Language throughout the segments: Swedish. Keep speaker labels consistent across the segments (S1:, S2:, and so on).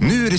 S1: Nu är det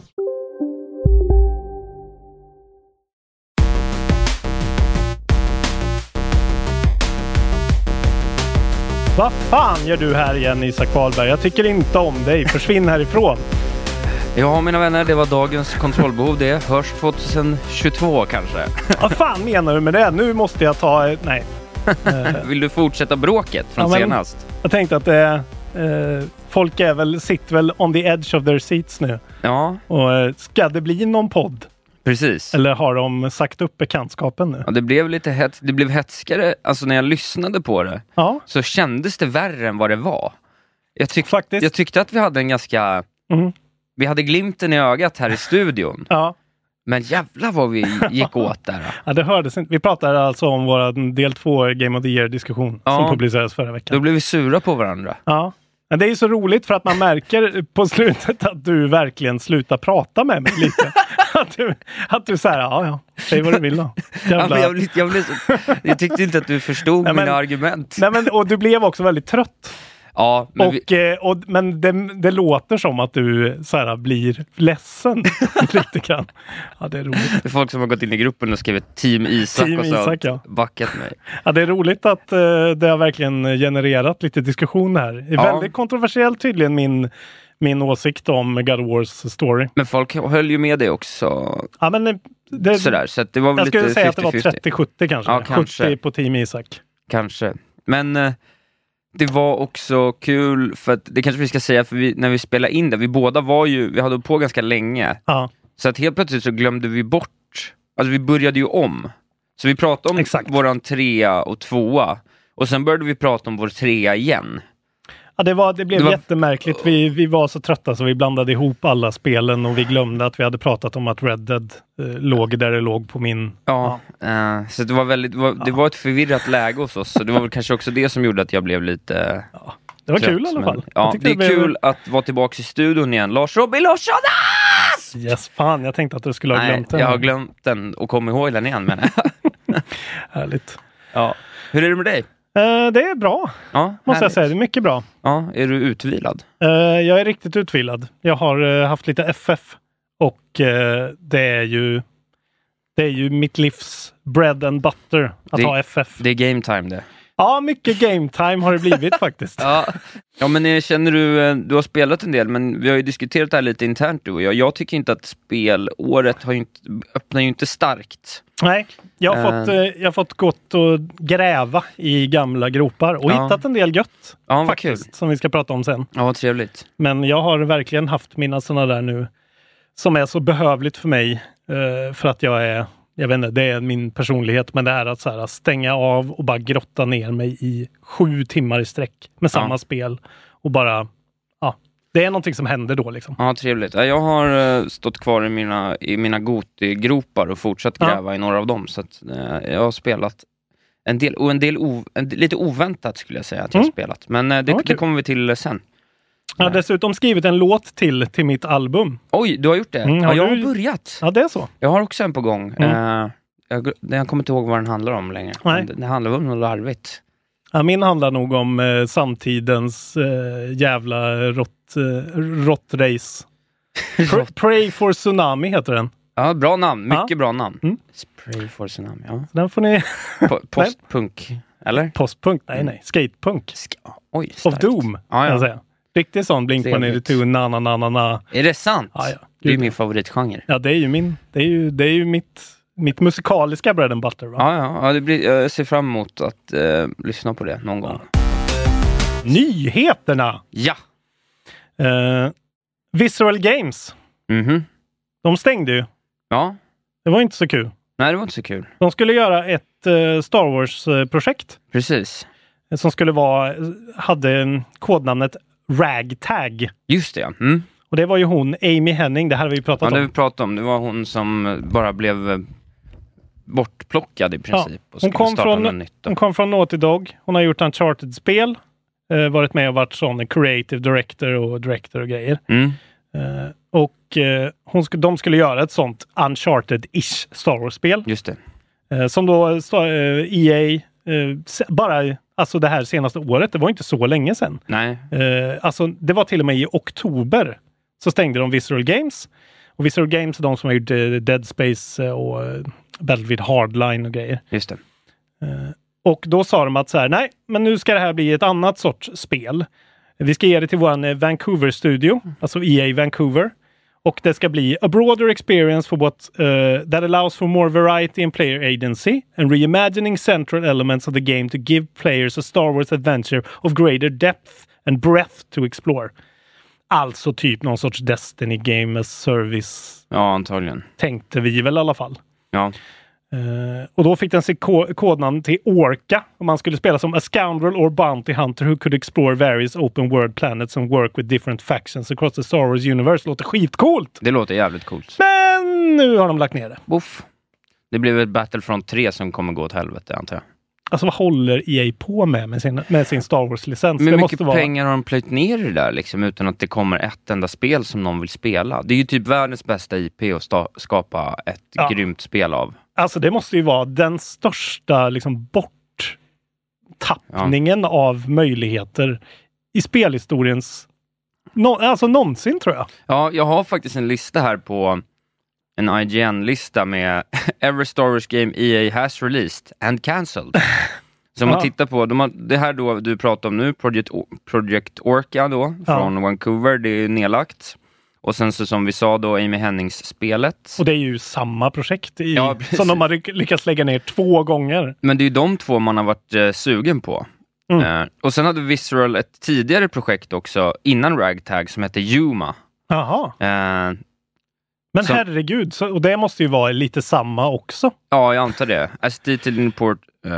S2: Vad fan gör du här igen Isak Wahlberg? Jag tycker inte om dig. Försvinn härifrån.
S3: Ja, mina vänner, det var dagens kontrollbehov det. Hörs 2022 kanske.
S2: Vad fan menar du med det? Nu måste jag ta... eh, Nej.
S3: Vill du fortsätta bråket från
S2: Ja, men-
S3: senast?
S2: Jag tänkte att det... Eh, folk är väl, sitter väl on the edge of their seats nu.
S3: Ja,
S2: Och eh, ska det bli någon podd?
S3: precis.
S2: Eller har de sagt upp bekantskapen nu?
S3: Ja, det blev lite hets, det blev hetskare. Alltså när jag lyssnade på det
S2: Ja,
S3: så kändes det värre än vad det var. Jag, tyck,
S2: Faktiskt.
S3: jag tyckte att vi hade en ganska...
S2: Mm.
S3: Vi hade glimten i ögat här i studion.
S2: ja.
S3: Men jävlar vad vi gick åt där.
S2: ja det hördes inte. Vi pratade alltså om vår del två Game of the Year-diskussion
S3: Ja.
S2: som publicerades förra
S3: Då
S2: veckan.
S3: blev vi sura på varandra.
S2: Ja. Men det är ju så roligt för att man märker på slutet att du verkligen slutar prata med mig lite. Att du, att du säger ja, ja, säg vad du vill då.
S3: Ja,
S2: Jävla-
S3: men jag, blev- jag, blev så, jag tyckte inte att du förstod
S2: Nej, men-
S3: mina argument.
S2: Nej, men, och du blev också väldigt trött.
S3: Ja, men vi,
S2: och, eh, och, men det, det låter som att du så här, blir ledsen lite grann. Ja, det är roligt.
S3: Det är folk som har gått in i gruppen och skrivit Team Isak
S2: Team
S3: och så
S2: Isak, ja.
S3: backat mig.
S2: Ja, det är roligt att eh, det har verkligen genererat lite diskussion här. Det är
S3: Ja.
S2: väldigt kontroversiellt tydligen min, min åsikt om God of Wars story.
S3: Men folk höll ju med dig också.
S2: Ja, men eh, det,
S3: Sådär, så att det var väl
S2: jag skulle
S3: lite
S2: säga att det var
S3: 50-50.
S2: 30-70 kanske.
S3: Ja, kanske.
S2: 70 på Team Isak.
S3: Kanske. Men eh, det var också kul, för att, det kanske vi ska säga, för vi, när vi spelade in det, vi båda var ju, vi hade hållit på ganska länge.
S2: Ja,
S3: Så att helt plötsligt så glömde vi bort, alltså vi började ju om. Så vi pratade om
S2: Exakt.
S3: våran trea och tvåa. Och sen började vi prata om vår trea igen.
S2: ja det, var, det blev
S3: Det var-
S2: jättemärkligt. Vi, vi var så trötta så vi blandade ihop alla spelen och vi glömde att vi hade pratat om att Red Dead eh, låg där det låg på min...
S3: Ja, eh, så det var, väldigt, det, var, det var ett förvirrat läge hos oss, så det var väl kanske också det som gjorde att jag blev lite
S2: Det var
S3: trött,
S2: kul i alla
S3: men-
S2: fall. Jag
S3: Ja,
S2: tyckte
S3: det är
S2: blev-
S3: kul att vara tillbaka i studion igen. Lars Robin Larsson! ah!
S2: Yes, fan, jag tänkte att du skulle ha
S3: Nej,
S2: glömt den.
S3: jag har glömt den och kom ihåg den igen. Men,
S2: Härligt.
S3: ja. Hur är det med dig?
S2: Eh, det är bra,
S3: Ja,
S2: måste jag
S3: härligt.
S2: säga. Det är mycket bra.
S3: Ja, är du utvilad?
S2: Eh, jag är riktigt utvilad. Jag har eh, haft lite FF och eh, det är ju det är ju mitt livs bread and butter att
S3: Det-
S2: ha FF.
S3: Det är game time det.
S2: Ja, mycket game time har det blivit faktiskt.
S3: Ja, ja men eh, känner du, eh, du har spelat en del, men vi har ju diskuterat det här lite internt du och jag. Jag tycker inte att spelåret har ju inte, öppnar ju inte starkt.
S2: Nej, jag har, fått,
S3: Eh.
S2: eh, jag har fått gått och gräva i gamla gropar och
S3: Ja.
S2: hittat en del gött
S3: Ja, vad
S2: faktiskt,
S3: kul.
S2: som vi ska prata om sen.
S3: Ja, vad trevligt.
S2: Men jag har verkligen haft mina sådana där nu som är så behövligt för mig eh, för att jag är, jag vet inte, det är min personlighet, men det är att så här, stänga av och bara grotta ner mig i sju timmar i sträck med samma
S3: Ja.
S2: spel och bara, ja, det är någonting som händer då liksom.
S3: Ja, trevligt. Ja, Jag har eh, stått kvar i mina, i mina Goti-gropar och fortsatt
S2: Ja.
S3: gräva i några av dem. Så att, eh, jag har spelat en del, och en del o, en, lite oväntat skulle jag säga att jag har
S2: Mm.
S3: spelat. Men eh, det,
S2: Ja, kul.
S3: det kommer vi till eh, sen.
S2: Jag har dessutom skrivit en låt till, till mitt album.
S3: Oj, du har gjort det?
S2: Mm,
S3: ja,
S2: har
S3: jag har
S2: du-
S3: börjat.
S2: Ja, det är så.
S3: Jag har också en på gång.
S2: Mm.
S3: Eh, jag, gl- jag kommer inte ihåg vad den handlar om längre.
S2: Nej.
S3: Men Den, den handlar väl om något larvigt.
S2: Ja, min handlar nog om eh, samtidens eh, jävla rått, eh, råttrace. Pr- Pray for tsunami heter den.
S3: Ja, bra namn. Mycket
S2: Ja.
S3: bra namn.
S2: Mm.
S3: Spray for Tsunami, ja.
S2: Den får ni...
S3: Po- Postpunk, eller?
S2: Postpunk? Nej, nej. Skatepunk.
S3: Ska- Oj,
S2: Of
S3: Mm. starkt.
S2: Doom,
S3: Ja,
S2: kan
S3: ja.
S2: jag säga. Riktig sån
S3: Trevligt.
S2: Blink-182, na-na-na-na-na.
S3: Är det sant?
S2: Ah, Ja, ja.
S3: Det är ju
S2: Gud,
S3: min favoritgenre.
S2: Ja, det är ju min... Det är ju, det är ju mitt, mitt musikaliska bread and butter. Va?
S3: Ja, ja, ja det blir, jag ser fram emot att eh, lyssna på det någon gång.
S2: Nyheterna!
S3: Ja!
S2: Eh, Visceral Games,
S3: Mhm.
S2: de stängde ju.
S3: Ja.
S2: Det var inte så kul.
S3: Nej, det var inte så kul.
S2: De skulle göra ett eh, Star Wars-projekt
S3: Precis.
S2: eh, som skulle vara, hade en- kodnamnet Ragtag.
S3: Just det, ja. Mm.
S2: Och det var ju hon, Amy Henning, det här har vi ju
S3: Ja,
S2: pratat
S3: det vi
S2: om.
S3: pratade om, det var hon som eh, bara blev eh, bortplockad i princip. och
S2: Hon
S3: skulle
S2: kom,
S3: starta något
S2: från,
S3: nytt då.
S2: hon kom från Naughty Dog. Hon har gjort Uncharted-spel. Eh, varit med och varit sån creative director och director och grejer.
S3: Mm.
S2: Eh, och eh, hon skulle, de skulle göra ett sånt Uncharted-ish Star Wars-spel.
S3: Just det.
S2: Eh, som då sta- eh, EA, eh, se- bara alltså det här senaste året, det var inte så länge sedan.
S3: Nej.
S2: Eh, alltså, det var till och med i oktober så stängde de Visceral Games. Och Visceral Games är de som har gjort eh, Dead Space eh, och eh, Battlefield Hardline och grejer.
S3: Just det.
S2: Och då sa de att så här, nej, men nu ska det här bli ett annat sorts spel. Vi ska ge det till vår Vancouver-studio, alltså EA Vancouver. Och det ska bli a broader experience for what, eh, that allows for more variety in player agency and reimagining central elements of the game to give players a Star Wars adventure of greater depth and breadth to explore. Alltså typ någon sorts Destiny Game as Service,
S3: Ja, antagligen.
S2: tänkte vi väl i alla fall.
S3: Ja.
S2: Eh, och då fick den sitt ko- kodnamn till Orca och man skulle spela som a scoundrel or bounty hunter who could explore various open world planets and work with different factions across the Star Wars universe. Låter skitcoolt!
S3: Det låter jävligt coolt.
S2: Men nu har de lagt ner det.
S3: Boff. Det blev ett Battlefront 3 som kommer gå åt helvete, antar jag.
S2: Alltså vad håller EA på med med sin, med sin Star Wars-licens?
S3: Men
S2: Det
S3: hur
S2: måste
S3: mycket
S2: vara...
S3: pengar har de plöjt ner i det där liksom, utan att det kommer ett enda spel som någon vill spela? Det är ju typ världens bästa IP att sta- skapa ett
S2: Ja.
S3: grymt spel av.
S2: Alltså det måste ju vara den största liksom borttappningen av möjligheter i spelhistoriens... nå- alltså någonsin tror jag.
S3: Ja, jag har faktiskt en lista här på en IGN-lista med Every Star Wars Game EA has released and cancelled. Som man
S2: Ja.
S3: tittar på, de har, det här då du pratar om nu, Project, O- Project Orca då,
S2: Ja.
S3: från Vancouver, det är nedlagt. Och sen så som vi sa då, Amy Hennings-spelet.
S2: Och det är ju samma projekt i,
S3: Ja, precis.
S2: som de har lyck- lyckats lägga ner två gånger.
S3: Men det är ju de två man har varit eh, sugen på.
S2: Mm.
S3: Eh, och sen hade Visceral ett tidigare projekt också, innan Ragtag, som hette Yuma.
S2: Jaha.
S3: Eh,
S2: Men
S3: Så-
S2: herregud, så, och det måste ju vara lite samma också.
S3: Ja, jag antar det. As detailed in report, uh,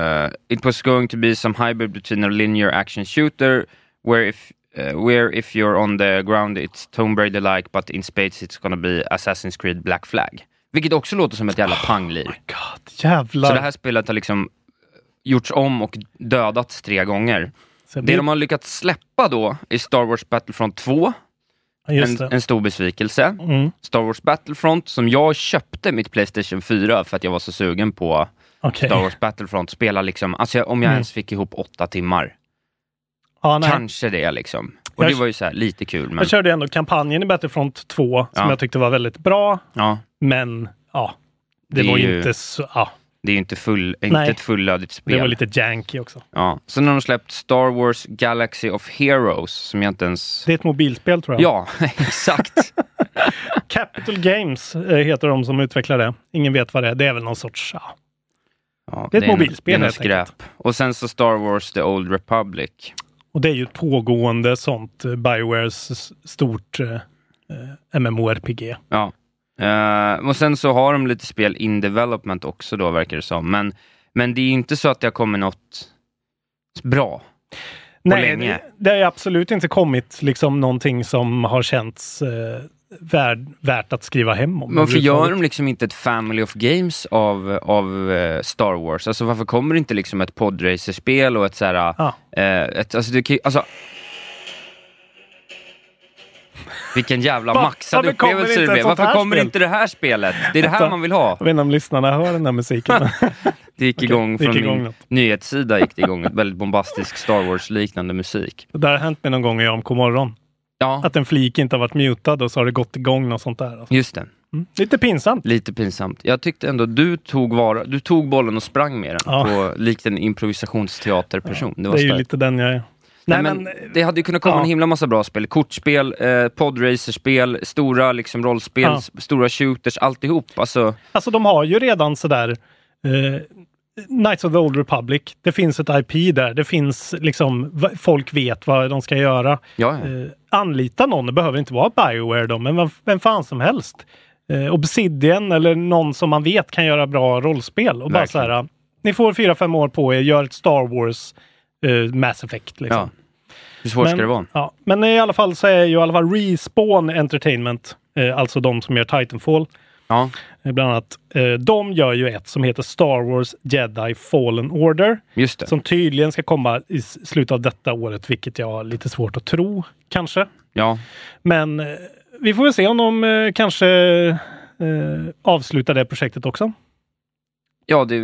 S3: it was going to be some hybrid between a linear action shooter where if uh, where if you're on the ground it's Tomb Raider-like but in space it's gonna be Assassin's Creed Black Flag. Vilket också låter som ett jävla pangliv.
S2: God,
S3: Så
S2: jävlar.
S3: det här spelet har liksom gjorts om och dödats tre gånger.
S2: Så
S3: Det de har lyckats släppa då är Star Wars Battlefront 2,
S2: Just
S3: en,
S2: det.
S3: en stor besvikelse.
S2: Mm,
S3: Star Wars Battlefront som jag köpte mitt Playstation 4 för att jag var så sugen på
S2: okej. Mm.
S3: Star Wars Battlefront spela liksom, alltså jag, om jag ens fick ihop åtta timmar,
S2: Ja, nej.
S3: kanske det liksom. Och
S2: Jag-
S3: det var ju så här lite kul, men
S2: Jag körde ändå kampanjen i Battlefront 2 som
S3: Ja.
S2: jag tyckte var väldigt bra,
S3: ja,
S2: men ja, det,
S3: Det är
S2: var ju
S3: ju-
S2: inte så... Ja,
S3: det är ju inte, full,
S2: Nej.
S3: inte ett fullödigt
S2: det var
S3: spel.
S2: lite janky också.
S3: Ja. Sen har de släppt Star Wars Galaxy of Heroes, som jag inte ens...
S2: Det är ett mobilspel tror jag.
S3: Ja, exakt.
S2: Capital Games eh, heter de som utvecklar det. Ingen vet vad det är. Det är väl någon sorts... Ja.
S3: Ja,
S2: Det är ett
S3: en-
S2: mobilspel,
S3: Det är en
S2: helt
S3: skräp. Och sen så Star Wars The Old Republic.
S2: Och det är ju ett pågående sånt eh, Biowares s- stort eh, eh, MMORPG.
S3: Ja. Eh, och sen så har de lite spel in development också då, verkar det som. Men, men det är inte så att det har kommit något bra. länge.
S2: Det, det har ju absolut inte kommit liksom någonting som har känts eh, värd, värt att skriva hem om.
S3: Varför gör
S2: överhuvudtaget.
S3: de liksom inte ett Family of Games av, av eh, Star Wars? Alltså varför kommer det inte liksom ett podracerspel och ett så här...
S2: Ja.
S3: eh, ett, alltså, det kan, ju- alltså, vilken jävla
S2: Va-
S3: maxad
S2: varför kommer inte
S3: upplevelse det
S2: ett
S3: blev.
S2: sånt
S3: Varför
S2: här
S3: kommer
S2: spel?
S3: inte det här spelet? Det är det här
S2: Vänta.
S3: man vill ha.
S2: Jag vet inte om lyssnarna hör den här musiken.
S3: Det gick
S2: Okej,
S3: igång
S2: det gick
S3: från
S2: igång
S3: min
S2: något.
S3: nyhetssida gick det igång ett väldigt bombastisk Star Wars-liknande musik.
S2: det har hänt mig någon gång i AMK morgon.
S3: Ja,
S2: Att en flik inte har varit mutad och så har det gått igång något sånt där. Alltså.
S3: just det.
S2: Lite pinsamt.
S3: Lite pinsamt. Jag tyckte ändå du tog, vara, du tog bollen och sprang med den,
S2: Ja.
S3: på, likt en improvisationsteaterperson. det var
S2: Det är ju
S3: starkt.
S2: lite den jag är.
S3: Nej, men, det hade ju kunnat komma
S2: ja.
S3: en himla massa bra spel. Kortspel, eh, podracerspel, stora liksom, rollspel,
S2: Ja.
S3: s- stora shooters, alltihop. Alltså,
S2: Alltså de har ju redan sådär eh, Knights of the Old Republic. Det finns ett IP där. Det finns liksom, va- folk vet vad de ska göra.
S3: ja, ja.
S2: Eh, anlita någon, det behöver inte vara Bioware då, men vem, vem fan som helst. Eh, Obsidian eller någon som man vet kan göra bra rollspel. Och bara så
S3: Verkligen.
S2: här, ni får fyra, fem år på er, gör ett Star Wars eh, Mass Effect. Liksom.
S3: ja. Hur svårt ska det vara?
S2: Ja, men i alla fall så är ju i alla fall Respawn Entertainment, eh, alltså de som gör Titanfall,
S3: Ja.
S2: eh, bland annat. Eh, de gör ju ett som heter Star Wars Jedi Fallen Order.
S3: Just det.
S2: Som tydligen ska komma i s- slutet av detta året, vilket jag har lite svårt att tro, kanske.
S3: Ja.
S2: Men eh, vi får väl se om de eh, kanske eh, avslutar det projektet också.
S3: Ja, det,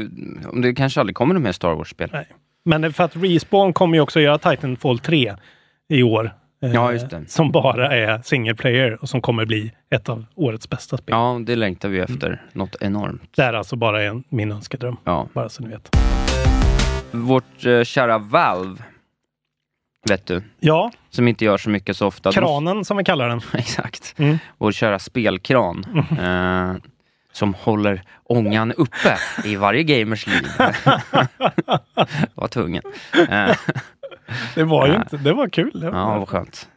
S3: om det kanske aldrig kommer de här Star Wars-spel.
S2: Nej. Men eh, för att Respawn kommer ju också göra Titanfall 3 i år. eh,
S3: Ja, just det.
S2: Som bara är single player och som kommer bli ett av årets bästa spel.
S3: Ja, det längtar vi efter.
S2: Mm.
S3: Något enormt.
S2: Det här är alltså bara en, min önskedröm.
S3: Ja.
S2: Bara så ni vet.
S3: Vårt eh, kära Valve, vet du,
S2: Ja,
S3: som inte gör så mycket så ofta. De-
S2: kranen som vi kallar den.
S3: Exakt.
S2: Mm.
S3: Vår kära spelkran. Eh, som håller ångan uppe i varje gamers liv. var tvungen. Eh,
S2: Det var ju
S3: Ja.
S2: inte, det var kul. Det var
S3: ja, vad skönt.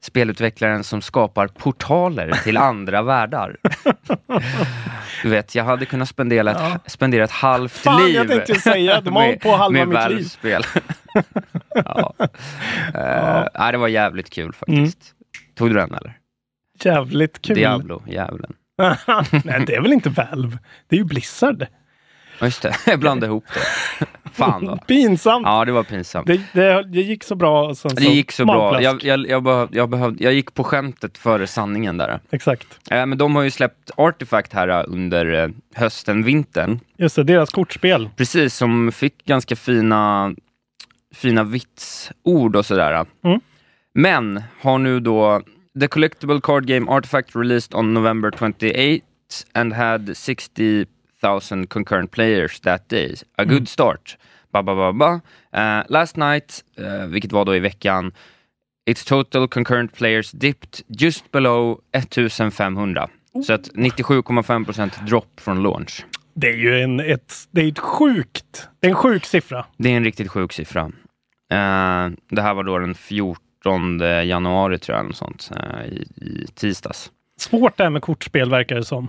S3: Spelutvecklaren som skapar portaler till andra världar. Du vet, jag hade kunnat spendera ett, spendera ett halvt
S2: Fan,
S3: liv
S2: jag tänkte säga, de har
S3: med-
S2: hållit på halva
S3: med
S2: mitt liv.
S3: Valves spel. ja. Eh, nej, det var jävligt
S2: Mm.
S3: kul faktiskt. Tog du den eller?
S2: Jävligt kul.
S3: Diablo, djävulen.
S2: Nej, det är väl inte Valve. Det är ju Blizzard.
S3: Ja, just det. Jag blandade ihop det. Fan då.
S2: Pinsamt.
S3: Ja, det var pinsamt.
S2: Det, det, det gick så bra och sen så
S3: Det gick så bra.
S2: magplask.
S3: Jag, jag, jag, behövde, jag, behövde, jag gick på skämtet före sanningen där.
S2: Exakt.
S3: Eh, men de har ju släppt Artifact här eh, under eh, hösten, vintern.
S2: Just det, deras kortspel.
S3: Precis, som fick ganska fina, fina vitsord och sådär.
S2: Mm.
S3: Men har nu då The Collectible Card Game Artifact released on November 28 and had 60,000 concurrent players that day. A good start. Ba, ba, ba, ba. Eh, last night, eh, vilket var då i veckan, its total concurrent players dipped just below 1500. Så att 97,5% dropp från launch.
S2: Det är ju en, ett, det är ett sjukt, det är en sjuk siffra.
S3: Det är en riktigt sjuk siffra. Eh, det här var då den 14 januari tror jag, eller något sånt, eh, i, i tisdags.
S2: Svårt det här med kortspel verkar det som.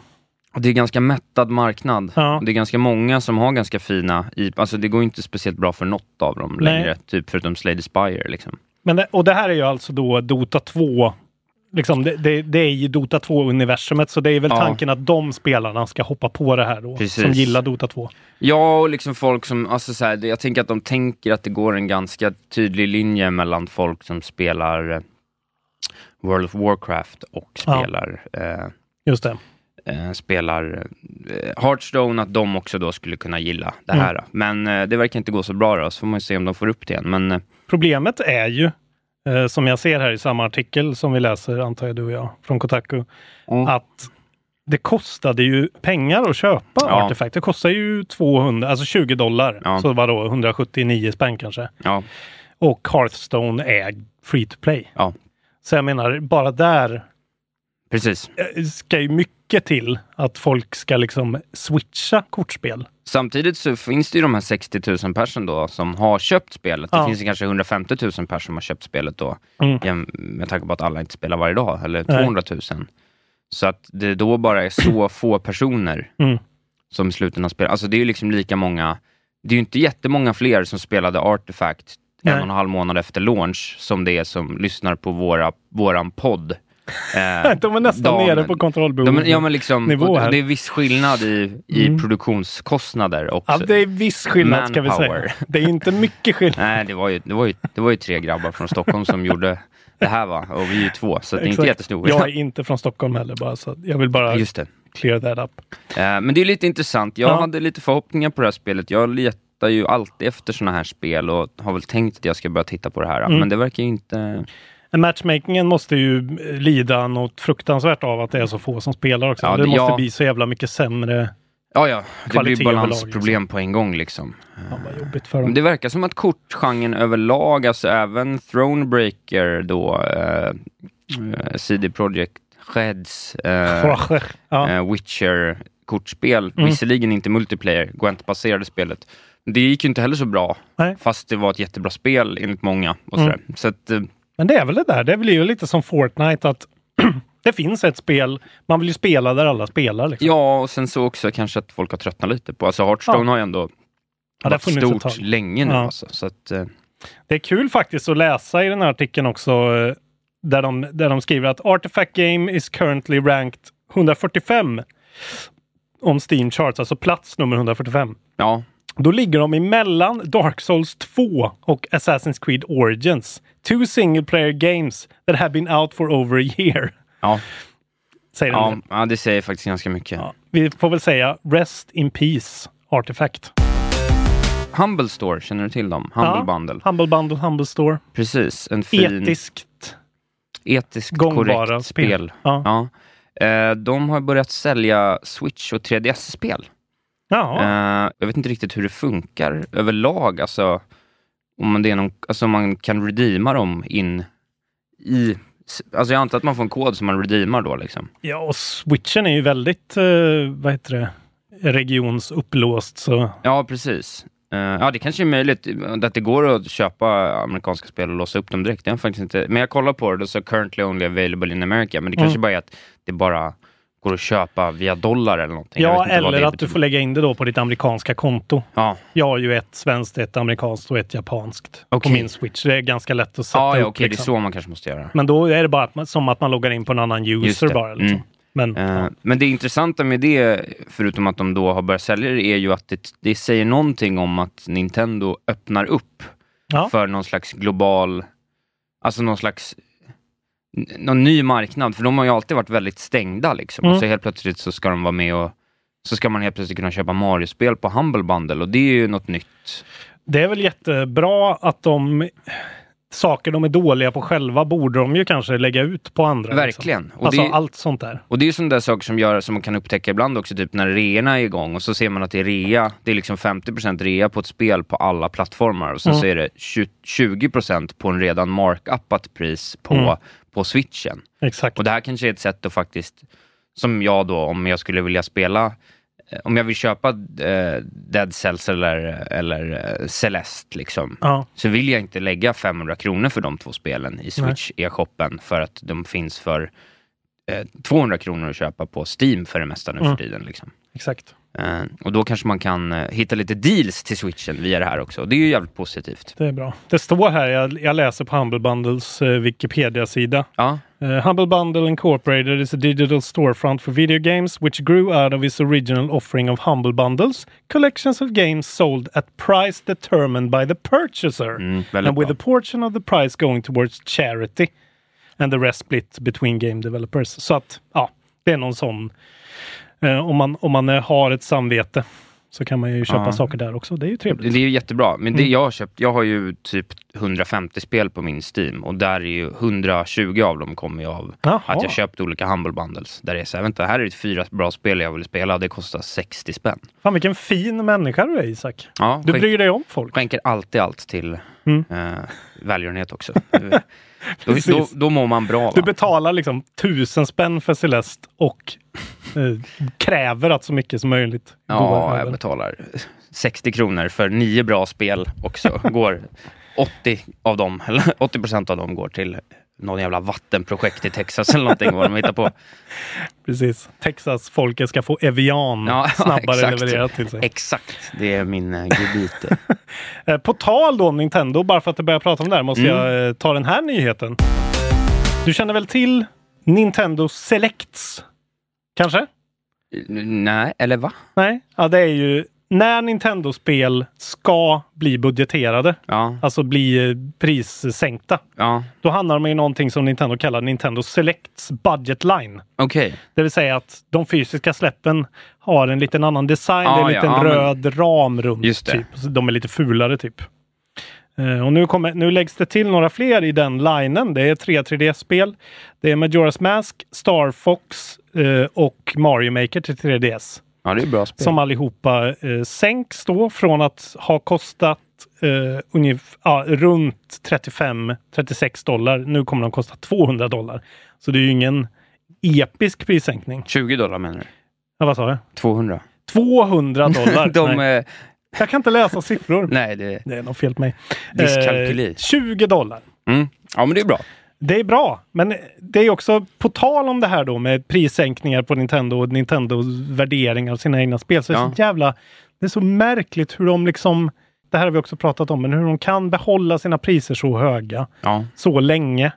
S3: Och Det är ganska mättad marknad.
S2: Ja.
S3: Det är ganska många som har ganska fina, i, alltså det går ju inte speciellt bra för något av dem
S2: Nej.
S3: längre, typ förutom Slay the Spire. Liksom.
S2: Men det, och det här är ju alltså då Dota 2. Liksom, det, det, det är ju Dota 2-universumet, så det är väl
S3: Ja.
S2: tanken att de spelarna ska hoppa på det här då,
S3: Precis.
S2: som gillar Dota 2.
S3: Ja, och liksom folk som, alltså så här, det- jag tänker att de tänker att det går en ganska tydlig linje mellan folk som spelar eh, World of Warcraft och
S2: Ja.
S3: spelar eh,
S2: Just det.
S3: eh, spelar eh, Hearthstone, att de också då skulle kunna gilla det här. då. Men eh, det verkar inte gå så bra då, så får man ju se om de får upp det igen. Men eh,
S2: Problemet är ju, eh, som jag ser här i samma artikel som vi läser, antar jag du och jag, från Kotaku,
S3: Mm.
S2: att det kostade ju pengar att köpa
S3: Ja.
S2: Artifact. Det kostar ju 200, alltså 20 dollar,
S3: Ja.
S2: så vadå, 179 spänn kanske.
S3: ja,
S2: Och Hearthstone är free to play.
S3: ja,
S2: Så jag menar, bara där
S3: precis.
S2: eh, ska ju mycket till att folk ska liksom switcha kortspel.
S3: Samtidigt så finns det ju de här 60 000 personer då som har köpt spelet. Det
S2: Ja.
S3: finns ju kanske 150 000 personer som har köpt spelet då.
S2: Mm.
S3: jäm- Med tanke på att alla inte spelar varje dag, eller
S2: Nej.
S3: 200 000. Så att det då bara är så få personer
S2: Mm.
S3: som i slutändan spelar. Alltså det är ju liksom lika många, det är ju inte jättemånga fler som spelade Artifact
S2: Nej.
S3: en och en halv månad efter launch som det är som lyssnar på våra, våran podd. Eh,
S2: De är nästan
S3: dagen-
S2: nere på kontrollbehovet.
S3: de, ja, men liksom,
S2: nivå
S3: och
S2: här.
S3: det är viss skillnad i, i produktionskostnader också.
S2: Mm. Ja, det är viss skillnad ska vi säga.
S3: Manpower.
S2: Det är inte mycket skillnad.
S3: Nej, det var, ju, det, var ju, det var ju tre grabbar från Stockholm som gjorde det här va, och vi är ju två, så det är inte
S2: Exakt.
S3: jättestor
S2: Jag är inte från Stockholm heller bara, så jag vill bara
S3: Just det.
S2: clear that up.
S3: Eh, Men det är lite intressant. Jag
S2: Ja.
S3: hade lite förhoppningar på det här spelet. Jag letar
S2: Mm.
S3: ju alltid efter såna här spel och har väl tänkt att jag ska börja titta på det här. Men det verkar ju inte...
S2: Men matchmakingen måste ju eh, lida något fruktansvärt av att det är så få som spelar också.
S3: Ja,
S2: det
S3: det-
S2: måste
S3: ja.
S2: bli så jävla mycket sämre.
S3: Ja, ja. Det
S2: Kvalitet
S3: blir
S2: överlag,
S3: balansproblem på en gång liksom.
S2: Fan vad jobbigt för
S3: Men
S2: dem.
S3: Det verkar som att kortgenren överlag, alltså även Thronebreaker då, eh, eh, CD Projekt Reds, eh,
S2: ja. Mm.
S3: eh, Witcher-kortspel, visserligen inte multiplayer, Gwent-baserade spelet. Det gick ju inte heller så bra,
S2: Nej. Mm.
S3: fast det var ett jättebra spel enligt många. Och sådär. Så att, eh,
S2: Men det är väl det där. Det blir ju lite som Fortnite att det finns ett spel. Man vill ju spela där alla spelar. Liksom.
S3: ja, och sen så också kanske att folk har tröttnat lite på, alltså Hearthstone
S2: Ja.
S3: har ju ändå
S2: Ja, det har
S3: varit
S2: funnits ett
S3: stort
S2: tag.
S3: länge nu.
S2: Ja.
S3: Alltså, så att, eh,
S2: Det är kul faktiskt att läsa i den här artikeln också eh, där de, där de skriver att Artifact Game is currently ranked 145 om Steam Charts, alltså plats nummer 145.
S3: ja,
S2: Då ligger de emellan Dark Souls 2 och Assassin's Creed Origins. Two single player games that have been out for over a year.
S3: ja,
S2: Säger
S3: ja,
S2: de.
S3: ja, det säger faktiskt ganska mycket.
S2: Ja. Vi får väl säga Rest in Peace Artifact.
S3: Humble Store, känner du till dem? Humble
S2: Ja,
S3: Bundle.
S2: Humble Bundle, Humble Store.
S3: Precis, en fin,
S2: Etiskt
S3: etiskt
S2: gångbara
S3: korrekt
S2: spel.
S3: spel.
S2: Ja.
S3: Ja. Eh, de har börjat sälja Switch och 3DS-spel.
S2: Jaha.
S3: Eh, jag vet inte riktigt hur det funkar överlag, alltså om det är någon, alltså om man kan redeema dem in i... Alltså jag antar att man får en kod som man redeemar då liksom.
S2: Ja, och switchen är ju väldigt, eh, vad heter det, regionsupplåst. Så
S3: Ja, precis. Eh, ja, det kanske är möjligt eh, att det går att köpa amerikanska spel och låsa upp dem direkt. Jag har faktiskt inte, men jag kollar på det och så currently only available in America, men det kanske
S2: Mm.
S3: bara är att det bara går att köpa via dollar eller någonting. Jag
S2: ja,
S3: vet inte vad
S2: eller
S3: det
S2: att du
S3: betyder.
S2: får lägga in det då på ditt amerikanska konto.
S3: Ja,
S2: Jag har ju ett svenskt, ett amerikanskt och ett japanskt
S3: Okej.
S2: på
S3: Ah,
S2: min switch. Det är ganska lätt att sätta
S3: ja, ja
S2: upp.
S3: okej, det är
S2: liksom.
S3: så man kanske måste göra.
S2: Men då är det bara att man, som att man loggar in på en annan
S3: Just
S2: user
S3: det.
S2: bara. Liksom.
S3: Mm.
S2: Men
S3: Eh, Men det intressanta med det, förutom att de då har börjat sälja det, är ju att det, det säger någonting om att Nintendo öppnar upp
S2: ja,
S3: för någon slags global, alltså någon slags n- någon ny marknad, för de har ju alltid varit väldigt stängda liksom.
S2: Mm.
S3: Och så helt plötsligt så ska de vara med och så ska man helt plötsligt kunna köpa Mario-spel på Humble Bundle och det är ju något nytt.
S2: det är väl jättebra att de saker de är dåliga på själva borde de ju kanske lägga ut på andra.
S3: Verkligen.
S2: Liksom.
S3: Och
S2: Alltså
S3: det-
S2: allt sånt där.
S3: Och det är ju sådana där saker som, gör, som man kan upptäcka ibland också, typ när reorna är igång och så ser man att det är rea, det är liksom 50% rea på ett spel på alla plattformar och sen så är det 20- 20% på en redan markuppat pris på,
S2: Mm.
S3: på switchen.
S2: Exakt.
S3: Och det här kanske är ett sätt att faktiskt, som jag då, om jag skulle vilja spela, eh, om jag vill köpa eh, Dead Cells eller, eller eh, Celeste, liksom,
S2: Ja.
S3: så vill jag inte lägga 500 kronor för de två spelen i Switch e-shoppen för att de finns för eh, 200 kronor att köpa på Steam för det mesta nu
S2: Mm.
S3: för tiden. Liksom.
S2: Exakt.
S3: Eh, och då kanske man kan eh, hitta lite deals till switchen via det här också. Och Det är ju jävligt positivt.
S2: Det är bra. Det står här, jag, jag läser på Humble Bundles eh, Wikipedia-sida.
S3: Ja,
S2: Eh, Humble Bundle Incorporated is a digital storefront for video games which grew out of its original offering of Humble Bundles, collections of games sold at price determined by the purchaser
S3: mm, väldigt
S2: and with
S3: bra.
S2: a portion of the price going towards charity and the rest split between game developers. Så att, ja, det är någon sån. Eh, om, man, om man eh, har ett samvete så kan man ju köpa
S3: Ja.
S2: saker där också. Det är ju trevligt.
S3: Det är ju jättebra, men
S2: Mm.
S3: det jag har köpt, jag har ju typ 150 spel på min Steam och där är ju 120 av dem kommer ju av
S2: Jaha.
S3: att jag köpt olika Humble Bundles. Där det är så här, vänta, här är det fyra bra spel jag vill spela, det kostar 60 spänn.
S2: Fan vilken fin människa du är Isak.
S3: Ja,
S2: Du
S3: skänk-
S2: bryr dig om folk.
S3: skänker alltid allt till
S2: Mm.
S3: eh, välgörenhet också. då, då, då mår man bra.
S2: Du
S3: Va?
S2: betalar liksom tusen spänn för Celeste och eh, kräver att så mycket som möjligt
S3: Ja,
S2: över.
S3: jag betalar 60 kronor för nio bra spel också. Går 80 av dem, eller 80 procent av dem går till någon jävla vattenprojekt i Texas eller någonting, vad de hittar på.
S2: Precis. Texas-folket ska få Evian
S3: Ja,
S2: snabbare
S3: exakt.
S2: levererat till sig.
S3: Exakt, det är min eh, gebit.
S2: Eh, På tal då om Nintendo, bara för att börja prata om det här måste
S3: Mm.
S2: jag eh, ta den här nyheten. Du känner väl till Nintendo Selects? Kanske?
S3: N- Nej, eller va?
S2: Nej? Ja, det är ju när Nintendo-spel ska bli budgeterade,
S3: Ja,
S2: alltså bli eh, prissänkta.
S3: ja,
S2: Då hamnar de i någonting som Nintendo kallar Nintendo Selects Budget Line.
S3: okej.
S2: Det vill säga att de fysiska släppen har en liten annan design. det är
S3: Ah,
S2: en
S3: ja,
S2: liten
S3: ja, men-
S2: röd ram runt.
S3: Just det.
S2: Typ. Så De är lite fulare typ. Eh, Och nu, kommer, nu läggs det till några fler i den linen. Det är tre 3D-spel. Det är Majora's Mask, Star Fox eh, och Mario Maker till 3DS.
S3: Ja, det är bra spel.
S2: Som allihopa eh, sänks då från att ha kostat eh, ungef- ja, runt 35-36 dollar. Nu kommer de kosta 200 dollar. Så det är ju ingen episk prissänkning.
S3: 20 dollar menar du?
S2: Ja, vad sa jag?
S3: 200?
S2: 200 dollar!
S3: De,
S2: nej.
S3: nej.
S2: Jag kan inte läsa siffror.
S3: nej, det...
S2: Det är något fel på mig.
S3: Dyskalkyli.
S2: Eh, 20 dollar.
S3: Mm. Ja, men det är bra.
S2: Det är bra, men det är också på tal om det här då med prissänkningar på Nintendo och Nintendos värdering av sina egna spel. Så det är så jävla... Det är så märkligt hur de liksom... Det här har vi också pratat om, men hur de kan behålla sina priser så höga
S3: Ja.
S2: så länge.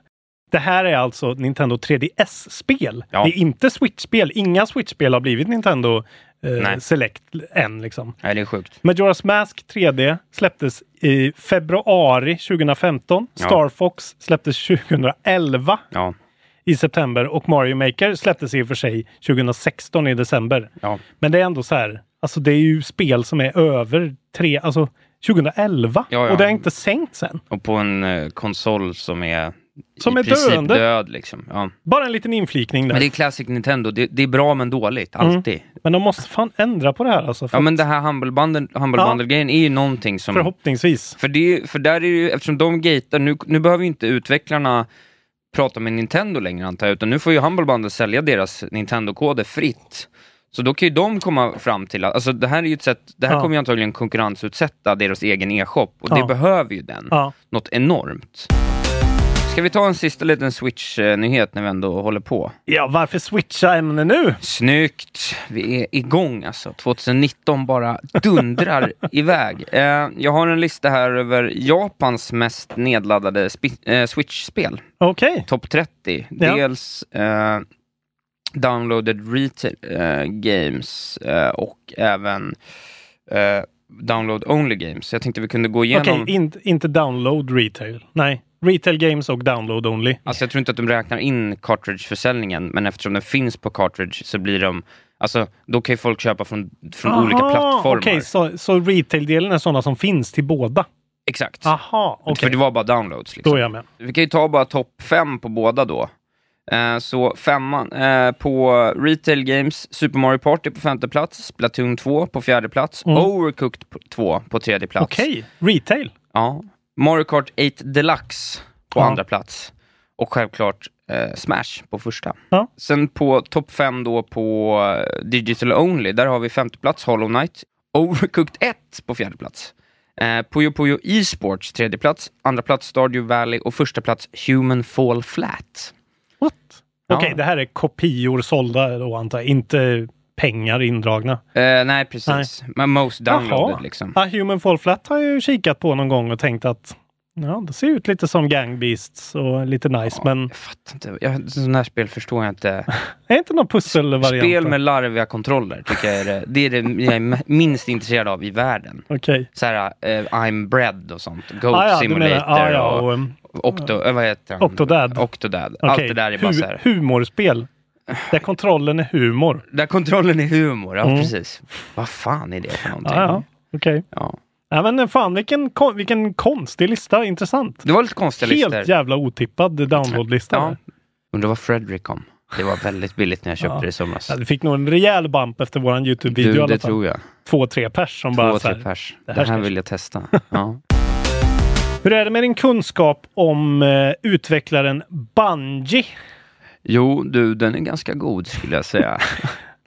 S2: Det här är alltså Nintendo 3DS-spel.
S3: Ja.
S2: Det är inte Switch-spel. Inga Switch-spel har blivit Nintendo eh,
S3: Nej.
S2: Select än liksom.
S3: Nej, det är sjukt.
S2: Majora's Mask 3D släpptes i februari 2015.
S3: Ja.
S2: Star Fox släpptes 2011
S3: Ja,
S2: i september och Mario Maker släpptes i och för sig 2016 i december.
S3: ja.
S2: Men det är ändå så här, alltså det är ju spel som är över tre, alltså 2011
S3: Ja, ja.
S2: och det har inte sänkt sen.
S3: Och på en eh, konsol som är
S2: Som
S3: i
S2: är
S3: princip
S2: döende.
S3: död. Liksom. Ja.
S2: Bara en liten inflikning där.
S3: Men
S2: Men,
S3: det är Classic Nintendo. Det, det är bra men dåligt, alltid.
S2: de måste fan ändra på det här alltså. För
S3: Ja, men det här Humble Bundle- Humble
S2: Ja.
S3: Bundle-grejen är ju någonting som...
S2: Förhoppningsvis.
S3: För, det, är ju- för där är det ju, eftersom de gatear, nu, nu behöver ju inte utvecklarna prata med Nintendo längre antar jag, utan nu får ju Humble Bundle sälja deras Nintendo-koder fritt. Så då kan ju de komma fram till att, alltså det här är ju ett sätt, det här
S2: Ja.
S3: kommer ju antagligen konkurrensutsätta deras egen e-shop och
S2: Ja.
S3: det behöver ju den.
S2: Ja.
S3: Något enormt. Ska vi ta en sista liten Switch-nyhet när vi ändå håller på?
S2: ja, varför switcha ämne nu?
S3: Snyggt! Vi är igång alltså. 2019 bara dundrar iväg. Eh, jag har en lista här över Japans mest nedladdade spi- eh, Switch-spel.
S2: Okej.
S3: Topp 30.
S2: Ja.
S3: Dels eh, downloaded retail eh, games eh, och även eh, download only games. Jag tänkte vi kunde gå
S2: Okej,
S3: igenom...
S2: in, inte download retail. Nej, retail games och download only.
S3: Alltså jag tror inte att de räknar in cartridge-försäljningen, men eftersom den finns på cartridge så blir de... Alltså, då kan ju folk köpa från, från olika
S2: Aha,
S3: plattformar.
S2: Okej, så, så retail-delen är sådana som finns till båda?
S3: Exakt.
S2: Aha, Ah, okej.
S3: För det var bara downloads.
S2: Då
S3: Liksom.
S2: är jag med.
S3: Vi kan ju ta bara topp fem på båda då. Eh, Så femman eh, på Retail Games, Super Mario Party på femte plats, Splatoon 2 på fjärde plats, Overcooked på- 2 på tredje plats.
S2: Mm. Okej, retail.
S3: Ja. Mario Kart 8 Deluxe på
S2: Ja.
S3: andra plats. Och självklart eh, Smash på första.
S2: Ja.
S3: Sen på topp fem då på eh, Digital Only, där har vi femte plats Hollow Knight. Overcooked 1 på fjärde plats. Eh, Puyo Puyo Esports tredje plats, andra plats Stardew Valley och första plats Human Fall Flat.
S2: What?
S3: Ja.
S2: Okej, det här är kopior sålda då antar jag, inte pengar indragna.
S3: Eh, nej, precis. Men most downloaded
S2: Jaha.
S3: liksom.
S2: Ah, Human Fall Flat har jag ju kikat på någon gång och tänkt att ja, det ser ut lite som Gang Beasts och lite nice, men
S3: Jag fattar inte. Jag, sådana här spel förstår jag inte.
S2: är inte någon pusselvariant?
S3: Spel med larviga kontroller tycker jag är det, det är det jag är minst intresserad av i världen.
S2: Okej.
S3: så här, eh, I'm Bread och sånt. Goat
S2: Ah, ja, du menar-
S3: Simulator
S2: ah, ja, och,
S3: och
S2: um,
S3: Octo, eh, vad heter han?
S2: Octodad.
S3: Octodad.
S2: okej.
S3: Allt det där är bara
S2: Hu-
S3: så här.
S2: Humorspel. Där kontrollen är humor.
S3: Där kontrollen är humor, ja precis. Vad fan är det för någonting?
S2: Ah, Mm. ja, okej.
S3: Ja.
S2: Ja men eh, fan vilken, kon- vilken konstig lista, intressant.
S3: Det var lite konstiga
S2: Helt
S3: listor.
S2: jävla otippad downloadlista.
S3: Ja.
S2: Ja.
S3: Undrar vad Fredrik kom. Det var väldigt billigt när jag köpte det i somras.
S2: du fick nog en rejäl bump efter våran Youtube-video i
S3: Du,
S2: alla
S3: det
S2: fall.
S3: tror jag.
S2: Två, tre pers som bara
S3: Två,
S2: så här,
S3: tre pers.
S2: Det
S3: Det
S2: här
S3: här,
S2: ska jag-
S3: vill jag testa. Ja.
S2: Hur är det med din kunskap om eh, utvecklaren Bungie?
S3: Jo, du, den är ganska god skulle jag säga.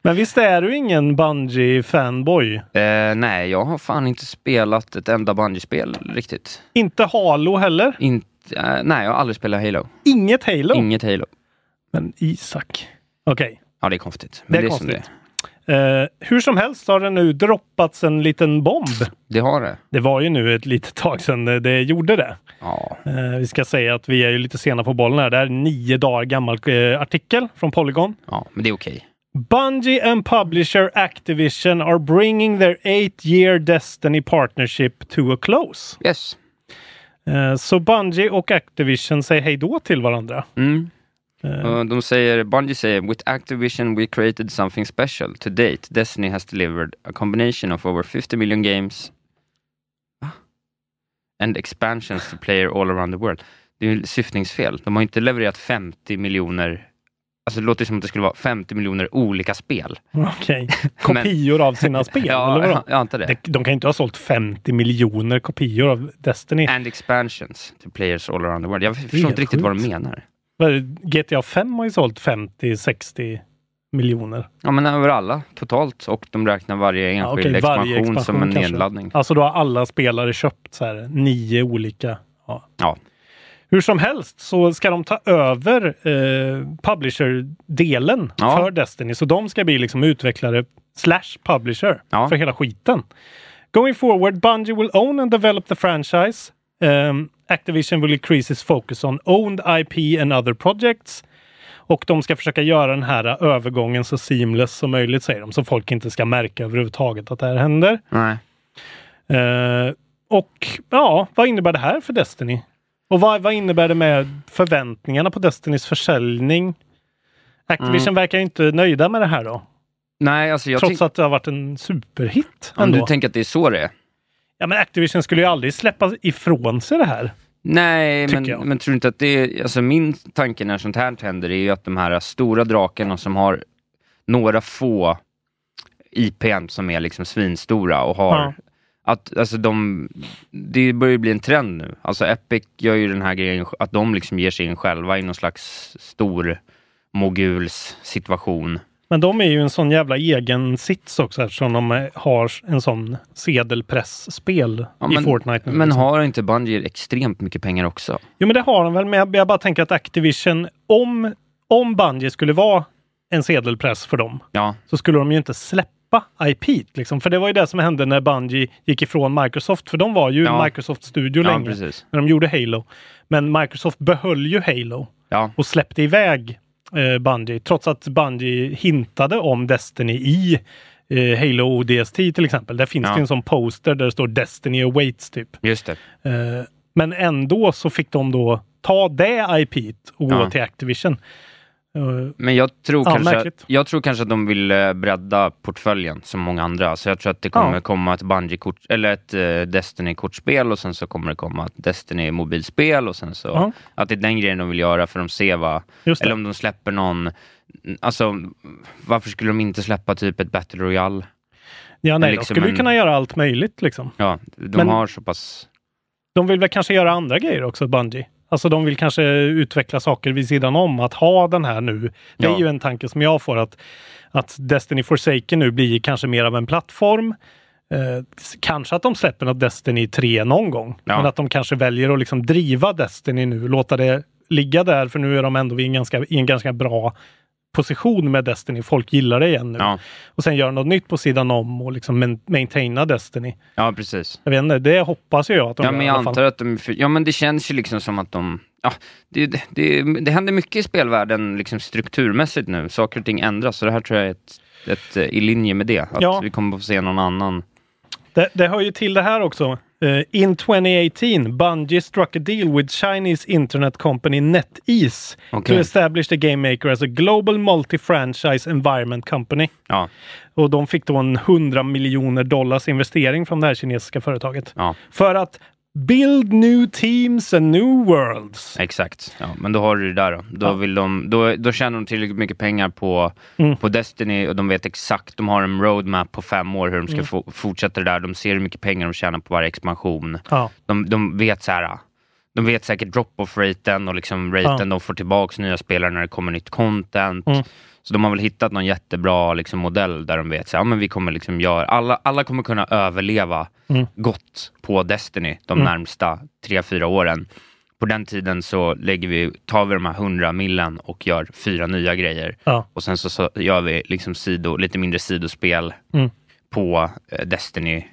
S2: Men visst är du ingen Bungie-fanboy?
S3: eh, nej, jag har fan inte spelat ett enda Bungie-spel riktigt.
S2: Inte Halo heller?
S3: Inte, eh, nej, jag har aldrig spelat Halo.
S2: Inget Halo?
S3: Inget Halo.
S2: Men Isak. Okej.
S3: Ja, det är konstigt.
S2: Det är
S3: Men som
S2: konstigt. Eh, hur som helst har det nu droppats en liten bomb.
S3: Det har det.
S2: Det var ju nu ett litet tag sedan eh, det gjorde det.
S3: Ja.
S2: Eh, vi ska säga att vi är ju lite sena på bollen här. Det här är en nio dagar gammal eh, artikel från Polygon.
S3: ja, men det är okej.
S2: Bungie and publisher Activision are bringing their eight year Destiny partnership to a close.
S3: Yes.
S2: Eh, så Bungie och Activision säger hej då till varandra.
S3: Mm. Eh, De säger, Bungie säger, with Activision we created something special. To date, Destiny has delivered a combination of over 50 million games. Va? and expansions to player all around the world. Det är ju syftningsfel. De har inte levererat 50 miljoner, alltså det låter som att det skulle vara 50 miljoner olika spel.
S2: Okej. Kopior av sina spel, eller
S3: Mm. ja,
S2: vadå?
S3: jag antar det.
S2: De- De kan ju inte ha sålt 50 miljoner kopior av Destiny.
S3: And expansions to players all around the world. Jag förstår
S2: helt
S3: inte riktigt vad de
S2: sjukt.
S3: menar.
S2: Vad- GTA 5 har ju sålt 50-60 miljoner.
S3: Ja, men över alla totalt och de räknar varje
S2: Ja,
S3: enskild
S2: okej,
S3: expansion,
S2: varje
S3: som en
S2: kanske.
S3: nedladdning.
S2: Alltså då har alla spelare köpt så här nio olika. Ja.
S3: Ja.
S2: Hur som helst så ska de ta över eh, publisher-delen
S3: Ja.
S2: för Destiny. Så de ska bli liksom utvecklare slash publisher
S3: Ja.
S2: för hela skiten. Going forward, Bungie will own and develop the franchise. Um, Activision will increase its focus on owned IP and other projects. Och de ska försöka göra den här eh, övergången så seamless som möjligt, säger de, så folk inte ska märka överhuvudtaget att det här händer.
S3: Nej.
S2: Eh, och ja, vad innebär det här för Destiny? Och vad, vad innebär det med förväntningarna på Destinys försäljning? Activision verkar ju inte nöjda med det här då.
S3: Nej, alltså Mm. jag
S2: trots
S3: tänk-
S2: att det har varit en superhit
S3: om
S2: ändå.
S3: du tänker att det är så det är.
S2: Ja, men Activision skulle ju aldrig släppa ifrån sig det här.
S3: Nej,
S2: Tycker
S3: men,
S2: jag.
S3: men tror du inte att det är... Alltså min tanke när sånt här händer är ju att de här stora drakarna som har några få IPn som är liksom svinstora och har...
S2: Ja.
S3: Att, alltså de, det börjar ju bli en trend nu. Alltså Epic gör ju den här grejen att de liksom ger sig in själva i någon slags stor moguls situation.
S2: Men de är ju en sån jävla egen sits också eftersom de eh, har en sån sedelpressspel
S3: Ja,
S2: i Fortnite nu.
S3: Men
S2: liksom.
S3: har inte Bungie extremt mycket pengar också?
S2: Jo, men det har de väl, men jag, jag bara tänker att Activision, om, om Bungie skulle vara en sedelpress för dem,
S3: Ja,
S2: så skulle de ju inte släppa IP. Liksom. För det var ju det som hände när Bungie gick ifrån Microsoft, för de var ju
S3: Ja.
S2: Microsoft Studio
S3: ja
S2: länge
S3: precis.
S2: när de gjorde Halo. Men Microsoft behöll ju Halo
S3: Ja,
S2: och släppte iväg eh, Bungie, trots att Bungie hintade om Destiny i eh, Halo ODST till exempel. Där finns
S3: Ja.
S2: det ju en sån poster där det står Destiny awaits typ.
S3: just det.
S2: Eh, Men ändå så fick de då ta det IP och gå
S3: Ja.
S2: till Activision. Eh,
S3: Men jag tror,
S2: Ja,
S3: kanske,
S2: märkligt.
S3: att- jag tror kanske att de vill eh, bredda portföljen som många andra. Så jag tror att det kommer
S2: Ja.
S3: komma ett Bungie-kort, eller ett eh, Destiny-kortspel och sen så kommer det komma ett Destiny-mobilspel och sen så...
S2: Ja.
S3: Att det är den grejen de vill göra för de ser vad...
S2: Just det.
S3: Eller om de släpper någon... Alltså, varför skulle de inte släppa typ ett Battle Royale?
S2: Ja, nej,
S3: liksom
S2: de skulle ju
S3: en-
S2: kunna göra allt möjligt liksom.
S3: Ja, de
S2: Men-
S3: har så pass...
S2: De vill väl kanske göra andra grejer också, Bungie. Alltså de vill kanske utveckla saker vid sidan om att ha den här nu. Det är
S3: Ja.
S2: ju en tanke som jag får att, att Destiny Forsaken nu blir kanske mer av en plattform. Eh, s- kanske att de släpper något Destiny 3 någon gång.
S3: Ja.
S2: Men att de kanske väljer att liksom driva Destiny nu, låta det ligga där för nu är de ändå i en ganska, i en ganska bra position med Destiny. Folk gillar det igen nu.
S3: Ja,
S2: Och sen göra något nytt på sidan om och liksom main- maintaina Destiny.
S3: ja precis.
S2: Jag vet inte, det hoppas ju jag att de
S3: Ja,
S2: gör
S3: men
S2: i
S3: jag
S2: alla fall.
S3: antar att de... för- Ja, men det känns ju liksom som att de... Ja, det, det, det, det händer mycket i spelvärlden liksom strukturmässigt nu. Saker och ting ändras, så det här tror jag är ett, ett, eh, i linje med det. Att
S2: Ja.
S3: vi kommer att få se någon annan.
S2: Det, det hör ju till det här också. Eh, in 2018, Bungie struck a deal with Chinese internet company NetEase
S3: Okej.
S2: to establish the game maker as a global multi-franchise environment company.
S3: Ja,
S2: Och de fick då en 100 miljoner dollars investering från det här kinesiska företaget.
S3: ja
S2: För att build new teams and new worlds.
S3: exakt. Ja, men då har du det där då. Då, vill de, då, då tjänar de tillräckligt mycket pengar på,
S2: Mm.
S3: på Destiny och de vet exakt, de har en roadmap på fem år hur de ska
S2: Mm.
S3: få, fortsätta det där. De ser hur mycket pengar de tjänar på varje expansion.
S2: Ja.
S3: De, de vet så här. De vet säkert drop-off-raten och liksom raten
S2: Ja.
S3: de får tillbaks nya spelare när det kommer nytt content.
S2: Mm.
S3: Så de har väl hittat någon jättebra liksom, modell där de vet så här, ja, men vi kommer liksom göra, alla, alla kommer kunna överleva
S2: Mm.
S3: gott på Destiny de närmsta tre fyra åren. På den tiden så lägger vi, tar vi de här 100 millen och gör fyra nya grejer.
S2: Ja.
S3: Och sen så, så gör vi liksom sido, lite mindre sidospel
S2: Mm.
S3: på eh, Destiny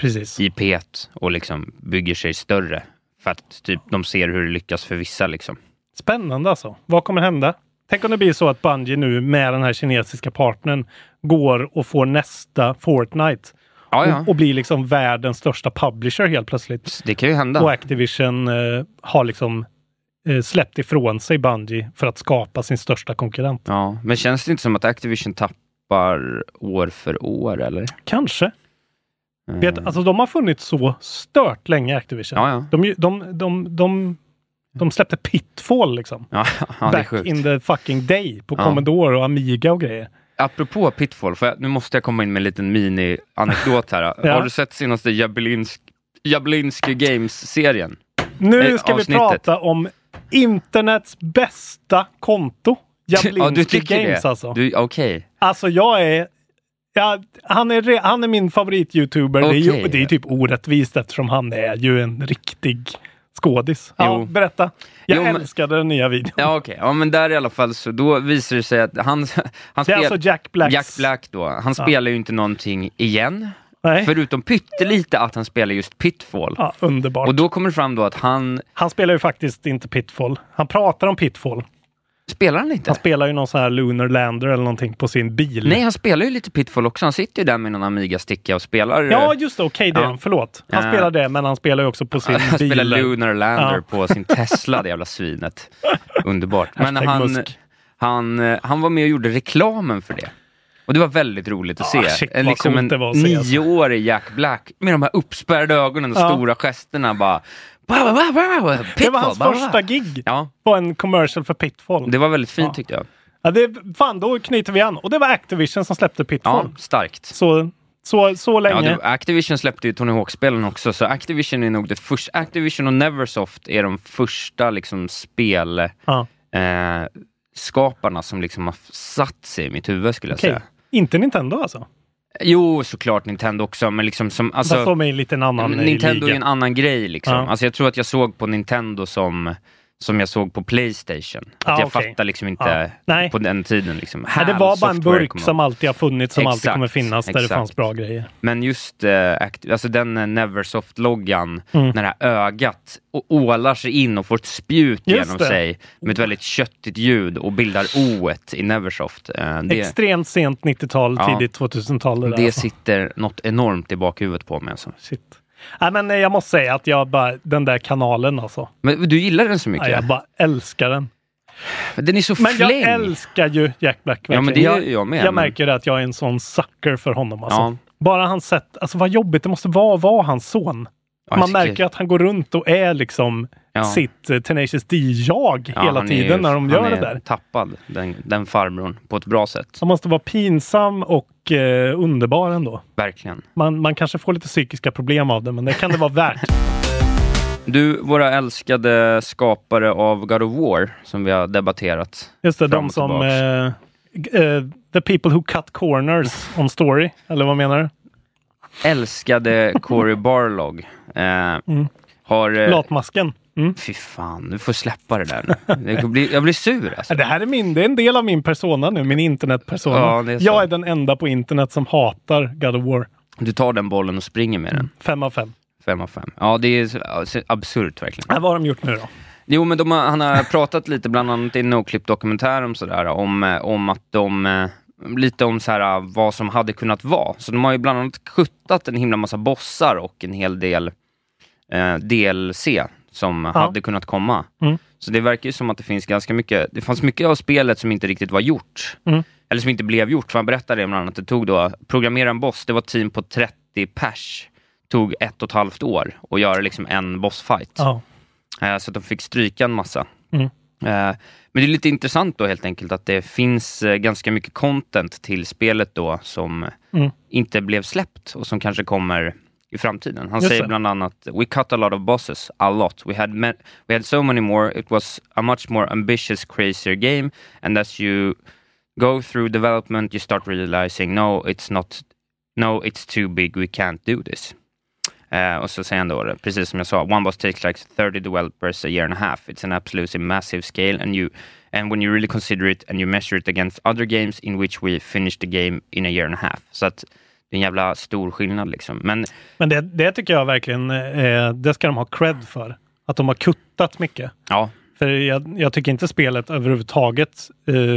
S2: Precis.
S3: i P1 och liksom bygger sig större. För att typ, de ser hur det lyckas för vissa. Liksom.
S2: Spännande alltså. Vad kommer hända? Tänk om det blir så att Bungie nu med den här kinesiska partnern går och får nästa Fortnite.
S3: Ja, ja.
S2: Och, och blir liksom världens största publisher helt plötsligt.
S3: Det kan ju
S2: Och
S3: hända.
S2: Activision eh, har liksom eh, släppt ifrån sig Bungie för att skapa sin största konkurrent.
S3: Ja. Men känns det inte som att Activision tappar år för år? Eller?
S2: Kanske. Vet, alltså de har funnits så stört länge, Activision.
S3: Eh. Ja, ja.
S2: De, ju- de, de, de, de släppte Pitfall liksom.
S3: Ja, ja, det är
S2: Back
S3: sjukt.
S2: in the fucking day på
S3: Ja.
S2: Commodore och Amiga och grejer.
S3: Apropå Pitfall, för jag, nu måste jag komma in med en liten mini-anekdot här.
S2: Ja.
S3: Har du sett senaste Jablinsk, Jablinski Games-serien?
S2: Nu
S3: Eh,
S2: ska vi
S3: avsnittet.
S2: prata om internets bästa konto. Jablinski
S3: Ja, du tycker
S2: Games
S3: det?
S2: alltså.
S3: Du- Okej.
S2: Alltså jag är... Ja, han, är re, han är min favorit-youtuber. Det, är ju,
S3: Okej.
S2: det är ju typ orättvist eftersom han är ju en riktig skådis. Ja,
S3: Jo.
S2: berätta. Jag
S3: Jo, men-
S2: älskade den nya videon.
S3: Ja, okej. Ja, men där i alla fall så då visar det sig att han... han
S2: Det är
S3: spel-
S2: alltså Jack Blacks-
S3: Jack Black då. Han spelar ju inte någonting igen.
S2: Nej.
S3: Förutom pyttelite att han spelar just Pitfall.
S2: Ja, underbart.
S3: Och då kommer det fram då att han...
S2: Han spelar ju faktiskt inte Pitfall. Han pratar om Pitfall.
S3: Spelar han inte?
S2: Han spelar ju någon sån här Lunar Lander eller någonting på sin bil.
S3: Nej, han spelar ju lite Pitfall också. Han sitter ju där med någon Amiga-sticka och spelar... eh,
S2: Ja, just det. Okej, det är
S3: Ja.
S2: han. Förlåt. Han
S3: Ja.
S2: spelar det, men han spelar ju också på sin
S3: Han
S2: bil.
S3: spelar Lunar Lander
S2: Ja.
S3: på sin Tesla, det jävla svinet. Underbart. Men
S2: Hashtag
S3: han,
S2: Musk.
S3: han, eh, han var med och gjorde reklamen för det. Och det var väldigt roligt att
S2: Ah,
S3: se.
S2: shit,
S3: en
S2: vad
S3: liksom
S2: coolt
S3: en
S2: det var att se, alltså.
S3: nioårig Jack Black med de här uppspärrade ögonen och
S2: Ja.
S3: stora gesterna bara... Ba, ba, ba, ba, ba,
S2: Det var
S3: pitfall,
S2: hans
S3: ba, ba, ba.
S2: första gig.
S3: Ja,
S2: På en commercial för Pitfall.
S3: det var väldigt fint
S2: Ja.
S3: tyckte jag.
S2: Ja, det, fan, då knyter vi an. Och det var Activision som släppte
S3: Ja,
S2: Pitfall.
S3: starkt.
S2: Så, så, så
S3: Ja,
S2: länge.
S3: det, Activision släppte ju Tony Hawk-spelen också, så Activision är nog det första... Activision och Neversoft är de första liksom spel...
S2: Ja.
S3: eh, skaparna som liksom har f- satt sig i mitt huvud skulle jag
S2: Okej.
S3: säga.
S2: Inte Nintendo alltså?
S3: Jo, såklart Nintendo också, men liksom som... Alltså,
S2: Fast de är ju lite en annan eh,
S3: men Nintendo
S2: i
S3: är ju en
S2: ligan.
S3: annan grej liksom.
S2: Ja.
S3: Alltså jag tror att jag såg på Nintendo som, som jag såg på Playstation. Att
S2: Ah,
S3: jag
S2: okej.
S3: fattar liksom
S2: Ja.
S3: inte
S2: Nej.
S3: på den tiden liksom.
S2: Nej, det
S3: HAL
S2: var bara en
S3: Software
S2: burk
S3: kom
S2: som
S3: upp.
S2: alltid har funnits, som alltid
S3: Exakt,
S2: kommer finnas, där det
S3: exakt.
S2: fanns bra grejer.
S3: Men just eh, act- alltså den eh, Neversoft-loggan,
S2: Mm.
S3: när det här ögat å- ålar sig in och får ett spjut
S2: Just
S3: genom
S2: det.
S3: sig med ett väldigt köttigt ljud och bildar o i Neversoft. Eh, det,
S2: Extremt sent 90-tal,
S3: Ja.
S2: tidigt 2000-tal. där,
S3: Det
S2: alltså.
S3: sitter något enormt i bakhuvudet på mig. Alltså.
S2: Shit. Nej, men eh, jag måste säga att jag bara, den där kanalen alltså.
S3: Men du gillar den så
S2: Ja,
S3: mycket?
S2: jag bara älskar den.
S3: Den är så
S2: Men jag
S3: fläng!
S2: älskar ju Jack Black.
S3: Ja, men
S2: verkligen.
S3: det gör jag med, men-
S2: märker det att jag är en sån sucker för honom. Alltså.
S3: Ja.
S2: Bara hans sätt, alltså vad jobbigt det måste vara att vara hans son.
S3: Ja,
S2: Man
S3: så-
S2: märker att han går runt och är liksom
S3: Ja.
S2: sitt eh, Tenacious D-jag
S3: Ja,
S2: hela
S3: han är ju-
S2: tiden när de gör
S3: han
S2: det
S3: är
S2: där.
S3: tappad, den, den farbrorn, på ett bra sätt.
S2: Han måste vara pinsam och eh, underbar ändå.
S3: Verkligen.
S2: Man, man kanske får lite psykiska problem av det, men det kan det vara värt.
S3: Du, våra älskade skapare av God of War, som vi har debatterat.
S2: Just det,
S3: Fram
S2: de
S3: och
S2: som...
S3: tillbaks.
S2: Eh, g- eh, the people who cut corners on story, eller vad menar du?
S3: Eh. Älskade Corey Barlog. Eh, Har... Eh,
S2: Latmasken. Mm.
S3: fy fan, du får släppa det där nu. Det blir, jag blir sur alltså.
S2: Ja, Det här är, min, det är en del av min persona nu, min internetpersona.
S3: Ja, det är så.
S2: jag är den enda på internet som hatar God of War.
S3: Du tar den bollen och springer med den.
S2: Fem av fem.
S3: Fem av fem. Ja, det är så- alltså, absurt verkligen.
S2: Äh, vad har de gjort nu då?
S3: Jo, men de har, han har pratat lite, bland annat i Noclip-dokumentären och sådär, om, eh, om att de, eh, lite om så här, eh, vad som hade kunnat vara. Så de har ju bland annat kuttat en himla massa bossar och en hel del eh, DLC som hade kunnat komma.
S2: Mm.
S3: Så det verkar ju som att det finns ganska mycket, det fanns mycket av spelet som inte riktigt var gjort.
S2: Mm.
S3: Eller som inte blev gjort, för han berättade det bland annat, det tog då, programmera en boss, det var ett team på 30 pers, tog ett och ett halvt år att göra liksom en bossfight.
S2: Ja.
S3: Eh, Så att de fick stryka en massa.
S2: Mm.
S3: Eh, Men det är lite intressant då helt enkelt att det finns eh, ganska mycket content till spelet då som
S2: Mm.
S3: inte blev släppt och som kanske kommer i framtiden. Han
S2: Just
S3: säger
S2: det.
S3: bland annat “We cut a lot of bosses, a lot. We had, ma- we had so many more. It was a much more ambitious, crazier game. And as you go through development you start realizing no, it's not, no, it's too big, we can't do this”. Eh, och så säger han då, precis som jag sa, One Boss takes like 30 developers a year and a half. It's an absolutely massive scale and you and when you really consider it and you measure it against other games in which we finish the game in a year and a half. Så att det är en jävla stor skillnad liksom. Men
S2: Men det, det tycker jag verkligen, eh, det ska de ha cred för. Att de har kuttat mycket.
S3: ja,
S2: För jag, jag tycker inte spelet överhuvudtaget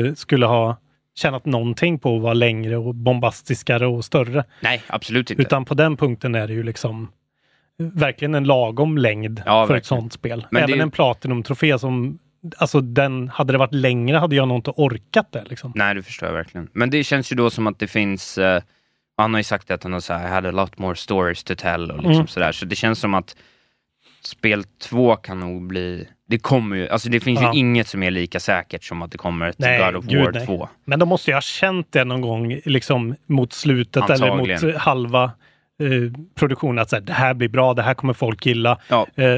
S2: eh, skulle ha tjänat någonting på att vara längre och bombastiskare och större.
S3: nej absolut inte.
S2: Utan på den punkten är det ju liksom eh, verkligen en lagom längd
S3: Ja,
S2: för ett
S3: verkligen.
S2: sånt spel.
S3: Men det
S2: Även
S3: är ju-
S2: en Platinum-trofé som, alltså den, hade det varit längre hade jag nog inte orkat det liksom.
S3: Nej, det förstår jag verkligen. Men det känns ju då som att det finns eh, han har ju sagt att han har så här, I had a lot more stories to tell och liksom
S2: Mm.
S3: sådär. Så det känns som att spel två kan nog bli, det kommer ju, alltså det finns
S2: Ja.
S3: ju inget som är lika säkert som att det kommer till
S2: Nej,
S3: God of
S2: gud,
S3: War
S2: nej.
S3: 2.
S2: Men de måste ju ha känt det någon gång liksom, mot slutet eller
S3: Antagligen.
S2: mot halva eh, produktionen. Att så här, det här blir bra, det här kommer folk gilla.
S3: Ja.
S2: Eh,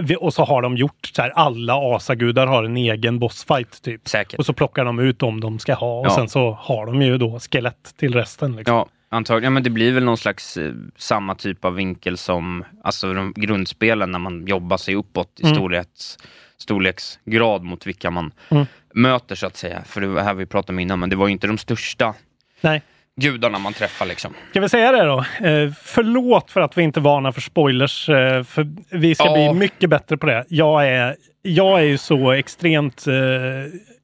S2: vi- och så har de gjort så här, alla asagudar har en egen bossfight typ.
S3: Säkert.
S2: Och så plockar de ut de de ska ha och
S3: Ja.
S2: sen så har de ju då skelett till resten. Liksom.
S3: Ja, antagligen. Men det blir väl någon slags eh, samma typ av vinkel som alltså de grundspelen när man jobbar sig uppåt i
S2: Mm.
S3: storleks, storleksgrad mot vilka man
S2: Mm.
S3: möter så att säga. För det var här vi pratade om innan, men det var ju inte de största
S2: Nej.
S3: gudarna man träffar liksom.
S2: Ska vi säga det då? Eh, förlåt för att vi inte varnar för spoilers. Eh, för vi ska
S3: Ja.
S2: bli mycket bättre på det. Jag är, jag är ju så extremt... Eh,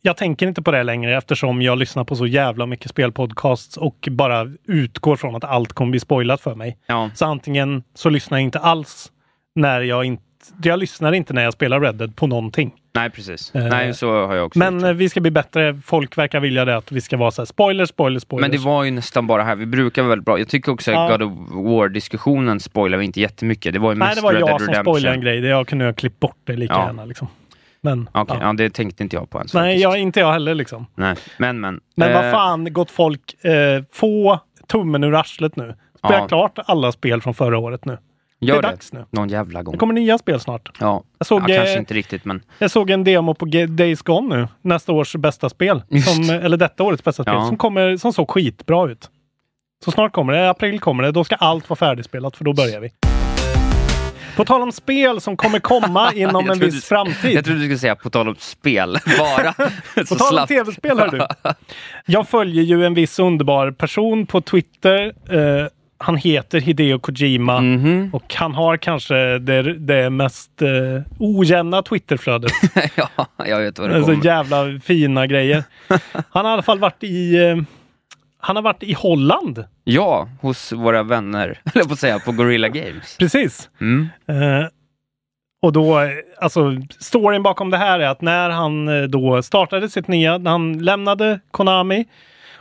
S2: jag tänker inte på det längre eftersom jag lyssnar på så jävla mycket spelpodcasts och bara utgår från att allt kommer bli spoilat för mig.
S3: Ja,
S2: Så antingen så lyssnar jag inte alls när jag inte... Jag lyssnar inte när jag spelar Red Dead på någonting.
S3: nej precis.
S2: Eh,
S3: nej, så har jag också gjort.
S2: Men eh, vi ska bli bättre. Folk verkar vilja det att vi ska vara så här spoiler, spoiler, spoiler.
S3: Men det var ju nästan bara här, vi brukar vara väldigt bra. Jag tycker också att
S2: Ja.
S3: God of War-diskussionen spoilar vi inte jättemycket. Det var ju mest
S2: Nej, det var
S3: Red
S2: jag
S3: Dead
S2: som
S3: Redemption.
S2: spoilade en grej. Det jag kunde ha klippt bort det lika
S3: Ja.
S2: gärna. Liksom. Men,
S3: Okej,
S2: ja.
S3: ja. det tänkte inte jag på ens.
S2: Nej,
S3: faktiskt.
S2: jag, inte jag heller liksom.
S3: Nej, men men.
S2: Men
S3: Eh,
S2: vad fan, gott folk. Eh, få tummen ur arslet nu. Spela
S3: Ja.
S2: klart alla spel från förra året nu.
S3: Gör
S2: det
S3: det.
S2: är dags nu.
S3: Någon jävla gång.
S2: Det kommer nya spel snart.
S3: Ja,
S2: Jag såg,
S3: ja
S2: eh,
S3: kanske inte riktigt men.
S2: Jag såg en demo på G- Days Gone nu. Nästa års bästa spel.
S3: Just.
S2: Som, eh, eller detta årets bästa spel.
S3: Ja.
S2: Som, kommer, som såg skitbra ut. Så snart kommer det. I april kommer det. Då ska allt vara färdigspelat för då börjar vi. På tal om spel som kommer komma inom
S3: Jag
S2: en
S3: trodde-
S2: viss framtid.
S3: Jag trodde du skulle säga på tal om spel, bara.
S2: På
S3: Så
S2: tal om
S3: slapp.
S2: tv-spel hör du. Jag följer ju en viss underbar person på Twitter. Eh, han heter Hideo Kojima
S3: Mhm.
S2: och han har kanske det, det mest eh, ojämna Twitterflödet.
S3: ja, jag vet vad det
S2: alltså
S3: kommer.
S2: jävla fina grejer. Han har i alla fall varit i eh, han har varit i Holland.
S3: Ja, hos våra vänner, eller på att säga, på Gorilla Games.
S2: Precis.
S3: Mm.
S2: Eh, och då, eh, alltså storyn bakom det här är att när han eh, då startade sitt nya, när han lämnade Konami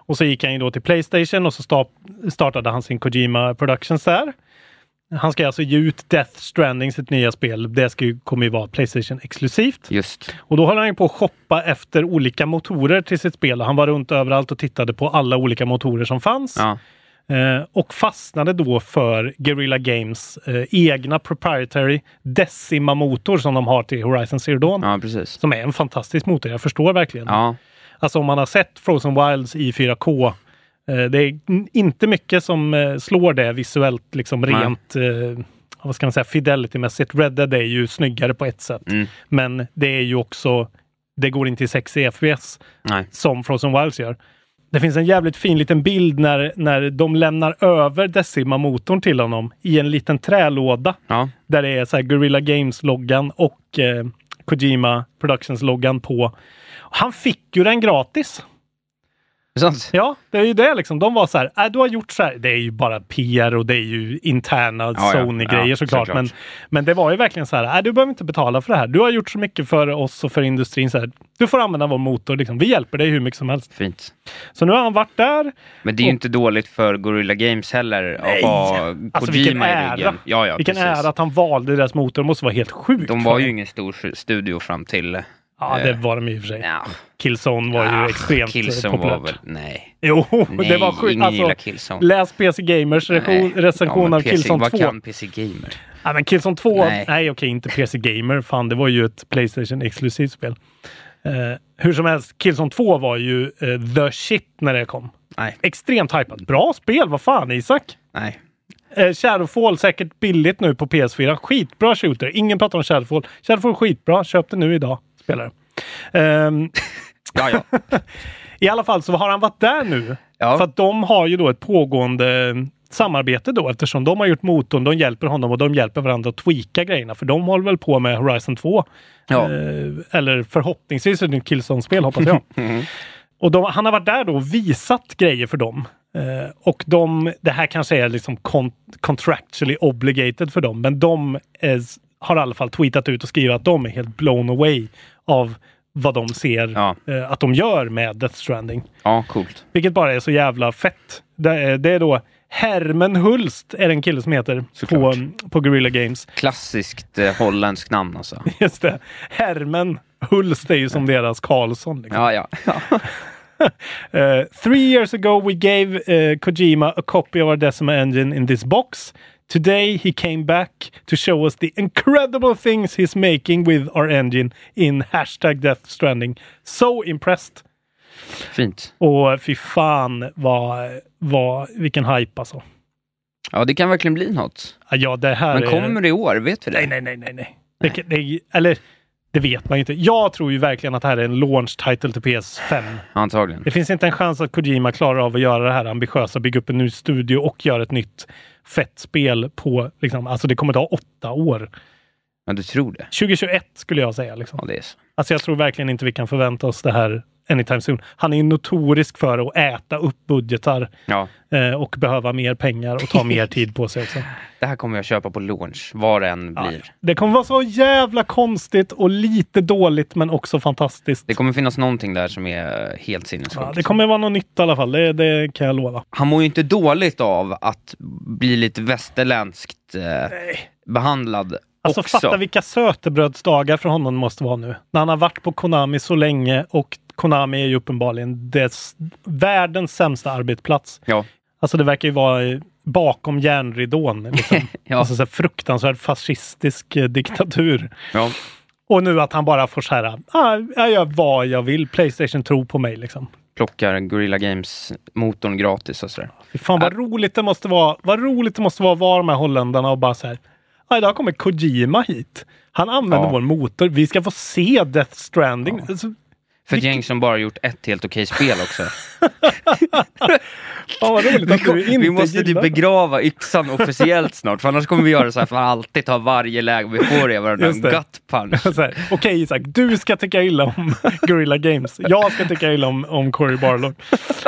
S2: och så gick han ju då till Playstation och så sta- startade han sin Kojima Productions där. Han ska alltså ge ut Death Stranding, sitt nya spel. Det ska ju, kommer ju vara Playstation exklusivt.
S3: Just.
S2: Och då höll han ju på att shoppa efter olika motorer till sitt spel. Han var runt överallt och tittade på alla olika motorer som fanns.
S3: Ja.
S2: Eh, och fastnade då för Guerrilla Games eh, egna proprietary Decima-motor som de har till Horizon Zero Dawn.
S3: ja, precis.
S2: Som är en fantastisk motor, jag förstår verkligen.
S3: Ja,
S2: Alltså om man har sett Frozen Wilds i 4K, eh, det är n- inte mycket som eh, slår det visuellt, liksom
S3: Nej.
S2: rent, eh, vad ska man säga, fidelity-mässigt. Red Dead är ju snyggare på ett sätt,
S3: Mm.
S2: men det är ju också, det går inte i 60 FPS
S3: nej.
S2: som Frozen Wilds gör. Det finns en jävligt fin liten bild när, när de lämnar över Decima-motorn till honom i en liten trälåda
S3: Ja,
S2: där det är så här Guerrilla Games-loggan och eh, Kojima Productions-loggan på. Han fick ju den gratis.
S3: Det är sant.
S2: Ja, det är ju det liksom. De var så här, äh, du har gjort så här. Det är ju bara PR och det är ju interna
S3: ja.
S2: Sony-grejer
S3: Ja,
S2: såklart.
S3: såklart.
S2: Men, men det var ju verkligen så här, äh, du behöver inte betala för det här. Du har gjort så mycket för oss och för industrin. Så här, du får använda vår motor. Liksom. Vi hjälper dig hur mycket som helst.
S3: Fint.
S2: Så nu har han varit där.
S3: Men det är ju inte dåligt för Gorilla Games heller att ha
S2: Alltså vilken
S3: Kojima i
S2: ära!
S3: ryggen. Ja, ja,
S2: vilken
S3: precis.
S2: ära att han valde deras motor. Det måste vara helt sjukt.
S3: De
S2: för
S3: var ju
S2: dem.
S3: ingen stor studio fram till... eh,
S2: Ja, det var de i och för sig.
S3: Ja.
S2: Killzone var ju
S3: Ah,
S2: extremt
S3: Killzone
S2: populärt.
S3: var väl... Nej.
S2: Jo,
S3: Nej,
S2: det var sjukt.
S3: ingen
S2: Alltså,
S3: gillar Killzone.
S2: läs PC Gamers
S3: Nej.
S2: recension, recension
S3: Ja, men
S2: av Killzone 2.
S3: Vad kan PC Gamer?
S2: Nej, men Killzone 2, nej,
S3: Nej.
S2: okej, inte PC Gamer. Fan, det var ju ett Playstation-exklusivt spel. Eh, hur som helst, Killzone 2 var ju eh, the shit när det kom.
S3: Nej,
S2: Extremt hypat. Bra spel, vad fan Isak?
S3: nej.
S2: Eh, Shadowfall säkert billigt nu på PS4. Skitbra shooter. Ingen pratar om Shadowfall. Shadowfall är skitbra. Köp det nu idag. Spelar det. Ehm,
S3: Ja, ja.
S2: I alla fall så har han varit där nu.
S3: Ja.
S2: För att de har ju då ett pågående samarbete då eftersom de har gjort motorn, de hjälper honom och de hjälper varandra att tweaka grejerna för de håller väl på med Horizon 2.
S3: Ja.
S2: Eh, eller förhoppningsvis ett nytt Killzone-spel hoppas jag.
S3: Mm-hmm.
S2: och de, han har varit där då och visat grejer för dem. Eh, och de, det här kanske är liksom con- contractually obligated för dem, men de eh, s- har i alla fall tweetat ut och skrivit att de är helt blown away av vad de ser
S3: Ja.
S2: eh, att de gör med Death Stranding.
S3: Ja, coolt.
S2: Vilket bara är så jävla fett. Det är, det är då Hermen Hulst är det en kille som heter på,
S3: Såklart.
S2: på Guerrilla Games.
S3: Klassiskt eh, holländskt namn alltså.
S2: Just det. Hermen Hulst är ju som deras Karlsson. Liksom.
S3: Ja, ja.
S2: Uh, three years ago, we gave uh, Kojima a copy of our Decima engine in this box. Today, he came back to show us the incredible things he's making with our engine in hashtag Death Stranding. So impressed!
S3: Fint.
S2: Och fy fan vad, vad, vilken hype alltså. Ah,
S3: Ja, det kan verkligen bli något.
S2: Ja, det här
S3: Men
S2: är...
S3: kommer det i år? Vet vi det?
S2: Nej, nej, nej, nej. nej. Det, kan- det, eller, det vet man ju inte. Jag tror ju verkligen att det här är en launch title till PS5.
S3: Antagligen.
S2: Det finns inte en chans att Kojima klarar av att göra det här ambitiösa, bygga upp en ny studio och göra ett nytt fett spel på, liksom, alltså det kommer ta åtta år.
S3: Ja, du tror det.
S2: 2021 skulle jag säga. Liksom.
S3: Ja, det är så.
S2: Alltså jag tror verkligen inte vi kan förvänta oss det här anytime soon. Han är ju notorisk för att äta upp budgetar
S3: Ja,
S2: eh, och behöva mer pengar och ta mer tid på sig också.
S3: det här kommer jag köpa på launch, vad det än blir.
S2: Det kommer vara så jävla konstigt och lite dåligt men också fantastiskt.
S3: Det kommer finnas någonting där som är eh, helt
S2: Ja,
S3: sinnessjukt.
S2: det kommer vara något nytt i alla fall, det, det kan jag lova.
S3: Han mår ju inte dåligt av att bli lite västerländskt eh, behandlad
S2: Alltså
S3: också.
S2: fatta vilka sötebrödsdagar för honom det måste vara nu. När han har varit på Konami så länge och Konami är ju uppenbarligen dess, världens sämsta arbetsplats.
S3: Ja,
S2: Alltså det verkar ju vara eh, bakom järnridån. Liksom.
S3: Ja.
S2: Alltså så här fruktansvärd fascistisk eh, diktatur.
S3: ja.
S2: Och nu att han bara får så här, ah, jag gör vad jag vill, Playstation tror på mig liksom.
S3: Plockar Guerrilla Games-motorn gratis och sådär.
S2: Fy Fan vad roligt det måste vara. Vad roligt det måste vara att vara med holländarna och bara så här. "Ja, Idag kommer Kojima hit. Han använder
S3: Ja.
S2: vår motor. Vi ska få se Death Stranding. Alltså,
S3: För ett gäng som bara gjort ett helt okej spel också.
S2: fan vad roligt att du inte
S3: vi måste typ
S2: gillar det.
S3: begrava yxan officiellt snart, för annars kommer vi göra så här för att alltid ta varje läge vi får i varandra. En
S2: Just det.
S3: gut punch.
S2: Så här, Okej Isak, du ska tycka illa om Guerrilla Games. Jag ska tycka illa om, om Cory Barlog.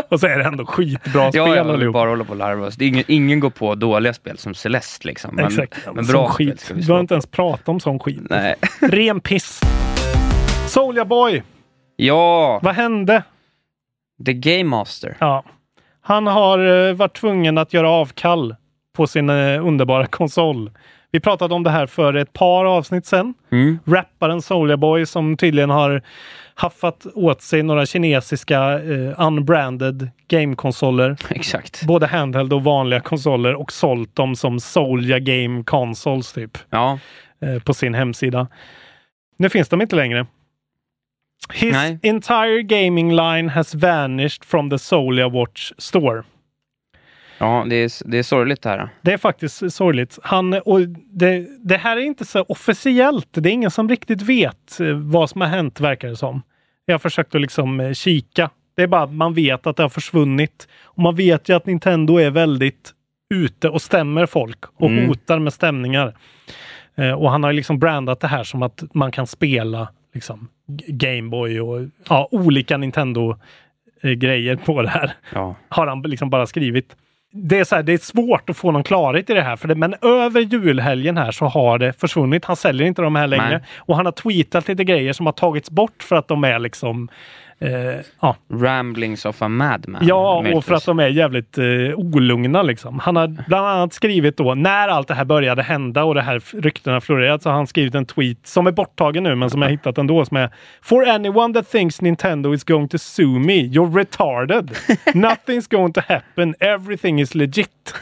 S2: Och så är det ändå skitbra spel
S3: Ja, ja, vi
S2: allihop.
S3: bara håller på och larva oss. Det är ingen, ingen går på dåliga spel som Celeste liksom. Men,
S2: Exakt.
S3: men
S2: Sån
S3: bra spel
S2: skit.
S3: ska
S2: Du
S3: vi
S2: behöver
S3: slå.
S2: inte ens prata om sån skit.
S3: Nej.
S2: Ren piss. Soulja Boy,
S3: Ja,
S2: vad hände?
S3: The Game Master.
S2: Ja. Han har eh, varit tvungen att göra avkall på sin eh, underbara konsol. Vi pratade om det här för ett par avsnitt sen.
S3: Mm.
S2: Rapparen Soulja Boy som tydligen har haffat åt sig några kinesiska eh, unbranded gamekonsoler.
S3: Exakt.
S2: Både handheld och vanliga konsoler och sålt dem som Soulja Game Consoles typ
S3: Ja,
S2: eh, på sin hemsida. Nu finns de inte längre. His
S3: Nej.
S2: entire gaming line has vanished from the Soulja Watch store.
S3: ja det, är, det är sorgligt det här.
S2: Det är faktiskt sorgligt. Han, och det, det här är inte så officiellt. Det är ingen som riktigt vet eh, vad som har hänt, verkar det som. Jag har försökt att liksom eh, kika. Det är bara att man vet att det har försvunnit. Och man vet ju att Nintendo är väldigt ute och stämmer folk och
S3: Mm.
S2: hotar med stämningar. Eh, och han har ju liksom brandat det här som att man kan spela liksom, G- Gameboy och ja, olika Nintendo-grejer på det här
S3: Ja.
S2: har han liksom bara skrivit. Det är, så här, det är svårt att få någon klarhet i det här, för det, men över julhelgen här så har det försvunnit. Han säljer inte de här längre.
S3: Nej.
S2: Och han har tweetat lite grejer som har tagits bort för att de är liksom... Eh, ja,
S3: Ramblings of a madman.
S2: ja och
S3: möjligtvis.
S2: för att de är jävligt eh, olugna liksom. Han har bland annat skrivit då, när allt det här började hända och det här f- ryktena florerat, så har han skrivit en tweet som är borttagen nu, men som jag hittat ändå, som är For anyone that thinks Nintendo is going to sue me, you're retarded. Nothing's going to happen. Everything is legit.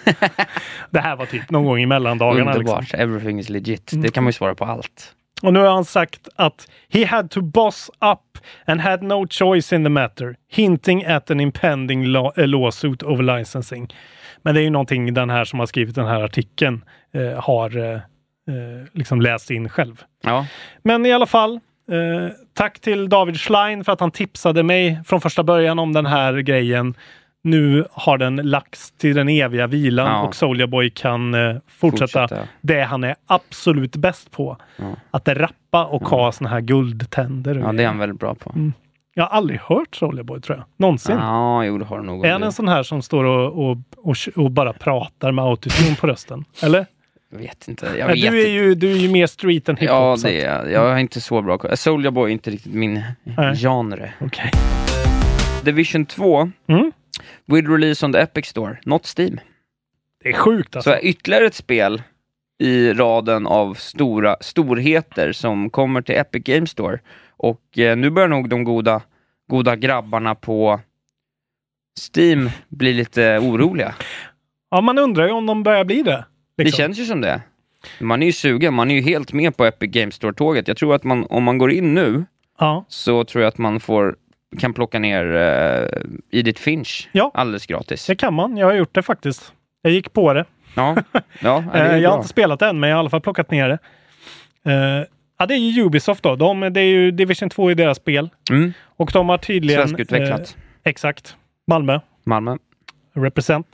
S2: det här var typ någon gång i mellandagarna. liksom. Mm.
S3: Underbart, everything is legit. Det kan man ju svara på allt.
S2: Och nu har han sagt att he had to boss up and had no choice in the matter. Hinting at an impending la- eh, lawsuit over licensing. Men det är ju någonting den här som har skrivit den här artikeln eh, har eh, eh, liksom läst in själv.
S3: Ja,
S2: Men i alla fall, eh, tack till David Schlein för att han tipsade mig från första början om den här grejen. Nu har den lagts till den eviga vilan
S3: Ja.
S2: och Soulja Boy kan eh, fortsätta,
S3: Fortsätta.
S2: det han är absolut bäst på. Att rappa och ha såna här guldtänder. och
S3: ja det är
S2: grejer.
S3: han väldigt bra på.
S2: Mm, Jag har aldrig hört Soulja Boy tror jag. Någonsin.
S3: Ja, jo det har du nog.
S2: Är han en sån här som står och, och, och, och bara pratar med autotune på rösten? Eller?
S3: Jag vet inte. Jag
S2: Nej,
S3: vet
S2: du, är ju, du är ju mer street än
S3: inte.
S2: hiphop.
S3: Ja,
S2: så
S3: det
S2: att-
S3: är jag. Jag har inte så bra koll. Soulja Boy är inte riktigt min
S2: Nej.
S3: genre.
S2: Okej.
S3: Division 2
S2: Mm.
S3: will release on the Epic Store, not Steam.
S2: Det är sjukt alltså.
S3: Så ytterligare ett spel i raden av stora storheter som kommer till Epic Games Store. Och eh, nu börjar nog de goda, goda grabbarna på Steam bli lite oroliga.
S2: Ja, man undrar ju om de börjar bli det.
S3: Det
S2: liksom.
S3: känns ju som det. Man är ju sugen, man är ju helt med på Epic Games Store-tåget. Jag tror att man, om man går in nu
S2: Ja.
S3: så tror jag att man får, kan plocka ner eh, Edith Finch
S2: Ja.
S3: alldeles gratis.
S2: det kan man. Jag har gjort det faktiskt. Jag gick på det.
S3: Ja, ja det
S2: Eh,
S3: är
S2: jag har
S3: bra.
S2: inte spelat det än, men jag har i alla fall plockat ner det. Eh, ja, det är ju Ubisoft då. De, det är ju Division 2 i deras spel.
S3: Mm.
S2: Och de har tydligen... eh,
S3: Svenskutvecklat.
S2: exakt. Malmö.
S3: Malmö.
S2: Represent.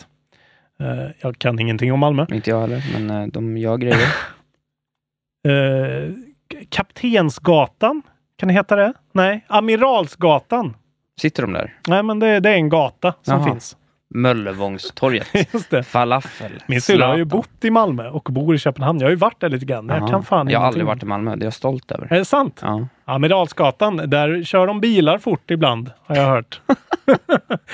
S2: Eh, jag kan ingenting om Malmö.
S3: Inte jag heller, men eh, de gör grejer.
S2: Eh, K- Kaptensgatan? Kan det heta det? Nej, Amiralsgatan.
S3: Sitter de där?
S2: Nej, men det, det är en gata som
S3: Jaha.
S2: finns.
S3: Möllevångstorget.
S2: Just det.
S3: Falafel.
S2: Min syrra har ju
S3: Zlatan.
S2: bott i Malmö och bor i Köpenhamn. Jag har ju varit där lite grann. men Jag
S3: Ja.
S2: kan fan
S3: Jag har
S2: ingenting. Eh.
S3: aldrig varit i Malmö, det är jag stolt över.
S2: Är det sant?
S3: Ja.
S2: Amiralsgatan, där kör de bilar fort ibland, har jag hört.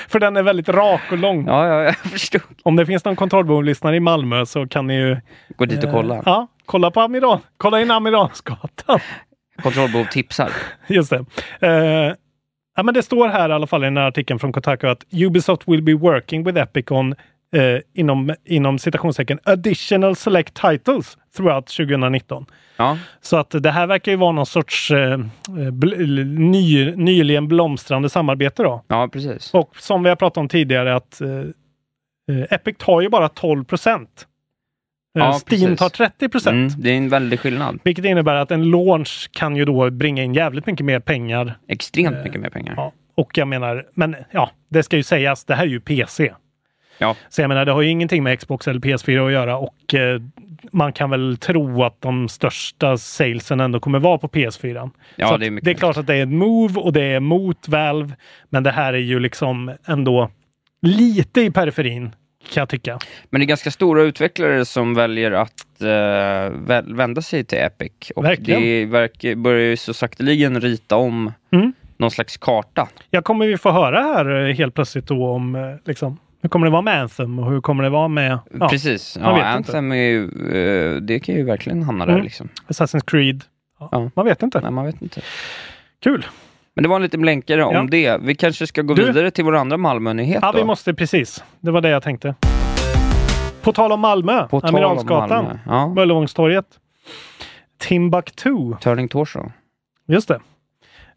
S2: För den är väldigt rak och lång.
S3: Ja, ja, jag förstod.
S2: Om det finns någon kontrollbehov-lyssnare i Malmö så kan ni ju...
S3: Gå dit och kolla.
S2: Eh, ja, kolla på Amiral. Kolla in Amiralsgatan.
S3: Kontrollbehov tipsar.
S2: Just det. Eh, ja, men det står här i alla fall i den här artikeln från Kotaku att Ubisoft will be working with Epic on eh, inom, inom citationstecken additional select titles throughout 2019.
S3: Ja,
S2: Så att det här verkar ju vara någon sorts eh, bl- ny, nyligen blomstrande samarbete då.
S3: ja precis.
S2: Och som vi har pratat om tidigare att eh, eh, Epic tar ju bara 12 procent. Eh,
S3: Ja,
S2: Steam
S3: precis.
S2: tar 30 procent.
S3: Mm, det är en väldig skillnad.
S2: Vilket innebär att en launch kan ju då bringa in jävligt mycket mer pengar
S3: Extremt mycket mer pengar.
S2: Eh, Ja, och jag menar, men ja, det ska ju sägas, det här är ju PC.
S3: Ja.
S2: Så jag menar, det har ju ingenting med Xbox eller PS4 att göra och eh, man kan väl tro att de största salesen ändå kommer vara på PS4.
S3: Ja,
S2: Så att
S3: det är mycket möjligt.
S2: klart att det är en move och det är mot Valve, men det här är ju liksom ändå lite i periferin kan jag tycka.
S3: Men det är ganska stora utvecklare som väljer att eh, vä- vända sig till Epic. Och
S2: Verkligen.
S3: det verkar, börjar ju så sakteligen rita om
S2: Mm.
S3: någon slags karta.
S2: Jag kommer ju få höra här eh, helt plötsligt då om eh, liksom, hur kommer det vara med Anthem och hur kommer det vara med ja,
S3: Precis.
S2: man
S3: Ja,
S2: vet inte.
S3: Anthem är ju, eh, det kan ju verkligen hamna där
S2: Mm.
S3: liksom.
S2: Assassin's Creed? Ja,
S3: Ja.
S2: Man vet inte.
S3: Nej, man vet inte.
S2: Kul!
S3: Men det var en liten blänkare
S2: Ja.
S3: om det. Vi kanske ska gå
S2: Du-
S3: vidare till vår andra Malmö-nyhet
S2: Ja,
S3: då.
S2: vi måste precis. Det var det jag tänkte. På tal om Malmö,
S3: På tal om Malmö.
S2: Amiralsgatan,
S3: Ja.
S2: Möllevångstorget. Timbuktu,
S3: Turning Torso.
S2: just det.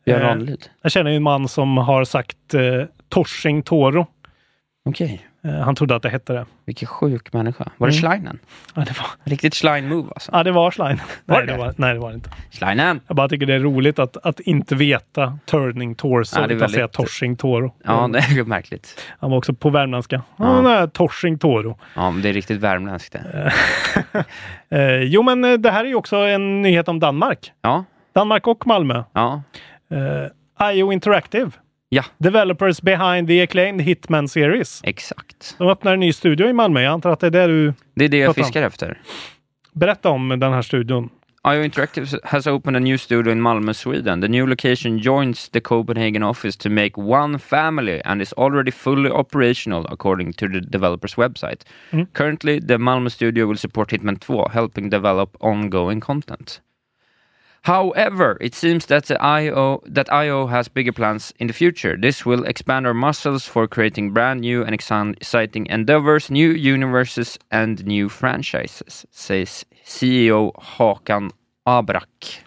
S3: Björn
S2: Eh,
S3: Ranelid.
S2: Jag känner ju en man som har sagt eh, Torsing Toro.
S3: Okej.
S2: Eh, han trodde att det hette det.
S3: Vilken sjuk människa. Var det
S2: Mm.
S3: Schleinen?
S2: Ja, det var,
S3: Riktigt Schlein-move alltså.
S2: ja, det var Schlein. nej,
S3: det?
S2: det var, nej, det var det inte.
S3: Schleinen!
S2: Jag bara tycker det är roligt att, att inte veta Turning Torso,
S3: Ja, det är
S2: utan säga
S3: väldigt-
S2: Torsing Toro.
S3: Ja, det är ju märkligt.
S2: Han var också på värmländska.
S3: Ja.
S2: Ja. nej, torsing Toro.
S3: Ja, men det är riktigt värmländskt det.
S2: Eh, jo, men eh, det här är ju också en nyhet om Danmark.
S3: Ja,
S2: Danmark och Malmö.
S3: ja.
S2: Eh, IO Interactive.
S3: Ja.
S2: Developers behind the acclaimed Hitman Series.
S3: Exakt.
S2: De öppnar en ny studio i Malmö. Jag antar att det är det du
S3: Det är det jag
S2: Prata om.
S3: fiskar efter.
S2: berättar om den här studion.
S3: IO Interactive has opened a new studio in Malmö, Sweden. The new location joins the Copenhagen office to make one family and is already fully operational according to the developer's website.
S2: Mm.
S3: Currently, the Malmö studio will support Hitman 2, helping develop ongoing content. However, it seems that the IO that IO has bigger plans in the future. This will expand our muscles for creating brand new and exan- exciting endeavors, new universes and new franchises, says CEO E Hakan Abrak.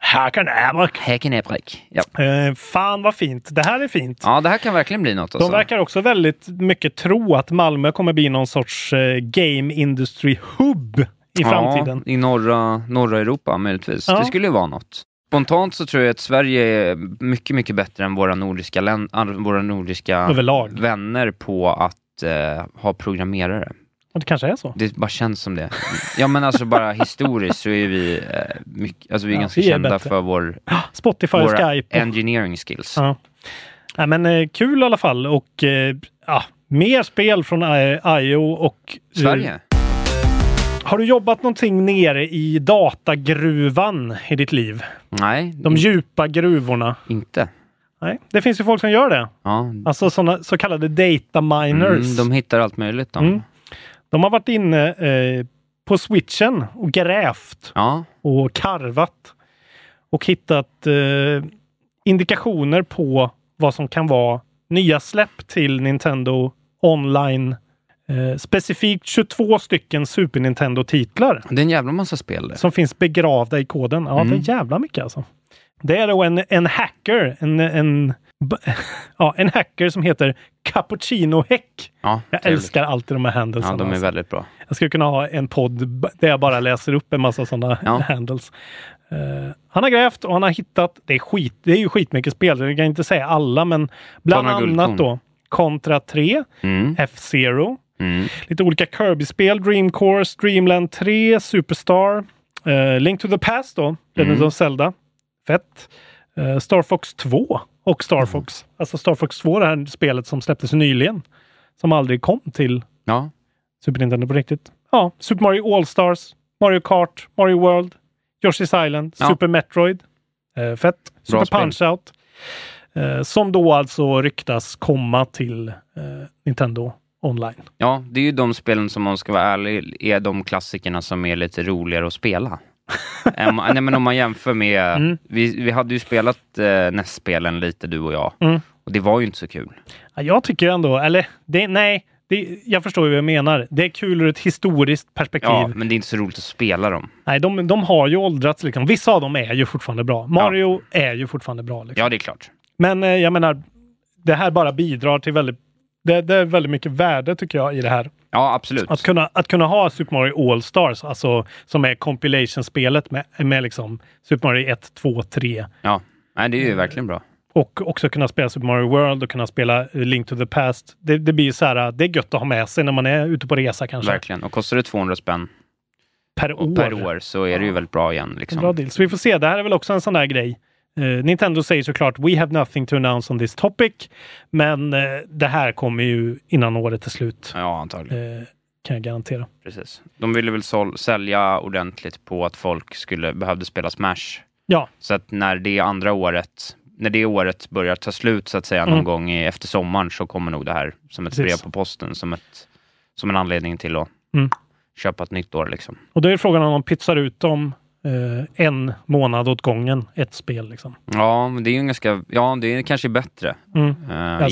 S2: Här kan Abrak.
S3: Hakan Abrak. Ja.
S2: Eh, fan vad fint. Det här är fint.
S3: ja, det här kan verkligen bli något. Alltså.
S2: De verkar också väldigt mycket tro att Malmö kommer bli någon sorts eh, game industry hub i framtiden.
S3: Ja, I norra, norra Europa möjligtvis.
S2: Ja.
S3: Det skulle ju vara något. Spontant så tror jag att Sverige är mycket, mycket bättre än våra nordiska, län- äh, våra nordiska
S2: Överlag.
S3: vänner på att eh, ha programmerare.
S2: Och det kanske är så.
S3: Det bara känns som det. Ja men alltså bara historiskt så är vi, eh, mycket, alltså vi är
S2: Ja,
S3: ganska
S2: vi är
S3: kända
S2: bättre.
S3: för vår,
S2: Spotify,
S3: våra
S2: Skype. och-
S3: engineering skills.
S2: Ja. Nej, men eh, kul i alla fall och eh, ja, mer spel från eh, IO och eh,
S3: Sverige?
S2: Har du jobbat någonting nere i datagruvan i ditt liv?
S3: Nej,
S2: De djupa gruvorna?
S3: inte.
S2: Nej, det finns ju folk som gör det.
S3: Ja.
S2: Alltså såna så kallade data miners.
S3: Mm, de hittar allt möjligt. Då.
S2: Mm. De har varit inne eh, på switchen och grävt
S3: Ja.
S2: och karvat och hittat eh, indikationer på vad som kan vara nya släpp till Nintendo online. Eh, specifikt 22 stycken Super Nintendo-titlar
S3: Det är en jävla massa spel det.
S2: som finns begravda i koden. Ja,
S3: Mm.
S2: det är jävla mycket alltså. Det är då en, en hacker, en, en, b- ja, en hacker som heter Cappuccino Häck.
S3: Ja,
S2: Jag
S3: trevligt.
S2: älskar alltid de här händelserna.
S3: Ja, de är
S2: alltså.
S3: väldigt bra.
S2: Jag skulle kunna ha en podd b- där jag bara läser upp en massa sådana
S3: Ja.
S2: handles. Eh, han har grävt och han har hittat, det är, skit, det är ju skitmycket spel, jag kan inte säga alla, men bland
S3: några guldkorn.
S2: annat då Contra 3,
S3: Mm.
S2: F-Zero,
S3: Mm.
S2: lite olika Kirby-spel, Dream Course, Dreamland 3, Superstar, eh, Link to the Past då, Legend
S3: Mm.
S2: of Zelda, fett, eh, Star Fox 2 och
S3: Mm.
S2: Star Fox. Alltså Star Fox 2, det här spelet som släpptes nyligen, som aldrig kom till
S3: Ja.
S2: Super Nintendo på riktigt. Ja, Super Mario All-Stars, Mario Kart, Mario World, Yoshi's Island,
S3: Ja.
S2: Super Metroid. Eh, fett. Super
S3: spel.
S2: Punch-Out. Eh, som då alltså ryktas komma till eh, Nintendo online.
S3: ja, det är ju de spelen som om man ska vara ärlig är de klassikerna som är lite roligare att spela. Äm, Nej, men om man jämför med...
S2: Mm.
S3: Vi, vi hade ju spelat eh, NES-spelen lite, du och jag.
S2: Mm.
S3: Och det var ju inte så kul.
S2: Ja, jag tycker ändå, eller det, nej, det, jag förstår ju vad jag menar. Det är kul ur ett historiskt perspektiv.
S3: Ja, men det är inte så roligt att spela dem.
S2: Nej, de, de har ju åldrats liksom. Vissa av dem är ju fortfarande bra. Mario är ju fortfarande bra. Liksom.
S3: Ja, det är klart.
S2: Men eh, jag menar, det här bara bidrar till väldigt, det, det är väldigt mycket värde tycker jag i det här.
S3: Ja, absolut.
S2: Att kunna, att kunna ha Super Mario All-Stars, alltså som är compilation-spelet med, med liksom Super Mario 1, 2, 3
S3: Ja. Nej, det
S2: Mm.
S3: är ju verkligen bra.
S2: och också kunna spela Super Mario World och kunna spela eh, Link to the Past. Det, det blir ju så här, eh, det är gött att ha med sig när man är ute på resa kanske.
S3: Verkligen. Och kostar det 200 spänn
S2: Per
S3: och
S2: år.
S3: per år så är det ju väldigt bra igen. Liksom.
S2: Bra deal. Så vi får se. Det här är väl också en sån där grej. Eh, Nintendo säger såklart “We have nothing to announce on this topic”, men eh, det här kommer ju innan året är slut.
S3: Ja, antagligen.
S2: Eh, kan jag garantera.
S3: Precis. De ville väl sål- sälja ordentligt på att folk skulle, behövde spela Smash.
S2: Ja,
S3: Så att när det andra året, när det året börjar ta slut så att säga någon gång i, efter sommaren så kommer nog det här som ett
S2: Mm. Precis.
S3: brev på posten, som, ett, som en anledning till att
S2: Mm.
S3: köpa ett nytt år liksom.
S2: och då är frågan om de pytsar ut dem eh, en månad åt gången, ett spel liksom.
S3: Ja, men det är ju en ganska, ja det är kanske bättre.
S2: Mm.
S3: eh,
S2: Jag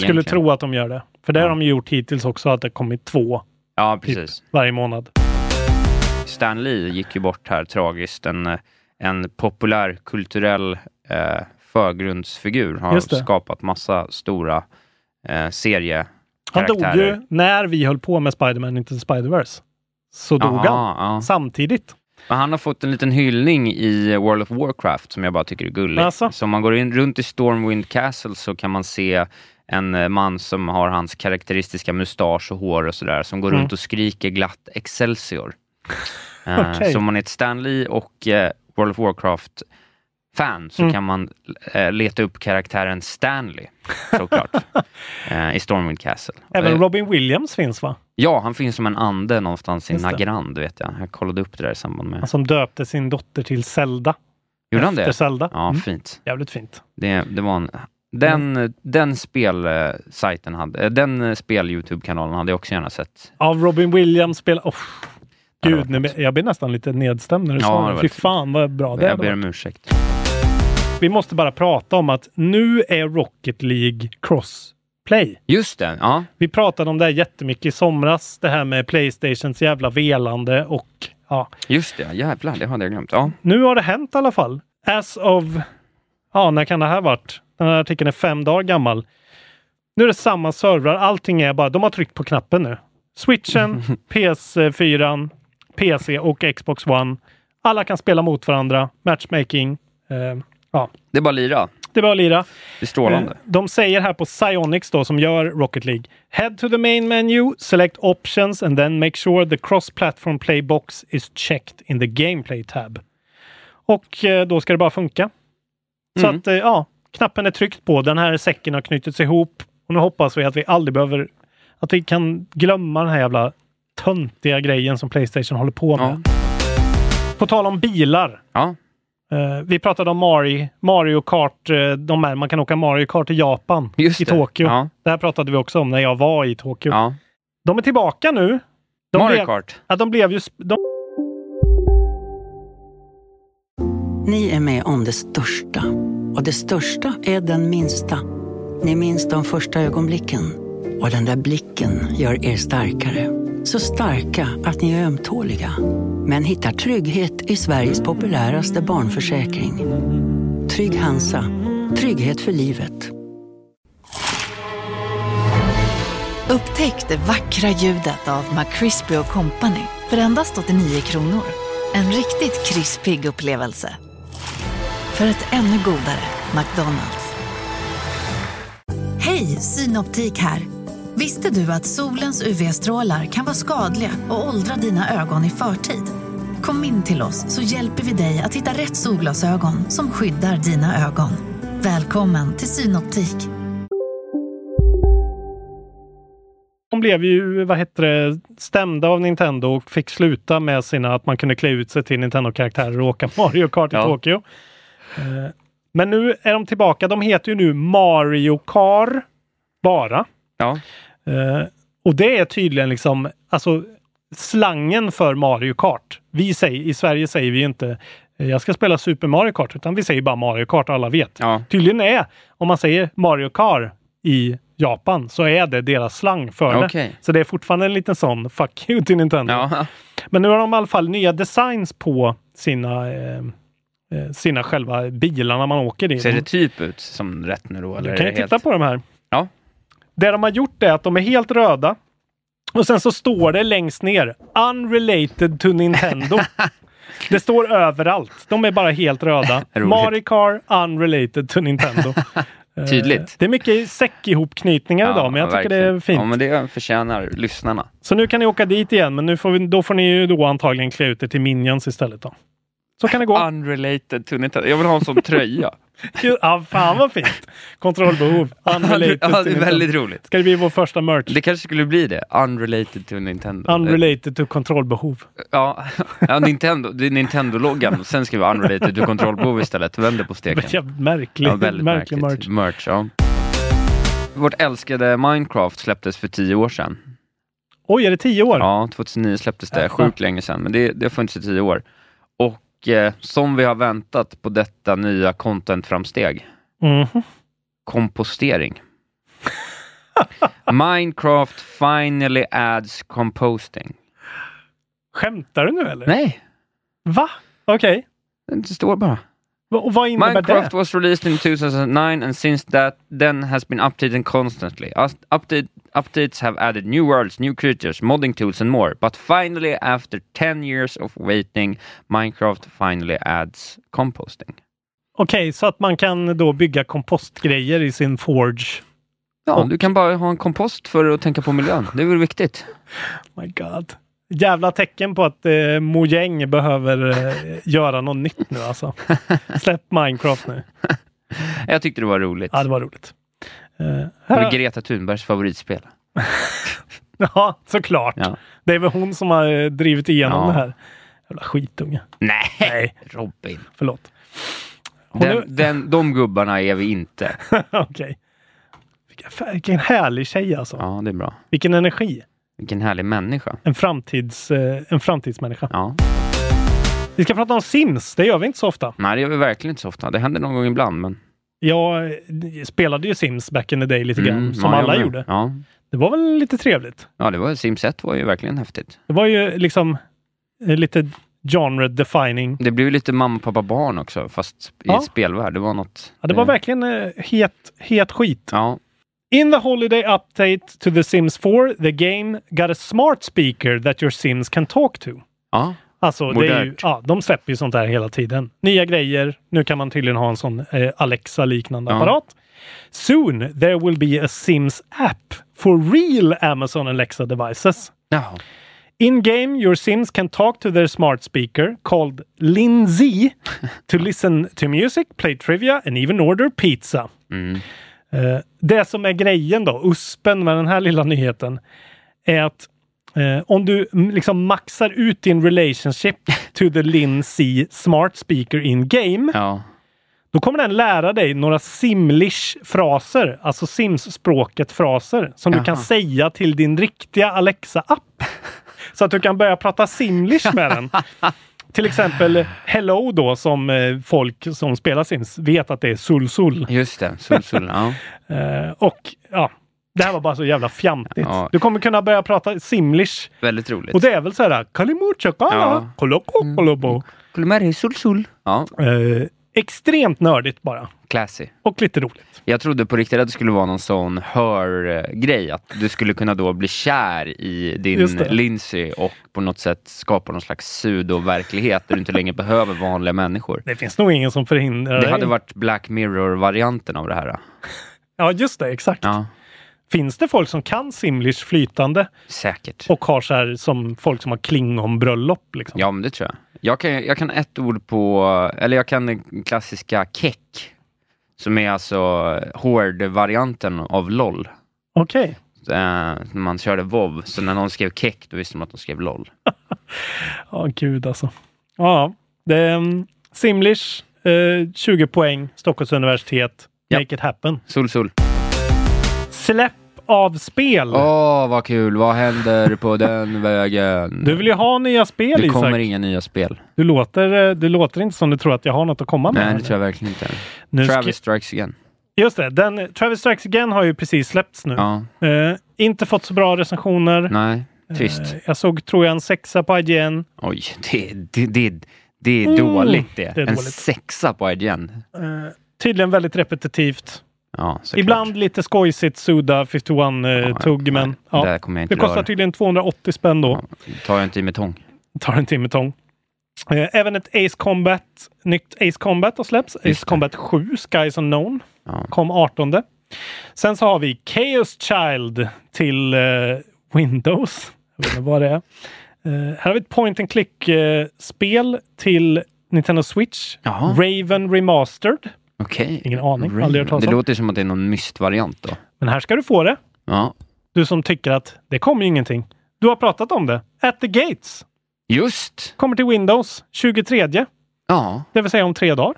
S2: skulle
S3: egentligen.
S2: tro att de gör det. För det har de ju gjort hittills också, att det har kommit två
S3: Ja,
S2: typ,
S3: precis.
S2: varje månad.
S3: Stan Lee gick ju bort här tragiskt. En, eh, en populär kulturell eh, förgrundsfigur har
S2: Just det.
S3: skapat massa stora eh, seriekaraktärer.
S2: Han dog ju när vi höll på med Spider-Man Into the Spider-Verse. Så dog han.
S3: Aha, ja.
S2: Samtidigt.
S3: Men han har fått en liten hyllning i World of Warcraft som jag bara tycker är gullig.
S2: Alltså?
S3: Så om man går in runt i Stormwind Castle så kan man se en eh, man som har hans karaktäristiska mustasch och hår och sådär som
S2: Mm.
S3: går runt och skriker glatt Excelsior. Eh,
S2: Okej.
S3: Så om man är ett Stanley och eh, World of Warcraft-fan så
S2: Mm.
S3: kan man eh, leta upp karaktären Stanley, såklart, eh, i Stormwind Castle.
S2: Även
S3: Eh,
S2: Robin Williams finns va?
S3: Ja, han finns som en ande någonstans i
S2: Just det.
S3: Nagrand, vet jag. Jag kollade upp det där i samband med...
S2: Han som döpte sin dotter till Zelda.
S3: Gjorde han
S2: Efter
S3: det?
S2: Zelda.
S3: Ja,
S2: Mm.
S3: fint.
S2: Jävligt fint.
S3: Det, det var en, den, den spelsajten hade, eh, den eh, spel-youtube-kanalen hade jag också gärna sett.
S2: Av Robin Williams spel... Oh,
S3: det
S2: gud,
S3: var
S2: nu, jag blir nästan lite nedstämd när du
S3: Ja, det
S2: sa det.
S3: var
S2: Fy
S3: fint.
S2: fan vad bra det
S3: Jag
S2: hade
S3: ber
S2: varit.
S3: om ursäkt.
S2: Vi måste bara prata om att nu är Rocket League crossplay.
S3: Just det, ja.
S2: Vi pratade om det här jättemycket i somras. Det här med Playstations jävla velande och ja,
S3: Just det, jävlar, det hade jag glömt. Ja,
S2: nu har det hänt i alla fall. As of... Ja, när kan det här varit? Den här artikeln är fem dagar gammal. Nu är det samma servrar. Allting är bara... De har tryckt på knappen nu. Switchen, PS4, PC och Xbox One. Alla kan spela mot varandra. Matchmaking. Eh, ja,
S3: det är bara att lira.
S2: det är bara att lira.
S3: Det är strålande.
S2: Eh, De säger här på Psyonix då, som gör Rocket League. Head to the main menu, select options and then make sure the cross-platform play box is checked in the gameplay tab. Och eh, då ska det bara funka. Så
S3: Mm.
S2: att, eh, ja, knappen är tryckt på. Den här säcken har knutits ihop. Och nu hoppas vi att vi aldrig behöver, att vi kan glömma den här jävla töntiga grejen som Playstation håller på med.
S3: Ja.
S2: På tal om bilar.
S3: Ja.
S2: Eh, vi pratade om Mario, Mario Kart, eh, de här, man kan åka Mario Kart i Japan,
S3: Just
S2: i
S3: det.
S2: Tokyo.
S3: Ja.
S2: Det här pratade vi också om när jag var i Tokyo.
S3: Ja.
S2: De är tillbaka nu. De
S3: Mario
S2: blev,
S3: Kart.
S2: Ja, de blev ju... sp- De,
S4: Ni är med om det största. Och det största är den minsta. Ni minns de första ögonblicken. Och den där blicken gör er starkare. Så starka att ni är ömtåliga. Men hittar trygghet i Sveriges populäraste barnförsäkring. Trygg Hansa. Trygghet för livet.
S5: Upptäck det vackra ljudet av McCrispy Company för endast 89 kronor. En riktigt krispig upplevelse. För ett ännu godare McDonalds. Hej, Synoptik här. Visste du att solens UV-strålar kan vara skadliga och åldra dina ögon i förtid? Kom in till oss så hjälper vi dig att hitta rätt solglasögon som skyddar dina ögon. Välkommen till Synoptik.
S2: de blev ju, vad hette det, stämda av Nintendo och fick sluta med sina, att man kunde klä ut sig till Nintendo-karaktärer och åka Mario Kart i
S3: Ja.
S2: Tokyo. Eh, men nu är de tillbaka. De heter ju nu Mario Kart bara.
S3: Ja.
S2: Eh, och det är tydligen liksom, alltså slangen för Mario Kart. Vi säger, I Sverige säger vi ju inte eh, jag ska spela Super Mario Kart, utan vi säger bara Mario Kart och alla vet.
S3: Ja.
S2: Tydligen är, om man säger Mario Kart i Japan, så är det deras slang för det.
S3: Okej.
S2: Så det är fortfarande en liten sån fuck you till Nintendo.
S3: Ja.
S2: Men nu har de i alla fall nya designs på sina, eh, eh, sina själva bilarna man åker i.
S3: Ser det typ ut som rätt nu då? Eller
S2: Du kan
S3: är
S2: ju
S3: det
S2: titta på de här.
S3: Ja.
S2: Det de har gjort är att de är helt röda. Och sen så står det längst ner “Unrelated to Nintendo”. det står överallt. De är bara helt röda.
S3: Roligt.
S2: Mario Kart, unrelated to Nintendo. Eh,
S3: Tydligt.
S2: Det är mycket säckihopknytningar idag, men jag tycker
S3: verkligen.
S2: det är fint.
S3: Ja, men det förtjänar lyssnarna.
S2: Så nu kan ni åka dit igen, men nu får vi, då får ni ju då antagligen klä ut er till Minions istället. Då. Så kan det gå.
S3: Unrelated to Nintendo. Jag vill ha en sån tröja.
S2: Ja, fan vad fint! Kontrollbehov. Unrelated
S3: ja,
S2: to
S3: det är
S2: Nintendo.
S3: väldigt roligt.
S2: Ska det bli vår första merch?
S3: Det kanske skulle bli det. Unrelated to Nintendo.
S2: Unrelated to kontrollbehov.
S3: Ja, ja Nintendo, det är Nintendo-loggan. Sen skriver jag unrelated to kontrollbehov istället. Vänder på steken.
S2: Jävligt märklig,
S3: Ja, väldigt
S2: märklig
S3: märkligt.
S2: merch.
S3: Merch, ja. Vårt älskade Minecraft släpptes för tio år sedan.
S2: Oj, är det Äh, tio år?
S3: Ja, 2009 släpptes det.
S2: Jaha.
S3: Sjukt länge sedan, men det, det har funnits i tio år. Och eh, som vi har väntat på detta nya contentframsteg,
S2: Mhm.
S3: kompostering. Minecraft finally adds composting.
S2: Skämtar du nu eller?
S3: Nej,
S2: Va? Okej.
S3: det står bara.
S2: Va- Och vad innebär
S3: Minecraft
S2: det?
S3: was released in 2009 and since that then has been updated constantly. Us- Update, updates have added new worlds, new creatures, modding tools and more. But finally after 10 years of waiting, Minecraft finally adds composting.
S2: Okej, så att man kan då bygga kompostgrejer i sin forge.
S3: Ja,
S2: Och-
S3: du kan bara ha en kompost för att tänka på miljön. Det är väl viktigt?
S2: Oh My God. Jävla tecken på att eh, Mojang behöver eh, göra något nytt nu alltså. Släpp Minecraft nu.
S3: Jag tyckte det var roligt.
S2: Ja, det var roligt. Eh,
S3: Det
S2: här-
S3: är Greta Thunbergs favoritspel.
S2: ja, såklart.
S3: Ja.
S2: Det är väl hon som har eh, drivit igenom
S3: Ja.
S2: det här. Jävla skitunge.
S3: Nej,
S2: Nej,
S3: Robin.
S2: förlåt. Hon är-
S3: Den, den, de gubbarna är vi inte.
S2: Okej. Vilken, fa- vilken härlig tjej alltså.
S3: Ja, det är bra.
S2: Vilken energi.
S3: Vilken härlig människa.
S2: En, framtids, eh, en framtidsmänniska.
S3: Ja.
S2: Vi ska prata om Sims. Det gör vi inte så ofta.
S3: Nej, det gör vi verkligen inte så ofta. Det händer någon gång ibland, men...
S2: Jag eh, spelade ju Sims back in the day lite grann,
S3: Mm,
S2: som
S3: ja, jag
S2: alla
S3: med.
S2: gjorde.
S3: Ja.
S2: Det var väl lite trevligt.
S3: ja, det var Sims 1 var ju verkligen häftigt.
S2: Det var ju liksom eh, lite genre defining.
S3: Det blev ju lite mamma, pappa, barn också, fast i
S2: Ja.
S3: spelvärld. Det var något...
S2: Ja, det var verkligen eh, het, het skit.
S3: Ja,
S2: In the holiday update to The Sims 4, the game got a smart speaker that your Sims can talk to.
S3: ja.
S2: Alltså, det är ju,
S3: Modernt.
S2: ja, de släpper ju sånt där hela tiden. Nya grejer. Nu kan man tydligen ha en sån eh, Alexa-liknande
S3: Ja.
S2: apparat. Soon there will be a Sims app for real Amazon Alexa devices.
S3: ja.
S2: In game, your Sims can talk to their smart speaker called Lindsay to listen to music, play trivia and even order pizza. Eh, det som är grejen då, uspen med den här lilla nyheten, är att Eh, om du mm, liksom maxar ut din relationship to the Lindsay Smart Speaker in game,
S3: Ja.
S2: då kommer den lära dig några simlish fraser, alltså Sims-språket fraser, som du kan
S3: Jaha.
S2: säga till din riktiga Alexa-app. Så att du kan börja prata simlish med den. Till exempel Hello då, som eh, folk som spelar Sims vet att det är sul-sul.
S3: Just det, solsol. ja.
S2: Eh, och ja, det här var bara så jävla fjantigt.
S3: Ja.
S2: Du kommer kunna börja prata simlish.
S3: Väldigt roligt.
S2: Och det är väl så här, Kalimucha kala,
S3: Ja. Mm.
S2: koloko kolobo.
S3: Kulmeri solsol. Ja,
S2: Eh, Extremt nördigt bara.
S3: classy.
S2: Och lite roligt.
S3: Jag trodde på riktigt att det skulle vara någon sån hör-grej, att du skulle kunna då bli kär i din
S2: Just det.
S3: Lindsay och på något sätt skapa någon slags pseudo-verklighet där du inte längre behöver vanliga människor.
S2: Det finns nog ingen som förhindrar
S3: Det hade
S2: dig.
S3: varit Black Mirror-varianten av det här.
S2: Ja, just det. Exakt.
S3: Ja,
S2: Finns det folk som kan simlish flytande
S3: säkert.
S2: och har så här som folk som har klingonbröllop? Liksom?
S3: Ja, men det tror jag. Jag kan, jag kan ett ord på, eller jag kan den klassiska keck, som är alltså hård-varianten av LOL.
S2: Okej.
S3: Eh, när man körde WoW, så när någon skrev keck, då visste man att de skrev LOL.
S2: Ja, gud alltså. Ja, det är mm, simlish, eh, 20 poäng, Stockholms universitet.
S3: Ja.
S2: Make it happen.
S3: Sol, sol.
S2: Släpp av spel.
S3: Åh, vad kul. Vad händer på den vägen?
S2: Du vill ju ha nya spel,
S3: det kommer
S2: Isak.
S3: inga nya spel.
S2: Du låter, eh, du låter inte som du tror att jag har något att komma med.
S3: Nej, det
S2: eller?
S3: tror jag verkligen inte.
S2: Nu ska-
S3: Travis Strikes Again.
S2: Just det, den, Travis Strikes Again har ju precis släppts nu.
S3: Ja,
S2: Eh, inte fått så bra recensioner.
S3: nej. Trist.
S2: Eh, jag såg, tror jag, en sexa på IGN.
S3: Oj, det, det, det, det är dåligt det.
S2: Mm. det är
S3: en
S2: dåligt.
S3: sexa på IGN.
S2: Eh, tydligen väldigt repetitivt.
S3: Ja, såklart.
S2: Ibland lite skojsigt Suda 51-tugg, men
S3: nej,
S2: ja.
S3: Det här kommer jag inte
S2: det kostar
S3: röra.
S2: tydligen 280 spänn då.
S3: Tar jag inte i med tång.
S2: Tar en timme tång. Eh, även ett Ace Combat, nytt Ace Combat har släppts. Ace
S3: Just det.
S2: Combat 7, Skies Unknown,
S3: Ja.
S2: kom 18. Sen så har vi Chaos Child till eh, Windows. Jag vet inte vad det är. Eh, här har vi ett point and click-spel till Nintendo Switch.
S3: Jaha.
S2: Raven Remastered.
S3: Okej.
S2: Ingen aning, aldrig hört talas
S3: Det
S2: om.
S3: låter som att det är någon mystvariant då.
S2: Men här ska du få det.
S3: Ja,
S2: Du som tycker att det kommer ju ingenting. Du har pratat om det. At the Gates
S3: just.
S2: kommer till Windows 23,
S3: Ja,
S2: det vill säga om tre dagar.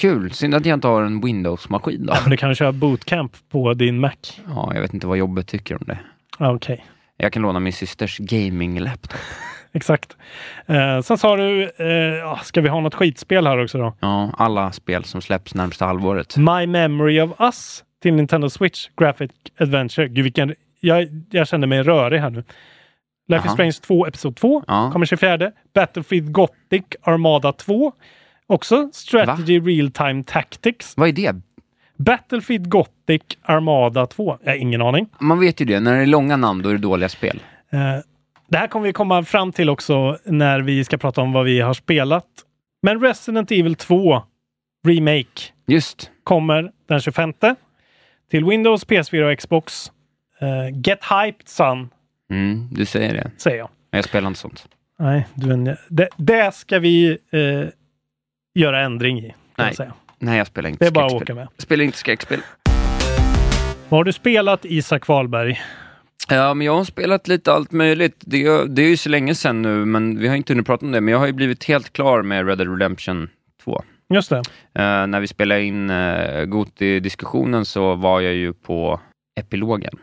S3: kul. Synd att jag inte har en Windows-maskin då.
S2: Men du kan köra bootcamp på din Mac.
S3: Ja, jag vet inte vad jobbet tycker om det.
S2: Ja, Okej,
S3: Jag kan låna min systers gaming-laptop.
S2: exakt. Eh, sen sa du, eh, ja, ska vi ha något skitspel här också då?
S3: Ja, alla spel som släpps närmsta halvåret.
S2: My Memory of Us till Nintendo Switch Graphic Adventure. Gud, vilken, jag, jag känner mig rörig här nu. Life is
S3: Jaha.
S2: Strange 2 Episod 2
S3: Ja.
S2: kommer 24. Battlefield Gothic Armada 2. Också Strategy Real Time Tactics.
S3: Vad är det?
S2: Battlefield Gothic Armada 2. Jag har ingen aning.
S3: Man vet ju det, när det är långa namn då är det dåliga spel.
S2: Eh, Det här kommer vi komma fram till också när vi ska prata om vad vi har spelat. Men Resident Evil 2 Remake
S3: Just.
S2: kommer den 25 till Windows, PS4 och Xbox. Eh, get hyped son,
S3: Mm, du säger det.
S2: säger jag.
S3: Men jag spelar inte sånt.
S2: Nej, du är en, det, det ska vi eh, göra ändring i. kan jag
S3: Nej.
S2: säga.
S3: Nej, jag spelar inte
S2: Det är bara att
S3: skräckspel.
S2: åka med.
S3: Spelar inte skräckspel.
S2: Vad har du spelat Isak Wahlberg?
S3: Ja, men jag har spelat lite allt möjligt. Det, det är ju så länge sedan nu, men vi har inte hunnit prata om det. Men jag har ju blivit helt klar med Red Dead Redemption 2.
S2: Just det.
S3: Eh, när vi spelade in uh, Goti-diskussionen så var jag ju på epilogen.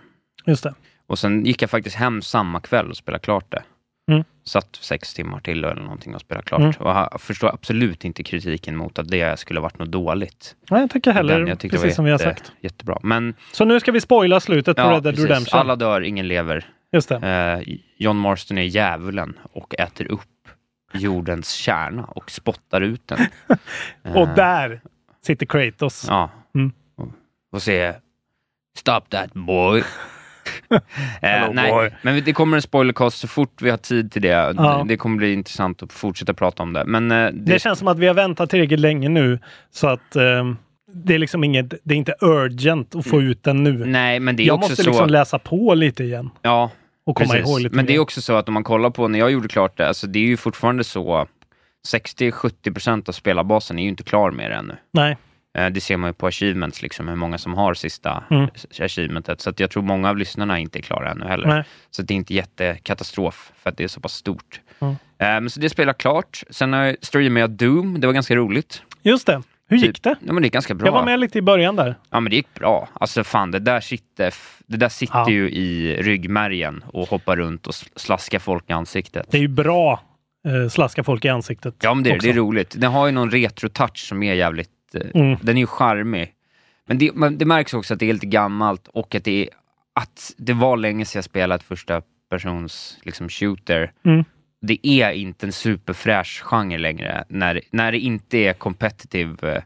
S2: Just det.
S3: Och sen gick jag faktiskt hem samma kväll och spelade klart det.
S2: Mm.
S3: Satt sex timmar till eller någonting och spelade klart.
S2: Mm.
S3: Och jag förstår absolut inte kritiken mot att det skulle varit något dåligt.
S2: Nej, jag tycker heller,
S3: Den jag tyckte
S2: precis
S3: var
S2: som vi har
S3: jätte-
S2: sagt.
S3: Jättebra. Men
S2: Så nu ska vi spoila slutet på
S3: ja,
S2: Red Dead
S3: precis.
S2: Redemption.
S3: alla dör, ingen lever.
S2: Just det.
S3: Eh, John Marston är djävulen och äter upp jordens kärna och spottar ut den. Eh,
S2: Och där sitter Kratos.
S3: Ja.
S2: Mm.
S3: Och- Och se Stop that boy. Eh, nej,
S2: boy.
S3: Men det kommer en spoilercast så fort vi har tid till det. eh,
S2: Ja.
S3: Det kommer bli intressant att fortsätta prata om det. Men eh, det,
S2: Det känns som att vi har väntat tillräckligt länge nu så att ehm, det är liksom inget, det är inte urgent att få ut den nu.
S3: Mm. Nej, men det är
S2: jag
S3: också
S2: måste
S3: så...
S2: liksom läsa på lite igen
S3: ja,
S2: och komma
S3: precis.
S2: ihåg lite
S3: Men det är
S2: mer.
S3: också så att om man kollar på när jag gjorde klart det, alltså det är ju fortfarande så 60-70% av spelarbasen är ju inte klar med det ännu.
S2: Nej,
S3: Eh, Det ser man ju på achievements, liksom, hur många som har sista
S2: Mm.
S3: s- achievementet. Så att jag tror många av lyssnarna inte är klara ännu heller.
S2: Nej.
S3: Så det är inte jättekatastrof, för att det är så pass stort.
S2: Mm.
S3: Ehm, så det spelar klart. Sen eh, streamade jag Doom, det var ganska roligt.
S2: Just det. Hur gick det?
S3: Typ- Ja, men det är ganska bra.
S2: Jag var med lite i början där.
S3: Ja, men det gick bra. Alltså fan, det där sitter, f- det där sitter
S2: Ja.
S3: ju i ryggmärgen och hoppar runt och sl- slaskar folk i ansiktet.
S2: Det är ju bra eh, slaska folk i ansiktet.
S3: Ja, men det, är-
S2: också.
S3: det är roligt. Den har ju någon retro-touch som är jävligt... eh,
S2: Mm.
S3: Den är ju charmig. Men det, men det märks också att det är lite gammalt och att det, är, att det var länge sedan jag spelat första persons liksom, shooter.
S2: Mm.
S3: Det är inte en superfräsch genre längre, när, när det inte är competitive. eh,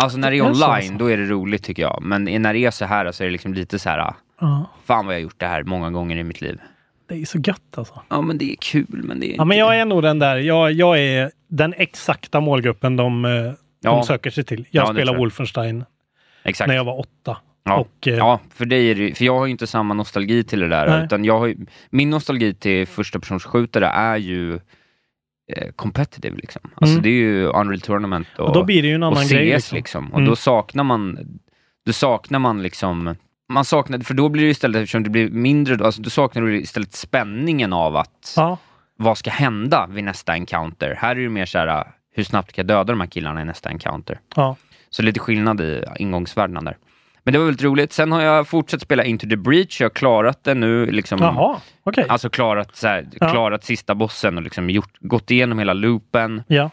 S3: Alltså när det är
S2: Det är så
S3: online,
S2: alltså.
S3: då är det roligt tycker jag. Men i- när det är så här så är det liksom lite så här, ah,
S2: Ja,
S3: fan vad jag har gjort det här många gånger i mitt liv.
S2: det är så gött alltså.
S3: Ja men det är kul, men det är
S2: Ja, men
S3: inte-
S2: jag är nog den där. Jag, jag är den exakta målgruppen de, eh, de
S3: Ja.
S2: söker sig till.
S3: Ja,
S2: Jag
S3: det tror
S2: spelade
S3: jag.
S2: Wolfenstein
S3: Exakt.
S2: när jag var åtta.
S3: Ja.
S2: Och, eh,
S3: ja, för dig är det, för jag har ju inte samma nostalgi till det där.
S2: Nej.
S3: Utan jag har ju, min nostalgi till första persons skjutare är ju eh, competitive. Liksom. Alltså
S2: Mm.
S3: det är ju Unreal Tournament och,
S2: och då blir det ju en
S3: och
S2: annan
S3: CS.
S2: grej.
S3: Liksom.
S2: Liksom.
S3: Och då
S2: Mm.
S3: saknar man, då saknar man liksom man saknar, för då blir det istället, eftersom det blir mindre, alltså då saknar du istället spänningen av att,
S2: Ja,
S3: vad ska hända vid nästa encounter? Här är det mer såhär, hur snabbt kan jag döda de här killarna i nästa encounter?
S2: ja.
S3: Så lite skillnad i ingångsvärdena där. Men det var väldigt roligt. Sen har jag fortsatt spela Into the Breach. Jag har klarat det nu. Liksom,
S2: Jaha, okej.
S3: Alltså klarat, så här,
S2: Ja.
S3: klarat sista bossen och liksom gjort, gått igenom hela loopen.
S2: Ja.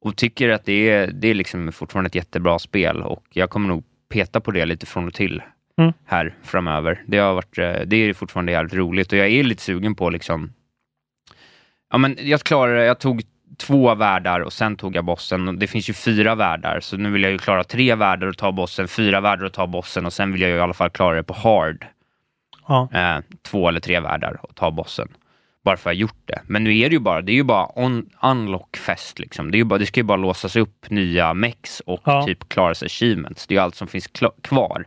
S3: Och tycker att det är, det är liksom fortfarande ett jättebra spel. Och jag kommer nog peta på det lite från och till
S2: Mm.
S3: här framöver. Det, har varit, eh, det är fortfarande jävligt roligt och jag är lite sugen på liksom... Ja, men jag klarade det. Jag tog två världar och sen tog jag bossen. Och det finns ju fyra världar, så nu vill jag ju klara tre världar och ta bossen, fyra världar och ta bossen och sen vill jag ju i alla fall klara det på hard
S2: Ja.
S3: eh, två eller tre världar och ta bossen. Bara för att jag gjort det. Men nu är det ju bara, det är ju bara on, unlock fest liksom. Det, är ju bara, det ska ju bara låsas upp nya mex och
S2: Ja.
S3: typ klara sig achievements. Det är ju allt som finns kla- kvar.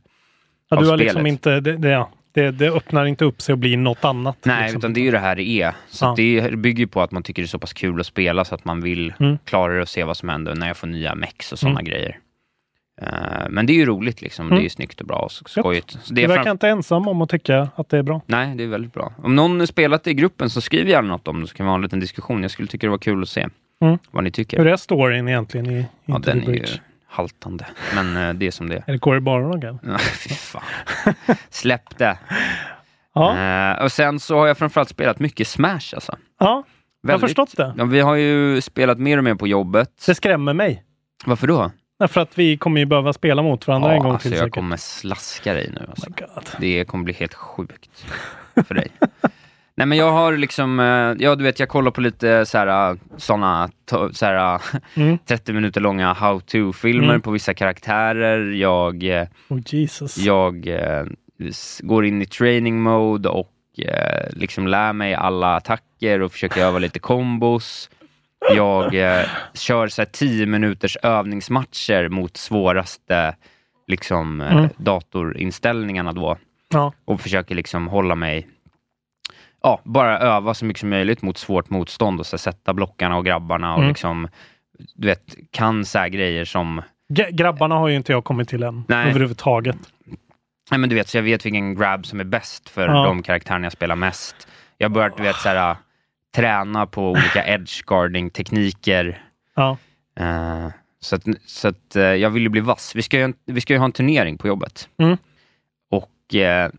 S2: ja
S3: av
S2: du har
S3: spelet.
S2: liksom inte, det, det, ja. det, det öppnar inte upp sig och blir något annat.
S3: Nej,
S2: liksom.
S3: utan det är ju det här det är. Så
S2: Ja.
S3: att det bygger ju på att man tycker det är så pass kul att spela så att man vill
S2: Mm.
S3: klara det och se vad som händer när jag får nya mex och sådana grejer. Eh, men det är ju roligt liksom.
S2: Mm.
S3: Det är ju snyggt och bra och så- skojigt. Så det
S2: Du
S3: är
S2: verkar
S3: fram-
S2: inte ensam om att tycka att det är bra.
S3: Nej, det är väldigt bra. Om någon har spelat det i gruppen så skriv gärna något om det så kan vi ha en liten diskussion. Jag skulle tycka det var kul att se
S2: Mm.
S3: vad ni tycker.
S2: Hur är storyn egentligen i
S3: ja,
S2: Into
S3: den
S2: the
S3: är ju
S2: Breach?
S3: haltande, men eh, det är som det är.
S2: Är det Corey Barlog? eller?
S3: Ja, Fy fan. Släpp det.
S2: Ja,
S3: Eh, och sen så har jag framförallt spelat mycket Smash alltså.
S2: ja. jag har
S3: Väldigt.
S2: förstått det.
S3: Ja, vi har ju spelat mer och mer på jobbet.
S2: Det skrämmer mig.
S3: Varför då?
S2: Nej, För att vi kommer ju behöva spela mot varandra en gång
S3: alltså,
S2: till
S3: jag
S2: säkert.
S3: kommer slaska dig nu. Alltså.
S2: Oh my God.
S3: Det kommer bli helt sjukt för dig. Nej men jag har liksom, eh, ja du vet jag kollar på lite såhär, såna, to- såhär
S2: Mm.
S3: 30 minuter långa how to-filmer
S2: Mm.
S3: på vissa karaktärer. Jag, eh,
S2: Oh Jesus.
S3: jag eh, s- går in i training mode och eh, liksom lär mig alla attacker och försöker öva lite kombos. Jag eh, kör så här 10 minuters övningsmatcher mot svåraste liksom, eh,
S2: Mm.
S3: datorinställningarna då
S2: Ja.
S3: och försöker liksom hålla mig Ja, bara öva så mycket som möjligt mot svårt motstånd och så här sätta blockarna och grabbarna och
S2: Mm.
S3: liksom, du vet, kan så här grejer som
S2: G- grabbarna har ju inte jag kommit till än
S3: Nej.
S2: överhuvudtaget.
S3: Nej men du vet, så jag vet vilken grab som är bäst för
S2: Ja.
S3: de karaktärerna jag spelar mest. Jag har börjat, du vet, så här, träna på olika edge guarding tekniker.
S2: Ja.
S3: Eh, så att, så att eh, jag vill ju bli vass. Vi ska ju, vi ska ju ha en turnering på jobbet.
S2: Mm.
S3: Och eh,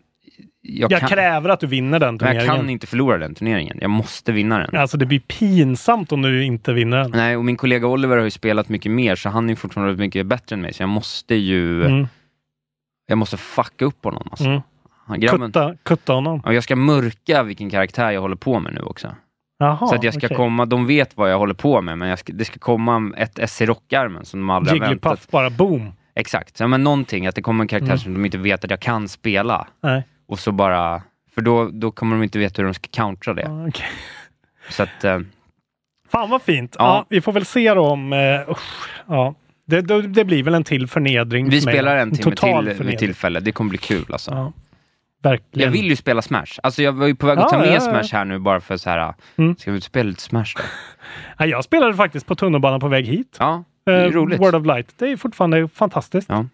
S3: jag,
S2: Jag,
S3: kan,
S2: kräver att du vinner den
S3: men jag
S2: turneringen.
S3: kan inte förlora den turneringen. Jag måste vinna den.
S2: Alltså det blir pinsamt om du inte vinner den.
S3: Nej, och min kollega Oliver har ju spelat mycket mer, så han är ju fortfarande mycket bättre än mig. Så jag måste ju,
S2: Mm.
S3: jag måste fucka upp honom. Alltså.
S2: Mm.
S3: Han, grabben,
S2: Kutta, kutta honom.
S3: Ja, jag ska mörka vilken karaktär jag håller på med nu också.
S2: Jaha,
S3: så att jag
S2: Ah,
S3: ska
S2: okej.
S3: komma, de vet vad jag håller på med, men jag ska, det ska komma ett S i rockarmen som de aldrig har väntat.
S2: Jigglypuff bara boom.
S3: Exakt, ja, men någonting, att det kommer en karaktär
S2: Mm.
S3: som de inte vet att jag kan spela.
S2: Nej.
S3: Och så bara, för då, då kommer de inte veta hur de ska countera det.
S2: Ja, okej.
S3: Så att, eh,
S2: Fan vad fint.
S3: Ja.
S2: Ja. vi får väl se då om... eh, usch, ja. det, det, det blir väl en till förnedring
S3: vi
S2: för mig.
S3: spelar en timme
S2: total
S3: till vid
S2: förnedring.
S3: tillfälle, det kommer bli kul alltså.
S2: Ja.
S3: Jag
S2: Verkligen.
S3: vill ju spela Smash. Alltså jag var ju på väg att
S2: Ja,
S3: ta med
S2: ja, ja.
S3: Smash här nu bara för så här. ah,
S2: Mm.
S3: ska vi spela lite Smash då?
S2: Ja, jag spelade faktiskt på tunnelbanan på väg hit.
S3: Ja, Det är ju
S2: Eh,
S3: roligt.
S2: World of Light, det är fortfarande fantastiskt.
S3: Ja.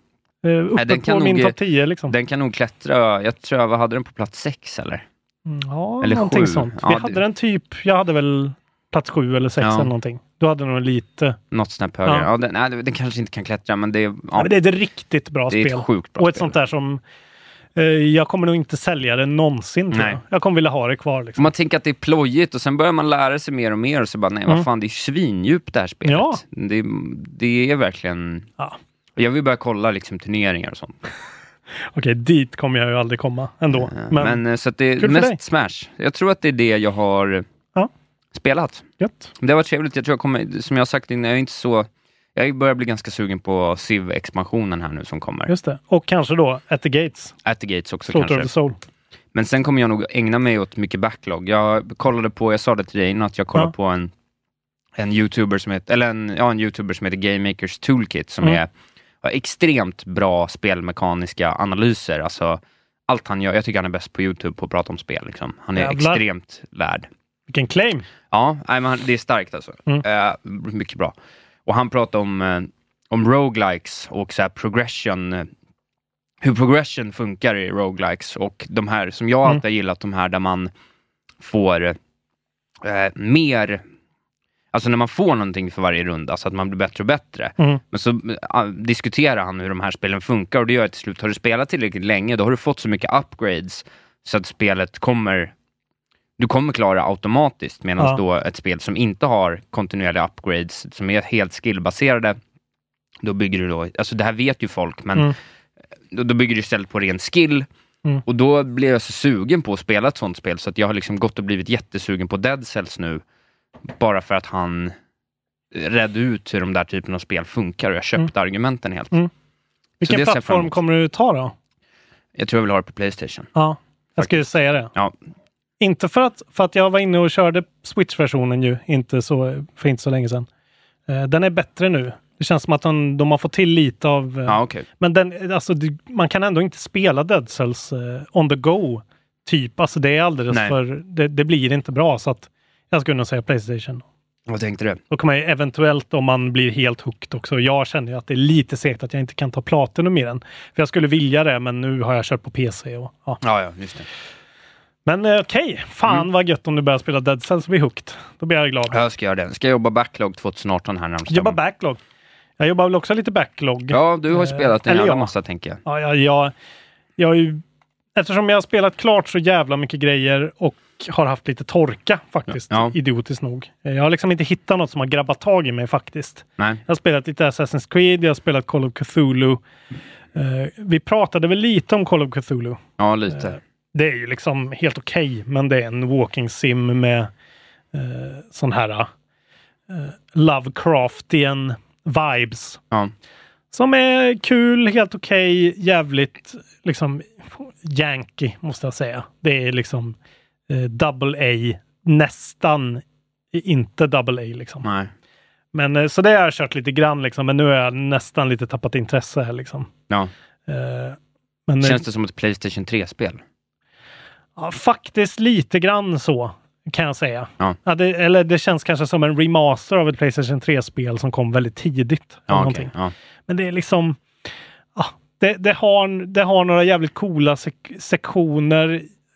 S2: Eh, uppe
S3: Nej, den kan
S2: på min
S3: nog-
S2: topp 10 liksom.
S3: Den kan nog klättra, jag tror jag vad hade den på plats sex eller?
S2: Mm, Ja,
S3: Eller
S2: någonting
S3: sju.
S2: sånt.
S3: Ja,
S2: Vi
S3: det-
S2: hade den typ, jag hade väl plats sju eller sex
S3: Ja.
S2: eller någonting. Du hade nog lite.
S3: Något snäpp högre.
S2: Ja.
S3: Ja. den, nej, den kanske inte kan klättra men det är...
S2: Ja.
S3: Ja,
S2: men det är ett riktigt bra
S3: Det är ett
S2: spel.
S3: sjukt bra
S2: och ett
S3: spel.
S2: sånt där som eh, jag kommer nog inte sälja det någonsin. Tror
S3: Nej.
S2: jag. jag kommer vilja ha det kvar. Liksom.
S3: Om man tänker att det är plojigt och sen börjar man lära sig mer och mer och så bara nej,
S2: Mm.
S3: vad fan det är svindjupt det här spelet.
S2: Ja.
S3: Det, det är verkligen...
S2: Ja.
S3: Jag vill börja kolla liksom turneringar och sånt.
S2: Okej, dit kommer jag ju aldrig komma ändå. Men,
S3: Men, Mm. eh, så att det
S2: kul för
S3: är mest
S2: dig.
S3: Smash. Jag tror att det är det jag har eh,
S2: Ja.
S3: spelat.
S2: gött.
S3: Det var trevligt. Jag tror jag kommer, som jag har sagt innan, jag är inte så... Jag börjar bli ganska sugen på Civ-expansionen här nu som kommer.
S2: Just det. Och kanske då At the Gates,
S3: At the Gates också
S2: Slaughter of
S3: kanske.
S2: the Soul.
S3: Men sen kommer jag nog ägna mig åt mycket backlog. Jag kollade på, jag sa det till dig innan, att jag kollade
S2: Ja.
S3: på en, en youtuber som heter, eller en, ja, en youtuber som heter Game Makers Toolkit som
S2: Mm.
S3: är har extremt bra spelmekaniska analyser. Alltså, allt han gör, jag tycker han är bäst på Youtube på att prata om spel. Liksom. Han är
S2: Jävlar.
S3: extremt lärd.
S2: Vilken claim!
S3: Ja, nej, men han- det är starkt alltså.
S2: Mm.
S3: Eh, mycket bra. Och han pratar om, eh, om roguelikes och så här progression, eh, hur progression funkar i roguelikes och de här som
S2: Mm.
S3: jag alltid har gillat, de här där man får eh, mer, alltså när man får någonting för varje runda, så att man blir bättre och bättre.
S2: Mm.
S3: Men så eh, diskuterar han hur de här spelen funkar och det gör att till slut, har du spelat tillräckligt länge, då har du fått så mycket upgrades så att spelet kommer du kommer klara automatiskt, medan
S2: Ja.
S3: då ett spel som inte har kontinuerliga upgrades, som är helt skillbaserade, då bygger du då, alltså det här vet ju folk, men
S2: Mm.
S3: då, då bygger du istället på ren skill.
S2: Mm.
S3: Och då blir jag så sugen på att spela ett sånt spel, så att jag har liksom gått och blivit jättesugen på Dead Cells nu, bara för att han redde ut hur de där typen av spel funkar och jag köpte argumenten helt.
S2: Mm. Vilken
S3: det ser jag fram
S2: plattform
S3: emot.
S2: kommer du ta då?
S3: Jag tror jag vill ha det på Playstation.
S2: Ja, jag skulle säga det.
S3: Ja.
S2: Inte för att, för att jag var inne och körde Switch-versionen ju, inte så, för inte så länge sedan. Eh, Den är bättre nu. Det känns som att de, de har fått till lite av... eh,
S3: Ja, okej.
S2: Men den, alltså, du- man kan ändå inte spela Dead Cells eh, on the go. Typ, alltså det är alldeles
S3: Nej.
S2: för... Det, det blir inte bra så att jag skulle nog säga Playstation.
S3: Vad tänkte du?
S2: Då kommer jag eventuellt, om man blir helt hooked också, jag känner ju att det är lite segt att jag inte kan ta Platinum i den. För jag skulle vilja det, men nu har jag kört på PC och ja.
S3: Ja, ja, just det.
S2: Men eh, okej, fan vad gött om du börjar spela Dead Cells och blir hooked. Då blir jag glad.
S3: Mm. Ja, Jag ska göra det. Ska jag jobba backlog 2018 här närmast.
S2: Jobba backlog. Jag jobbar väl också lite backlog. Eh,
S3: Ja, du har ju spelat en
S2: eller
S3: jävla
S2: ja.
S3: massa tänker jag.
S2: Ja, jag, jag, jag har ju, eftersom jag har spelat klart så jävla mycket grejer och har haft lite torka faktiskt,
S3: Ja.
S2: idiotiskt nog. Jag har liksom inte hittat något som har grabbat tag i mig faktiskt.
S3: Nej.
S2: Jag har spelat lite Assassin's Creed, jag har spelat Call of Cthulhu. Eh, vi pratade väl lite om Call of Cthulhu.
S3: Ja, lite.
S2: Det är ju liksom helt okej, men det är en walking sim med eh, sån här eh, Lovecraftian vibes.
S3: Ja.
S2: Som är kul, helt okej, jävligt liksom janky måste jag säga. Det är liksom eh, double A, nästan inte double A liksom.
S3: Nej.
S2: Men eh, så det har jag kört lite grann liksom, men nu har jag nästan lite tappat intresse här liksom.
S3: Ja.
S2: Eh, men,
S3: Känns det som ett Playstation 3-spel?
S2: Ja, faktiskt lite grann så kan jag säga.
S3: Ja.
S2: det, eller det känns kanske som en remaster av ett Playstation 3-spel som kom väldigt tidigt. eller
S3: Ja,
S2: någonting.
S3: okej. ja.
S2: Men det är liksom... Ja, det, det, har, det har några jävligt coola sek- sektioner.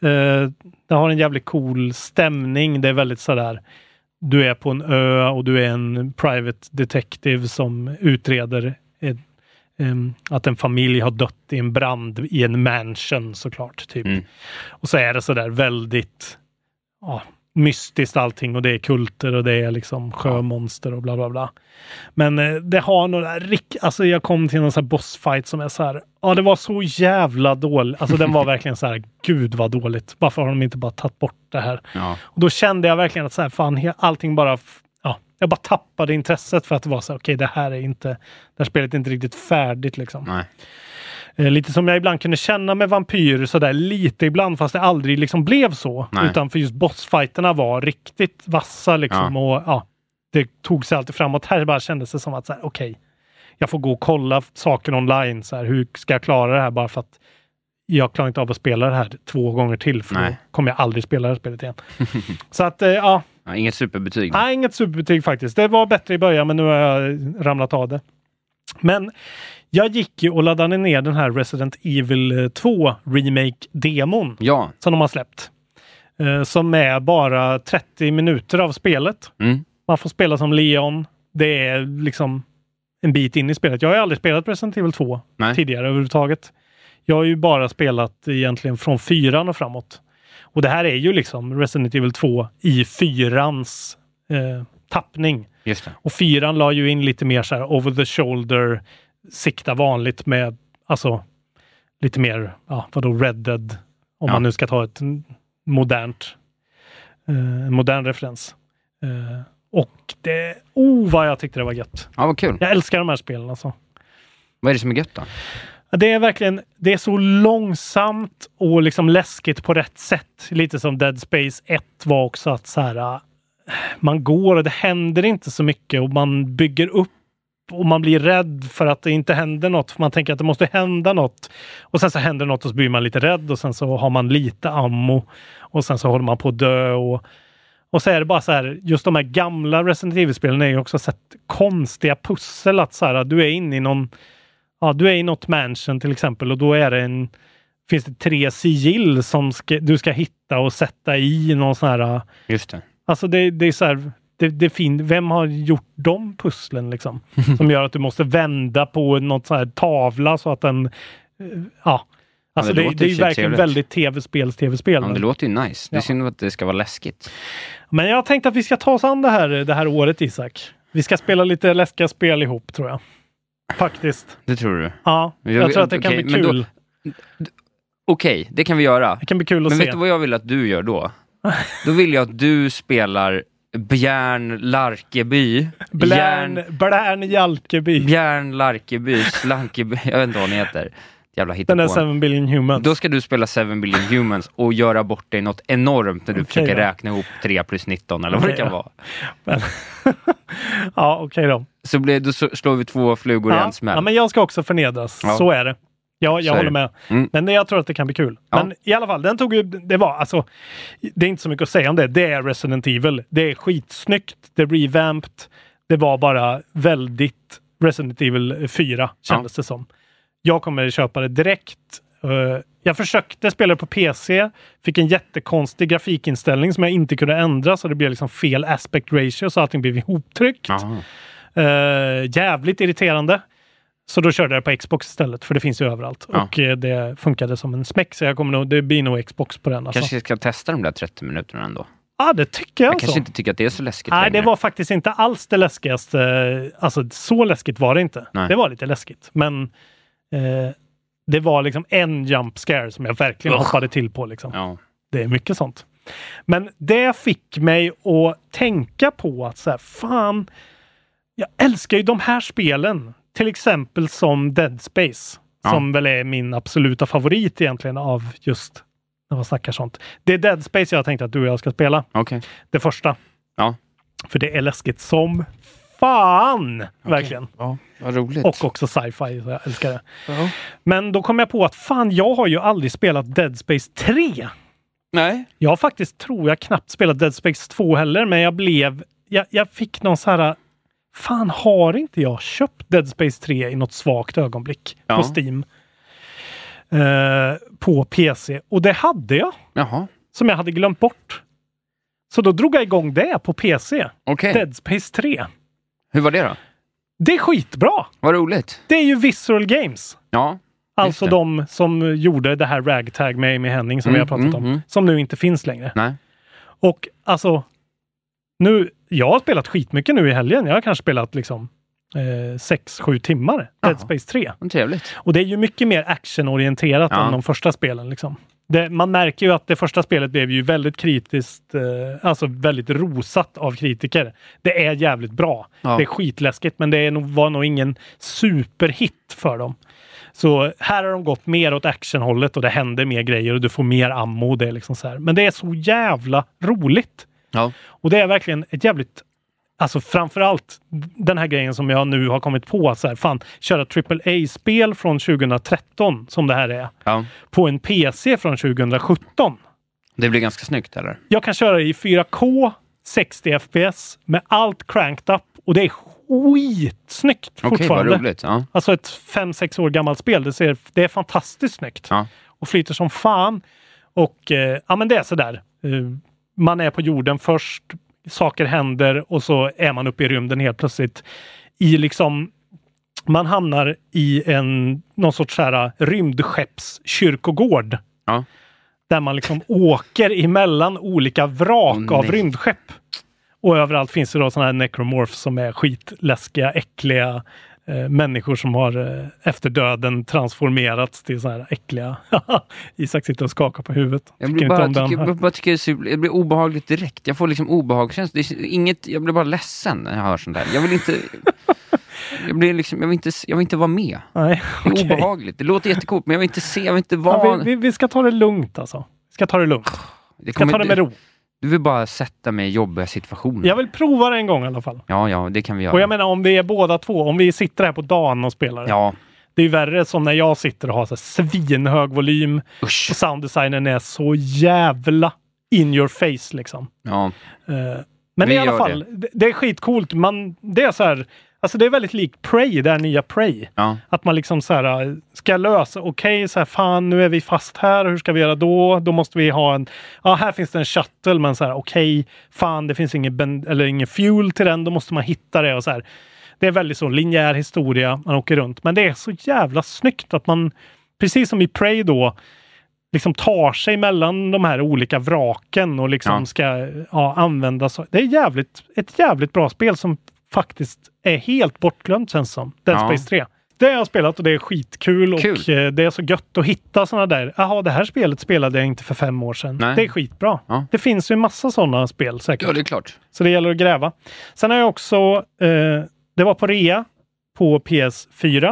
S2: Eh, det har en jävligt cool stämning. Det är väldigt sådär... Du är på en ö och du är en private detective som utreder ett, em, att en familj har dött i en brand i en mansion såklart. Typ.
S3: Mm.
S2: Och så är det sådär väldigt ja, mystiskt allting och det är kulter och det är liksom sjömonster och bla bla bla. Men eh, det har några rikt... Alltså jag kom till någon sån här bossfight som är så här... Ja, det var så jävla dåligt. Alltså den var verkligen så här, gud vad dåligt. Varför har de inte bara tagit bort det här?
S3: Ja.
S2: Och då kände jag verkligen att så här, fan, he- allting bara... f- Ja, jag bara tappade intresset för att det var så här, okej, det här är inte... Det här spelet är inte riktigt färdigt liksom.
S3: Nej.
S2: Eh, Lite som jag ibland kunde känna med vampyrer sådär lite ibland fast det aldrig liksom blev så.
S3: Nej.
S2: Utan för just bossfighterna var riktigt vassa liksom. Och, ja, det tog sig alltid framåt. Här bara kändes det som att såhär, okej, jag får gå och kolla saker online. Så här, hur ska jag klara det här bara för att jag klarar inte av att spela det här två gånger till för
S3: Nej.
S2: då kommer jag aldrig spela det här spelet igen. så att eh, ja,
S3: Ja, inget superbetyg.
S2: Nej, inget superbetyg faktiskt. Det var bättre i början, men nu har jag ramlat av det. Men jag gick ju och laddade ner den här Resident Evil 2 Remake-demon
S3: Ja.
S2: som de har släppt. Eh, som är bara 30 minuter av spelet.
S3: Mm.
S2: Man får spela som Leon. Det är liksom en bit in i spelet. Jag har ju aldrig spelat Resident Evil 2
S3: Nej.
S2: tidigare överhuvudtaget. Jag har ju bara spelat egentligen från fyran och framåt. Och det här är ju liksom Resident Evil 2 i fyrans eh, tappning.
S3: Just det.
S2: Och fyran la ju in lite mer så här over the shoulder, sikta vanligt med, alltså lite mer, ja vadå, Red Dead, om
S3: Ja.
S2: man nu ska ta ett n- modernt, eh, en modern referens. Eh, och det, oh vad jag tyckte det var gött.
S3: Ja, vad kul.
S2: Jag älskar de här spelen alltså.
S3: Vad är det som är gött då?
S2: Det är verkligen, det är så långsamt och liksom läskigt på rätt sätt. Lite som Dead Space 1 var också att så här, äh, man går och det händer inte så mycket och man bygger upp och man blir rädd för att det inte händer något. För man tänker att det måste hända något. Och sen så händer något och så blir man lite rädd och sen så har man lite ammo. Och sen så håller man på att dö. Och, och så är det bara så här, just de här gamla Resident Evil-spelen är ju också sett konstiga pussel. Att så här, du är inne i någon ja, du är i något mansion till exempel och då är det en, finns det tre sigill som ska, du ska hitta och sätta i någon sån här...
S3: Just det.
S2: Alltså det, det är så här, det, det fin, vem har gjort de pusslen liksom? Som gör att du måste vända på något sån här tavla så att den... eh, Ja. Alltså
S3: det
S2: det,
S3: låter
S2: det, är ju
S3: ju
S2: verkligen
S3: trevligt.
S2: väldigt tv-spels tv-spel.
S3: Ja, det
S2: men-
S3: låter ju nice. Det är
S2: Ja.
S3: synd att det ska vara läskigt.
S2: Men jag tänkte att vi ska ta oss an det här, det här året Isak. Vi ska spela lite läskiga spel ihop tror jag. Faktiskt.
S3: Det tror du?
S2: Ja, jag,
S3: Jag-
S2: tror att det
S3: okej,
S2: kan bli
S3: men då-
S2: kul.
S3: Okej, det kan vi göra.
S2: Det kan bli kul att
S3: Men
S2: se.
S3: vet du vad jag vill att du gör då? Då vill jag att du spelar Bjärn Larkeby.
S2: Blärn,
S3: Järn-
S2: Blärn Jalkeby.
S3: Bjärn Larkeby, Slankeby, jag vet inte vad hon heter. Jävla
S2: den där
S3: hittepån.
S2: 7 billion humans.
S3: Då ska du spela 7 billion humans och göra bort dig något enormt när du
S2: Okej
S3: försöker
S2: då.
S3: räkna ihop 3 plus 19 eller vad det
S2: Okej
S3: kan
S2: då.
S3: vara.
S2: Men- ja, okej då.
S3: Så blir, då så- slår vi två flugor i
S2: Ja,
S3: en smäll.
S2: ja, men jag ska också förnedras.
S3: Ja.
S2: Så är det. Ja,
S3: Så är
S2: jag håller
S3: det.
S2: med.
S3: Mm.
S2: Men det- jag tror att det kan bli kul.
S3: Ja.
S2: Men i alla fall, den tog ju, det var alltså, det är inte så mycket att säga om det. Det är Resident Evil. Det är skitsnyggt. Det är revamped. Det var bara väldigt Resident Evil 4 kändes det som. Jag kommer köpa det direkt. Eh, jag försökte spela det på PC, fick en jättekonstig grafikinställning som jag inte kunde ändra så det blev liksom fel aspect ratio så allting blev ihoptryckt.
S3: Jaha.
S2: Eh, jävligt irriterande. Så då körde jag på Xbox istället, för det finns ju överallt.
S3: Ja.
S2: Och eh, det funkade som en smäck, så jag kommer nog, det blir nog Xbox på den. Alltså.
S3: Kanske ska testa de där 30 minuterna ändå.
S2: Ja, det tycker jag.
S3: Jag
S2: alltså.
S3: kanske inte tycker att det är så läskigt
S2: Nej,
S3: längre.
S2: det var faktiskt inte alls det läskigaste. Alltså, så läskigt var det inte.
S3: Nej.
S2: Det var lite läskigt, men eh, det var liksom en jump scare som jag verkligen
S3: Ugh.
S2: hoppade till på. Liksom.
S3: Ja.
S2: Det är mycket sånt. Men det fick mig att tänka på att så här, fan, jag älskar ju de här spelen. Till exempel som Dead Space,
S3: Ja.
S2: som väl är min absoluta favorit egentligen av just när man snackar sånt. Det är Dead Space jag tänkte att du och jag ska spela.
S3: Okej.
S2: Det första.
S3: Ja.
S2: För det är läskigt som fan! Verkligen.
S3: Ja, vad roligt.
S2: Och också sci-fi, så jag älskar det. Men då kom jag på att fan, jag har ju aldrig spelat Dead Space 3.
S3: Nej.
S2: Jag har faktiskt, tror jag, knappt spelat Dead Space 2 heller, men jag blev... Jag, jag fick någon så här... Fan, har inte jag köpt Dead Space 3 i något svagt ögonblick
S3: Ja.
S2: på Steam? Eh, på PC. Och det hade jag,
S3: Jaha,
S2: som jag hade glömt bort. Så då drog jag igång det på PC.
S3: okej.
S2: Dead Space 3.
S3: Hur var det då?
S2: Det är skitbra!
S3: Vad roligt.
S2: Det är ju Visceral Games.
S3: Ja,
S2: Alltså
S3: det.
S2: de som gjorde det här Ragtag med Amy Henning som
S3: Mm,
S2: vi har pratat
S3: mm,
S2: om.
S3: mm.
S2: Som nu inte finns längre.
S3: nej.
S2: Och alltså, nu, jag har spelat skitmycket nu i helgen. Jag har kanske spelat liksom 6-7 timmar Dead
S3: Jaha.
S2: Space 3.
S3: Vad trevligt.
S2: Och det är ju mycket mer actionorienterat
S3: Ja.
S2: än de första spelen. Liksom. Det, man märker ju att det första spelet blev ju väldigt kritiskt, eh, alltså väldigt rosat av kritiker. Det är jävligt bra.
S3: Ja.
S2: Det är skitläskigt, men det är nog, var nog ingen superhit för dem. Så här har de gått mer åt actionhållet och det händer mer grejer och du får mer ammo. Och det är liksom så här. Men det är så jävla roligt.
S3: Ja.
S2: Och det är verkligen ett jävligt Alltså framförallt den här grejen som jag nu har kommit på att så här, fan, köra AAA-spel från 2013 som det här är
S3: ja.
S2: på en PC från 2017.
S3: Det blir ganska snyggt, eller?
S2: Jag kan köra i 4K 60 FPS med allt cranked up och det är skitsnyggt
S3: Okej, vad
S2: fortfarande.
S3: roligt. Ja.
S2: Alltså ett 5-6 år gammalt spel. Det, ser, det är fantastiskt snyggt.
S3: Ja.
S2: Och flyter som fan. Och eh, ja, men det är sådär. Eh, man är på jorden först, saker händer och så är man uppe i rymden helt plötsligt. I liksom, man hamnar i en, någon sorts så här rymdskeppskyrkogård.
S3: Ja.
S2: Där man liksom åker emellan olika vrak
S3: Åh,
S2: av
S3: nej.
S2: rymdskepp. Och överallt finns det då sådana här necromorphs som är skitläskiga, äckliga eh, människor som har eh, efter döden transformerats till sådana här äckliga. Isak sitter och skakar på huvudet.
S3: Jag
S2: Tycker
S3: blir,
S2: inte
S3: bara,
S2: om den
S3: tycker,
S2: här.
S3: jag bara tycker det ser- jag blir obehagligt direkt. Jag får liksom obehagskänsla. Det är inget, jag blir bara ledsen när jag hör sånt där. Jag vill inte... Jag, blir liksom, jag, vill inte jag vill inte vara med.
S2: Nej,
S3: Det är
S2: okej.
S3: obehagligt. Det låter jättecoolt, men jag vill inte se, jag vill inte vara...
S2: Ja, vi, vi, vi ska ta det lugnt alltså. Vi ska ta det lugnt.
S3: det
S2: Vi ska
S3: kommer-
S2: ta det med ro.
S3: Du vill bara sätta mig i jobbiga situationer.
S2: Jag vill prova det en gång i alla fall.
S3: Ja, ja, det kan vi göra.
S2: Och jag menar om vi är båda två, om vi sitter här på dagen och spelar.
S3: ja,
S2: Det är ju värre som när jag sitter och har så här svinhög volym
S3: usch.
S2: och sounddesignen är så jävla in your face liksom.
S3: Ja.
S2: Eh, Men
S3: Vi
S2: i alla
S3: gör
S2: fall, det. det är skitcoolt. Man, det är så här, alltså det är väldigt likt Prey, det här nya Prey.
S3: Ja.
S2: Att man liksom så här, eh, ska lösa, okej, så här, fan nu är vi fast här, hur ska vi göra då? Då måste vi ha en, ja här finns det en shuttle, men så här, okej, fan det finns ingen, ben, eller ingen fuel till den, då måste man hitta det och så här. Det är väldigt så linjär historia, man åker runt. Men det är så jävla snyggt att man, precis som i Prey då, liksom tar sig mellan de här olika vraken och liksom
S3: Ja.
S2: ska ja, använda så. Det är jävligt, ett jävligt bra spel som faktiskt är helt bortglömt känns som. Dead
S3: Ja.
S2: Space 3. Det har jag spelat och det är skitkul och
S3: Kul.
S2: eh, det är så gött att hitta sådana där. Jaha, det här spelet spelade jag inte för fem år sedan.
S3: Nej.
S2: Det är skitbra.
S3: Ja.
S2: Det finns ju en massa sådana spel säkert.
S3: ja, det är klart.
S2: Så det gäller att gräva. Sen har jag också, eh, det var på rea på PS4.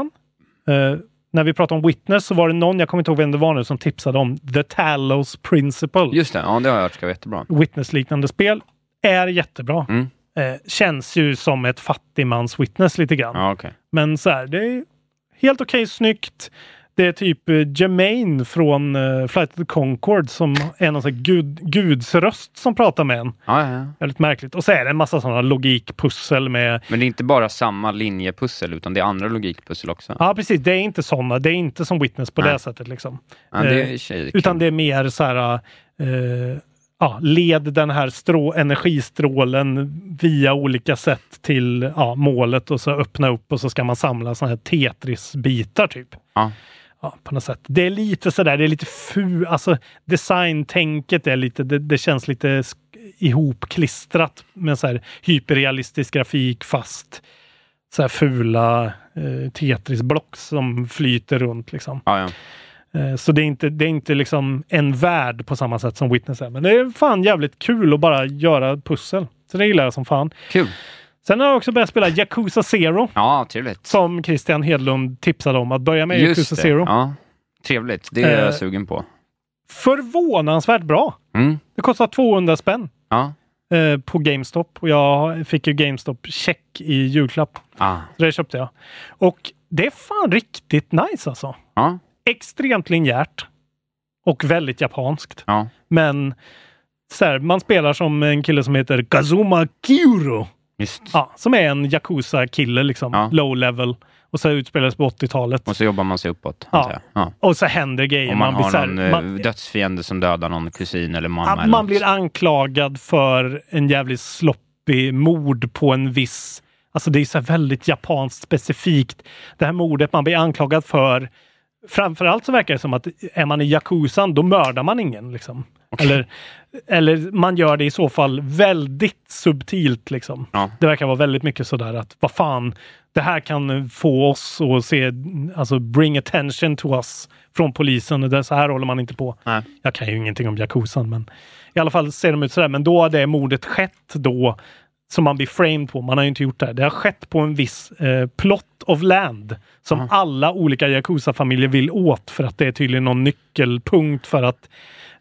S2: Eh, när vi pratade om Witness så var det någon, jag kommer inte ihåg vem det var nu, som tipsade om The Talos Principle.
S3: Just det, ja, det har jag hört ska vara
S2: Mm.
S3: jättebra.
S2: Witness-liknande spel. Är jättebra.
S3: Mm.
S2: Eh, känns ju som ett fattigmans Witness lite grann.
S3: Ja, okej.
S2: Men så här, det är helt okej snyggt. Det är typ eh, Jermaine från eh, Flight of the Conchords som är någon sån här gud, gudsröst som pratar med en.
S3: Ja, ja, ja.
S2: Väldigt märkligt. Och så är det en massa sådana logikpussel med...
S3: Men det är inte bara samma linjepussel, utan det är andra logikpussel också.
S2: Ja, precis. Det är inte sådana. Det är inte som Witness på
S3: Nej.
S2: det sättet. Liksom.
S3: Ja, det
S2: Eh,
S3: är tjej,
S2: Utan det är mer så här... eh, ja, led den här strå, energistrålen via olika sätt till ja, målet och så öppna upp och så ska man samla sådana här Tetris-bitar typ.
S3: Ja.
S2: Ja, på något sätt. Det är lite sådär, det är lite fu... Alltså designtänket är lite, det, det känns lite sk- ihopklistrat med så här hyperrealistisk grafik fast så här fula eh, Tetrisblock som flyter runt liksom.
S3: Ja, ja.
S2: Eh, Så det är inte, det är inte liksom en värld på samma sätt som Witness är. Men det är fan jävligt kul att bara göra pussel. Så det gillar jag som fan.
S3: Kul.
S2: Sen har jag också börjat spela Yakuza Zero.
S3: Ja, trevligt.
S2: Som Christian Hedlund tipsade om att börja med Yakuza Zero.
S3: Ja. Trevligt, det är jag
S2: Eh.
S3: sugen på.
S2: Förvånansvärt bra!
S3: Mm.
S2: Det kostar 200 spänn
S3: Ja.
S2: eh, på GameStop och jag fick ju GameStop-check i julklapp.
S3: Ah.
S2: Så det köpte jag. Och det är fan riktigt nice alltså.
S3: Ja.
S2: Extremt linjärt. Och väldigt japanskt.
S3: Ja.
S2: Men så här, man spelar som en kille som heter Kazuma Kiuro.
S3: Just.
S2: Ja, som är en Yakuza-kille liksom.
S3: Ja.
S2: Low level. Och så utspelades på 80-talet.
S3: Och så jobbar man sig uppåt,
S2: Ja.
S3: antar jag. Ja.
S2: Och så händer grejer.
S3: Om man,
S2: blir så här-
S3: har någon eh,
S2: man-
S3: dödsfiende som dödar någon kusin eller mamma.
S2: att
S3: eller
S2: man
S3: något.
S2: blir anklagad för en jävligt sloppy mord på en viss... Alltså det är så här väldigt japanskt specifikt. Det här mordet man blir anklagad för. Framförallt så verkar det som att är man i yakuzan, då mördar man ingen. Liksom. Eller, eller man gör det i så fall väldigt subtilt. Liksom.
S3: Ja.
S2: Det verkar vara väldigt mycket sådär att vad fan, det här kan få oss att se, alltså bring attention to us från polisen. Det, så här håller man inte på.
S3: Nej.
S2: Jag kan ju ingenting om Yakuzan, men i alla fall ser de ut sådär. Men då har det mordet skett då som man blir framed på. Man har ju inte gjort det. här. Det har skett på en viss eh, plot of land som alla olika Yakuza-familjer vill åt för att det är tydligen någon nyckelpunkt för att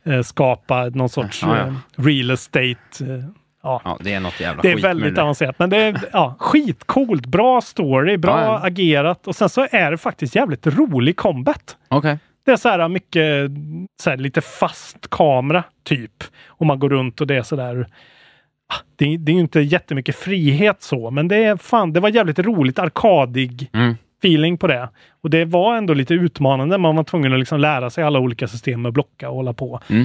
S2: eh, skapa någon sorts
S3: Ja, ja.
S2: Eh, real estate. Eh, ja.
S3: Ja, det är något jävla
S2: Det är
S3: skit med
S2: väldigt
S3: det där.
S2: avancerat, men det är ja, skitcoolt. Bra story, bra
S3: Ja, ja.
S2: agerat och sen så är det faktiskt jävligt rolig combat.
S3: Okej.
S2: Det är så här mycket, så här, lite fast kamera typ. Och man går runt och det är så där. det, är- det är ju inte jättemycket frihet så, men det är fan, det var jävligt roligt arkadig
S3: Mm.
S2: feeling på det. Och det var ändå lite utmanande. Man var tvungen att liksom lära sig alla olika system och blocka och hålla på.
S3: Mm.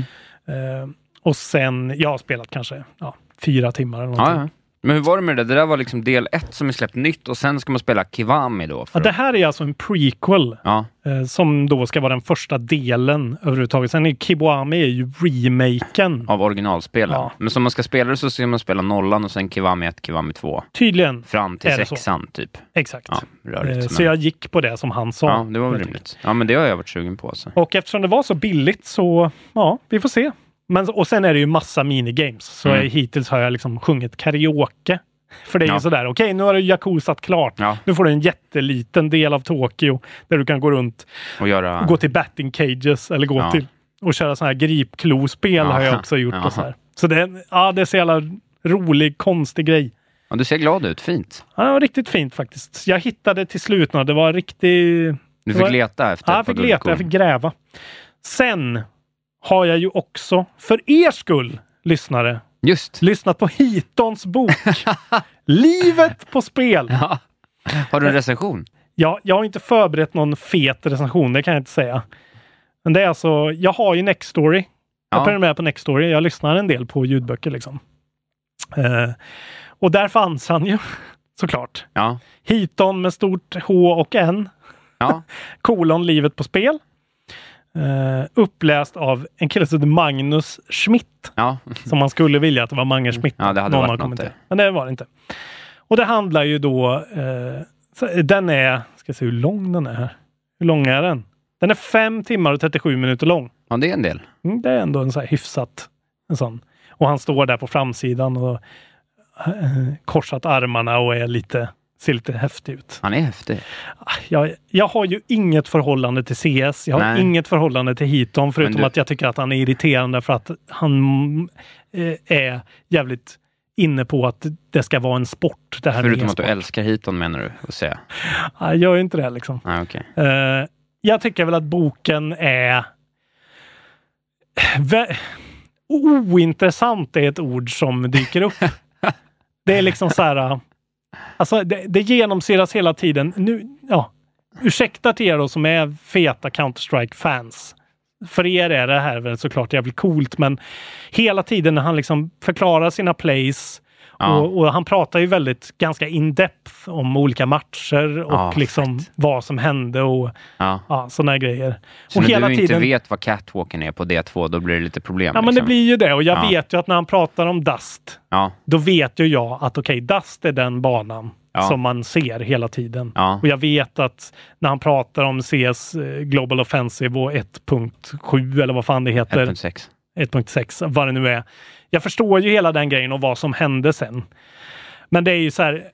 S2: Eh, och sen, jag har spelat kanske ja, fyra timmar eller
S3: Ja,
S2: någonting.
S3: ja. Men hur var det med det? där? Det där var liksom del ett som är släppt nytt och sen ska man spela Kiwami då.
S2: Ja,
S3: För...
S2: det här är alltså en prequel
S3: ja.
S2: eh, som då ska vara den första delen överhuvudtaget. Sen är Kiwami är ju remaken.
S3: Av originalspelen.
S2: Ja.
S3: Men som man ska spela det så ska man spela nollan och sen Kiwami 1, Kiwami 2.
S2: Tydligen.
S3: Fram till
S2: Är det så?
S3: sexan typ.
S2: Exakt.
S3: Ja, rörigt.
S2: Eh,
S3: men...
S2: Så jag gick på det som han sa.
S3: Ja, det var väl
S2: helt enkelt.
S3: rimligt. Ja, men det har jag varit sugen på alltså.
S2: Och eftersom det var så billigt så, ja, vi får se. Men, och sen är det ju massa minigames. Så
S3: Mm.
S2: jag, hittills har jag liksom sjungit karaoke. För det är
S3: Ja.
S2: ju sådär, okej nu har du Yakuzat klart.
S3: Ja.
S2: Nu får du en jätteliten del av Tokyo där du kan gå runt,
S3: Och göra...
S2: gå till batting cages eller gå
S3: Ja.
S2: till och köra sådana här gripklo-spel har jag
S3: Aha.
S2: också gjort.
S3: Jaha.
S2: Och så här. så det, ja, det är så jävla rolig, konstig grej.
S3: Ja, du ser glad ut. Fint.
S2: Ja, det var riktigt fint faktiskt. Jag hittade till slut några, det var riktigt
S3: Du
S2: Det
S3: fick
S2: var-
S3: leta efter
S2: Ja, jag
S3: ett par
S2: fick leta,
S3: guldkorn.
S2: jag fick gräva. Sen har jag ju också, för er skull, lyssnare,
S3: Just.
S2: lyssnat på Hitons bok Livet på spel.
S3: Ja. Har du en recension?
S2: Ja, jag har inte förberett någon fet recension, det kan jag inte säga. Men det är alltså, jag har ju Nextory. Jag
S3: Ja.
S2: prenumererar på Nextory. Jag lyssnar en del på ljudböcker liksom. Eh, och där fanns han ju, såklart.
S3: Ja.
S2: Hiton med stort H och N.
S3: Ja.
S2: kolon Livet på spel. Eh, uppläst av en kille som heter Magnus Schmidt.
S3: Ja.
S2: Som man skulle vilja att det var Mange Schmidt.
S3: Mm. Ja, det hade
S2: någon
S3: varit
S2: har
S3: något
S2: kommenterat.
S3: där.
S2: Men det var det inte. Och det handlar ju då... Eh, så, den är... Ska se hur lång den är här. Hur lång är den? Den är 5 timmar och 37 minuter lång.
S3: ja, det är en del.
S2: Mm, det är ändå en så här hyfsat... En sån. Och han står där på framsidan och eh, korsat armarna och är lite, ser lite häftig ut
S3: Han är häftig.
S2: jag, jag har ju inget förhållande till CS. Jag har
S3: Nej.
S2: inget förhållande till Hiton förutom
S3: Men du-
S2: att jag tycker att han är irriterande för att han eh, är jävligt inne på att det ska vara en sport. Det här med
S3: Förutom att du
S2: e-sport.
S3: älskar hiton menar du? Och säga.
S2: Nej, Jag gör ju inte det liksom.
S3: Nej, okej.
S2: Eh, jag tycker väl att boken är Vä- ointressant är ett ord som dyker upp. det är liksom så här. eh, Alltså det, det genomsyras hela tiden. Nu, ja, ursäkta till er då som är feta Counter-Strike-fans. För er är det här väl såklart jävligt coolt, men hela tiden när han liksom förklarar sina plays
S3: Ja.
S2: och, och han pratar ju väldigt ganska in-depth om olika matcher och
S3: Ja,
S2: liksom vad som hände och
S3: Ja.
S2: ja, sådana grejer.
S3: Så
S2: och
S3: när du inte vet vad catwalken är på D2, då blir det lite problem.
S2: ja, men det
S3: liksom.
S2: blir ju det och jag
S3: Ja.
S2: vet ju att när han pratar om Dust,
S3: Ja.
S2: då vet ju jag att okej, Dust är den banan
S3: Ja.
S2: som man ser hela tiden.
S3: Ja.
S2: Och jag vet att när han pratar om CS eh, Global Offensive och 1.7 eller vad fan det heter,
S3: 1.6.
S2: 1.6, vad det nu är. Jag förstår ju hela den grejen och vad som hände sen. Men det är ju så här,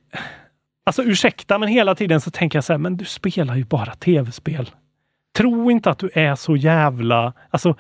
S2: alltså ursäkta, men hela tiden så tänker jag så här, men du spelar ju bara tv-spel. Tro inte att du är så jävla, alltså.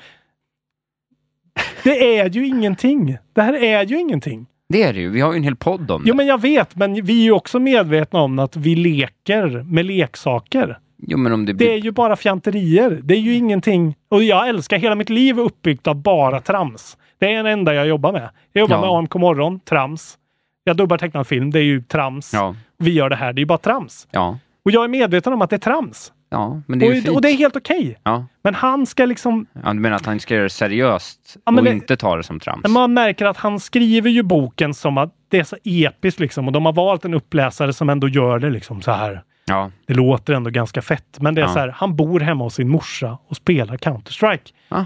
S2: Det är ju ingenting. Det här är ju ingenting.
S3: Det är det ju. Vi har ju en hel podd om det.
S2: Jo, men jag vet, men vi är ju också medvetna om att vi leker med leksaker.
S3: Jo, men om det blir...
S2: Det är ju bara fjanterier. Det är ju ingenting. Och jag älskar, hela mitt liv är uppbyggt av bara trams. Det är det enda jag jobbar med. Jag jobbar
S3: Ja.
S2: med AMK morgon, trams. Jag dubbar tecknad film, det är ju trams.
S3: Ja.
S2: Vi gör det här, det är ju bara trams.
S3: Ja.
S2: Och jag är medveten om att det är trams.
S3: Ja, men det är ju fint.
S2: och, och det är helt okej.
S3: Ja.
S2: Men han ska liksom,
S3: ja, du menar att han ska göra det seriöst
S2: Ja, men
S3: och
S2: det-
S3: inte ta det som trams?
S2: man märker att han skriver ju boken som att det är så episkt liksom. Och de har valt en uppläsare som ändå gör det liksom så här.
S3: Ja.
S2: Det låter ändå ganska fett, men det är
S3: Ja.
S2: så här, han bor hemma hos sin morsa och spelar Counter-Strike.
S3: Ja.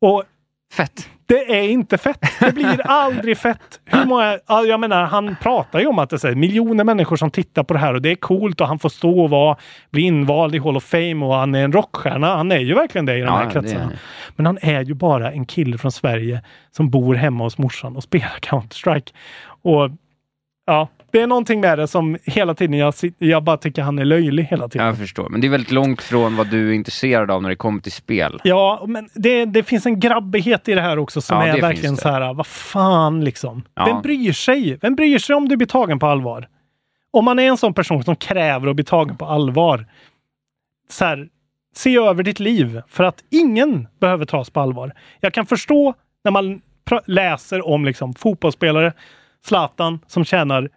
S2: Och
S3: Fett.
S2: Det är inte fett. Det blir aldrig fett. Hur många, ja, jag menar, han pratar ju om att det är så här, miljoner människor som tittar på det här och det är coolt och han får stå och vara, bli invald i Hall of Fame och han är en rockstjärna. Han är ju verkligen det i de
S3: Ja,
S2: här
S3: det är
S2: kretsarna.
S3: han ju.
S2: Men han är ju bara en kille från Sverige som bor hemma hos morsan och spelar Counter-Strike. Och ja, det är någonting med det som hela tiden, jag, sit- jag bara tycker han är löjlig hela tiden.
S3: Jag förstår. Men det är väldigt långt från vad du är intresserad av när det kommer till spel.
S2: Ja, men det, det finns en grabbighet i det här också som
S3: Ja, det
S2: är verkligen
S3: finns det.
S2: så här, vad fan liksom.
S3: Ja.
S2: Vem bryr sig? Vem bryr sig om du blir tagen på allvar? Om man är en sån person som kräver att bli tagen på allvar, så här, se över ditt liv för att ingen behöver tas på allvar. Jag kan förstå när man pr- läser om liksom, fotbollsspelare Zlatan som tjänar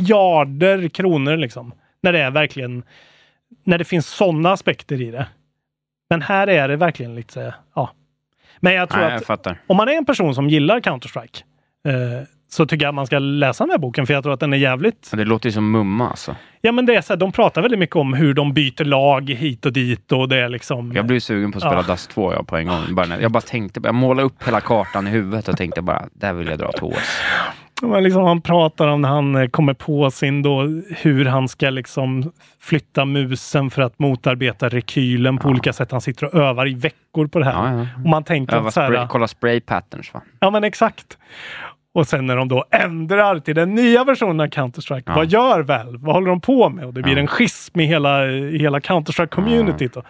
S2: miljarder kronor liksom. När det är verkligen, när det finns sådana aspekter i det. Men här är det verkligen lite, så här, ja. Men jag tror
S3: Nej, jag
S2: att
S3: fattar.
S2: om man är en person som gillar Counter-Strike eh, så tycker jag man ska läsa den här boken för jag tror att den är jävligt...
S3: Men Det låter ju som mumma alltså.
S2: Ja men det är så här, de pratar väldigt mycket om hur de byter lag hit och dit och det är liksom...
S3: Jag blir sugen på att spela
S2: Ja.
S3: Dust 2 jag, på en gång. Bara, när- jag bara tänkte, jag målade upp hela kartan i huvudet och tänkte bara, där vill jag dra till OS.
S2: Men liksom, han pratar om när han eh, kommer på sin då, hur han ska liksom flytta musen för att motarbeta rekylen på olika sätt. Han sitter och övar i veckor på det här.
S3: Ja, ja.
S2: Och man tänker
S3: Öva
S2: att så här,
S3: spray, kolla spray patterns va?
S2: ja men exakt. Och sen när de då ändrar till den nya versionen av Counter-Strike,
S3: Ja.
S2: vad gör väl? Vad håller de på med? Och det blir en schism i hela, i hela Counter-Strike-communityt. då.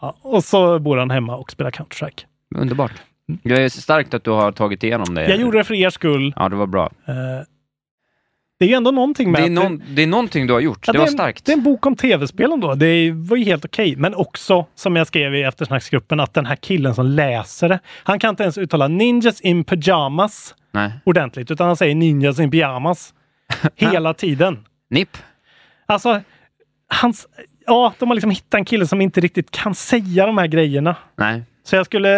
S2: Ja, och så bor han hemma och spelar Counter-Strike.
S3: Underbart. Det är starkt att du har tagit igenom det.
S2: Jag gjorde det för er skull.
S3: Ja, det var bra.
S2: Eh, Det är ju ändå någonting med
S3: Det är,
S2: att-
S3: någon, det är någonting du har gjort.
S2: Ja,
S3: det var
S2: är en-
S3: starkt.
S2: Det är en bok om tv-spel ändå. Det var ju helt okej. Men också, som jag skrev i eftersnacksgruppen, att den här killen som läser det, han kan inte ens uttala ninjas in pyjamas
S3: Nej.
S2: ordentligt, utan han säger ninjas in pyjamas hela tiden.
S3: Nipp.
S2: Alltså, hans... Ja, de har liksom hittat en kille som inte riktigt kan säga de här grejerna.
S3: Nej.
S2: Så jag skulle...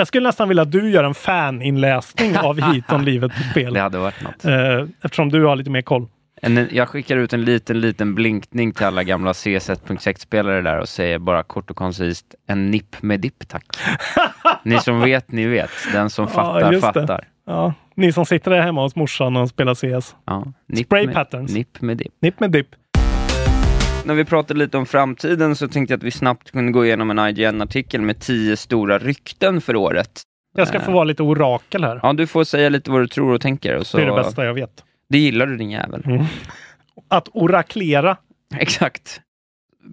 S2: Jag skulle nästan vilja att du gör en faninläsning av Hit om livet på spel.
S3: Det hade varit något.
S2: Eh, Eftersom du har lite mer koll.
S3: En, jag skickar ut en liten, liten blinkning till alla gamla CS1.6-spelare där och säger bara kort och koncist en nipp med dipp tack. ni som vet, ni vet. Den som fattar,
S2: just det.
S3: fattar.
S2: Ja, ni som sitter där hemma hos morsan och spelar CS.
S3: Ja. Nipp
S2: Spray
S3: med,
S2: patterns.
S3: Nipp med dipp.
S2: Nipp med dipp.
S3: När vi pratade lite om framtiden så tänkte jag att vi snabbt kunde gå igenom en IGN-artikel med tio stora rykten för året.
S2: Jag ska få vara lite orakel här.
S3: Ja, du får säga lite vad du tror och tänker. Och så,
S2: Det är det bästa Mm. jag vet.
S3: Det gillar du din jävel.
S2: Att oraklera.
S3: Exakt.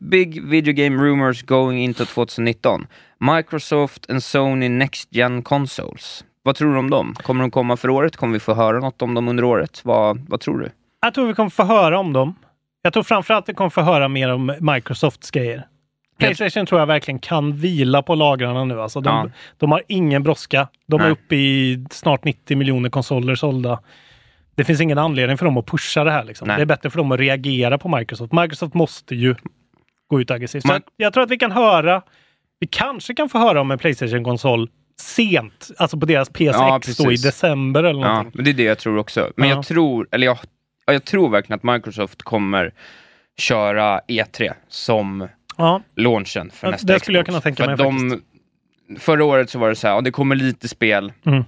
S3: Big video game rumors going into 2019. Microsoft and Sony Next Gen Consoles. Vad tror du om dem? Kommer de komma för året? Kommer vi få höra något om dem under året? Vad, vad tror du?
S2: Jag tror vi kommer få höra om dem. Jag tror framförallt vi kommer få höra mer om Microsofts grejer. Playstation tror jag verkligen kan vila på lagrarna nu. Alltså de,
S3: Ja.
S2: de har ingen brådska. De är
S3: Nej.
S2: uppe i snart 90 miljoner konsoler sålda. Det finns ingen anledning för dem att pusha det här. Liksom. Det
S3: Nej.
S2: är bättre för dem att reagera på Microsoft. Microsoft måste ju gå ut aggressivt. Så
S3: Man-
S2: jag, jag tror att vi kan höra, vi kanske kan få höra om en Playstation-konsol sent, alltså på deras PSX då i
S3: precis.
S2: december eller
S3: Ja,
S2: någonting.
S3: men det är det jag tror också. Men
S2: Ja.
S3: jag tror, eller jag, ja, jag tror verkligen att Microsoft kommer köra E3 som
S2: Ja.
S3: launchen för
S2: Ja,
S3: nästa
S2: det
S3: Xbox.
S2: skulle jag kunna tänka
S3: För att
S2: mig
S3: de, Förra året så var det så här, ja, det kommer lite spel,
S2: Mm.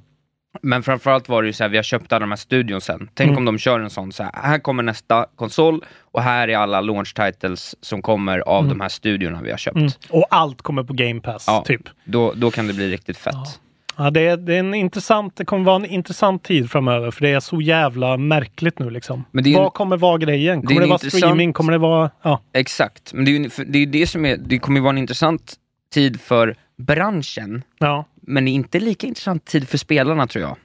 S3: men framförallt var det ju så här, vi har köpt alla de här studion sen. Tänk
S2: Mm.
S3: om de kör en sån, så här, här kommer nästa konsol och här är alla launch titles som kommer av de här studiorna vi har köpt.
S2: Mm. Och allt kommer på Game Pass,
S3: Ja,
S2: typ.
S3: då, då kan det bli riktigt fett.
S2: Ja, det, är, det, är en intressant, det kommer vara en intressant tid framöver, för det är så jävla märkligt nu liksom.
S3: Men det är ju-
S2: Vad kommer vara grejen?
S3: det är
S2: Kommer det,
S3: en
S2: vara
S3: intressant-
S2: streaming? Kommer det vara... Ja,
S3: Exakt, men det är ju för det, är ju det som är, det kommer ju vara en intressant tid för branschen,
S2: ja.
S3: men det är inte lika intressant tid för spelarna tror jag.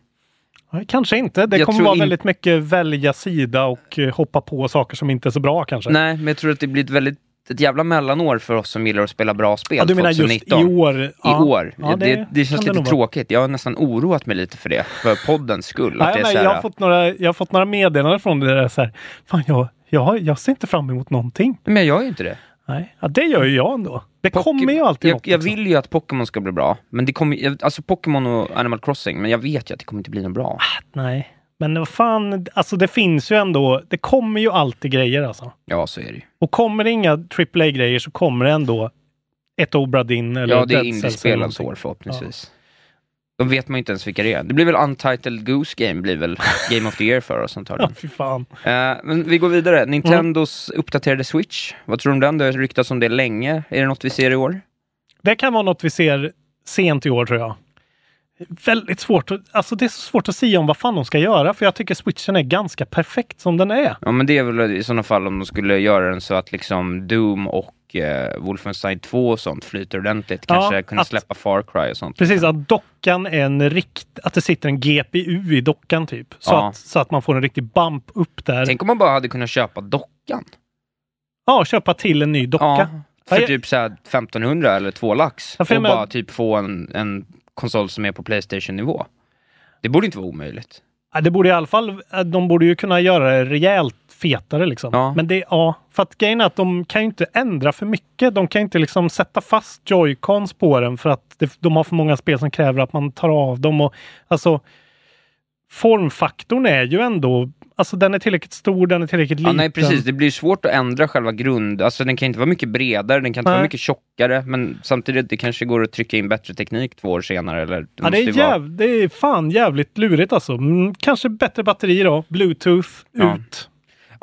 S2: Ja, Kanske inte. Det
S3: Jag
S2: kommer
S3: tror
S2: vara
S3: in-
S2: väldigt mycket välja sida och eh, hoppa på saker som inte är så bra kanske.
S3: Nej, men jag tror att det blir ett väldigt ett jävla mellanår för oss som gillar att spela bra spel
S2: ja, du menar just i
S3: 2019.
S2: år?
S3: I år.
S2: Ja,
S3: det, det,
S2: kan
S3: känns lite
S2: nog vara.
S3: tråkigt. Jag har nästan oroat mig lite för det, för poddens skull. att
S2: Nej,
S3: det är
S2: men
S3: så här,
S2: jag, har fått några, jag har fått några meddelanden från det där så här, Fan, jag, jag, jag ser inte fram emot någonting.
S3: men jag gör ju inte det.
S2: Nej, ja, det gör ju jag ändå. Det kommer ju alltid
S3: jag,
S2: något,
S3: jag
S2: liksom.
S3: vill ju att Pokémon ska bli bra. Men det kommer, jag- alltså Pokémon och Animal Crossing, men jag vet ju att det kommer inte bli något bra.
S2: Nej, men vad fan, alltså det finns ju ändå, det kommer ju alltid grejer alltså.
S3: Ja, så är det ju.
S2: Och kommer det inga AAA-grejer så kommer det ändå ett Obradin eller
S3: Ja, det
S2: Dead
S3: är
S2: Cells eller
S3: indiespelens
S2: någonting.
S3: år förhoppningsvis. Då vet man ju inte ens vilka det är. Det blir väl Untitled Goose Game, blir väl Game of the Year för oss
S2: Ja, Mm.
S3: antagligen.
S2: fy fan.
S3: Eh, men vi går vidare. Nintendos uppdaterade Switch. Vad tror du om den? Det har ryktats om det länge. Är det något vi ser i år?
S2: Det kan vara något vi ser sent i år tror jag. Väldigt svårt att, alltså det är så svårt att säga om vad fan de ska göra för jag tycker switchen är ganska perfekt som den är.
S3: Ja men det är väl i sådana fall om de skulle göra den så att liksom Doom och eh, Wolfenstein 2 och sånt flyter ordentligt.
S2: Ja,
S3: Kanske kunna
S2: att-
S3: släppa Far Cry och sånt.
S2: Precis, att dockan är en rikt, att det sitter en GPU i dockan typ. Så,
S3: Ja.
S2: att, så att man får en riktig bump upp där.
S3: Tänk om man bara hade kunnat köpa dockan.
S2: Ja, köpa till en ny docka.
S3: Ja, för
S2: Ja, jag-
S3: typ såhär 1500 eller 2 lax.
S2: Ja,
S3: och
S2: för jag menar-
S3: bara typ få en, en konsol som är på Playstation-nivå. Det borde inte vara omöjligt.
S2: Ja, det borde i alla fall, eh, de borde ju kunna göra det rejält fetare liksom.
S3: Ja.
S2: Men det, ja. För att grejen är att de kan ju inte ändra för mycket. De kan ju inte liksom sätta fast joycons på den för att det, de har för många spel som kräver att man tar av dem och alltså formfaktorn är ju ändå, alltså den är tillräckligt stor, den är tillräckligt
S3: Ja,
S2: liten.
S3: nej precis, det blir svårt att ändra själva grund, alltså den kan inte vara mycket bredare, den kan inte vara
S2: Nej.
S3: mycket tjockare, men samtidigt det kanske går att trycka in bättre teknik två år senare eller...
S2: Ja, det,
S3: måste ju
S2: är jäv, det är fan jävligt lurigt alltså. Mm, kanske bättre batteri då, bluetooth,
S3: Ja.
S2: ut.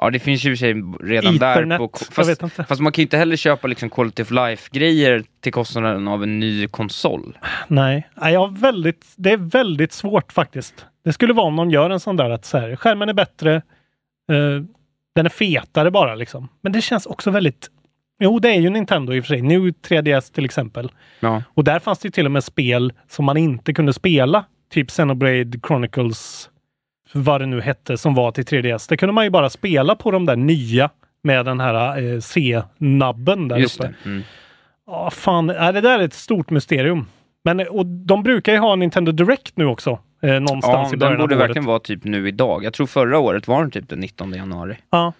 S3: Ja, det finns ju i och för sig redan där.
S2: Ethernet,
S3: På,
S2: jag
S3: fast,
S2: vet inte.
S3: fast man kan ju inte heller köpa liksom quality of life-grejer till kostnaden av en ny konsol.
S2: Nej, Nej, jag har väldigt, det är väldigt svårt faktiskt. Det skulle vara om någon gör en sån där att så här, skärmen är bättre, eh, den är fetare bara liksom. Men det känns också väldigt... Jo, det är ju Nintendo i och för sig. Nu 3DS till exempel.
S3: Ja.
S2: Och där fanns det ju till och med spel som man inte kunde spela. Typ Xenoblade Chronicles, vad det nu hette, som var till 3DS. Det kunde man ju bara spela på de där nya med den här eh, C-nabben där
S3: Just
S2: uppe.
S3: det. Mm.
S2: Ja, fan. Ja, det där är ett stort mysterium. Men eh, och de brukar ju ha Nintendo Direct nu också. Eh, någonstans
S3: Ja,
S2: i
S3: den
S2: början av
S3: borde
S2: året.
S3: verkligen vara typ nu idag. Jag tror förra året var den typ den 19 januari.
S2: Ja.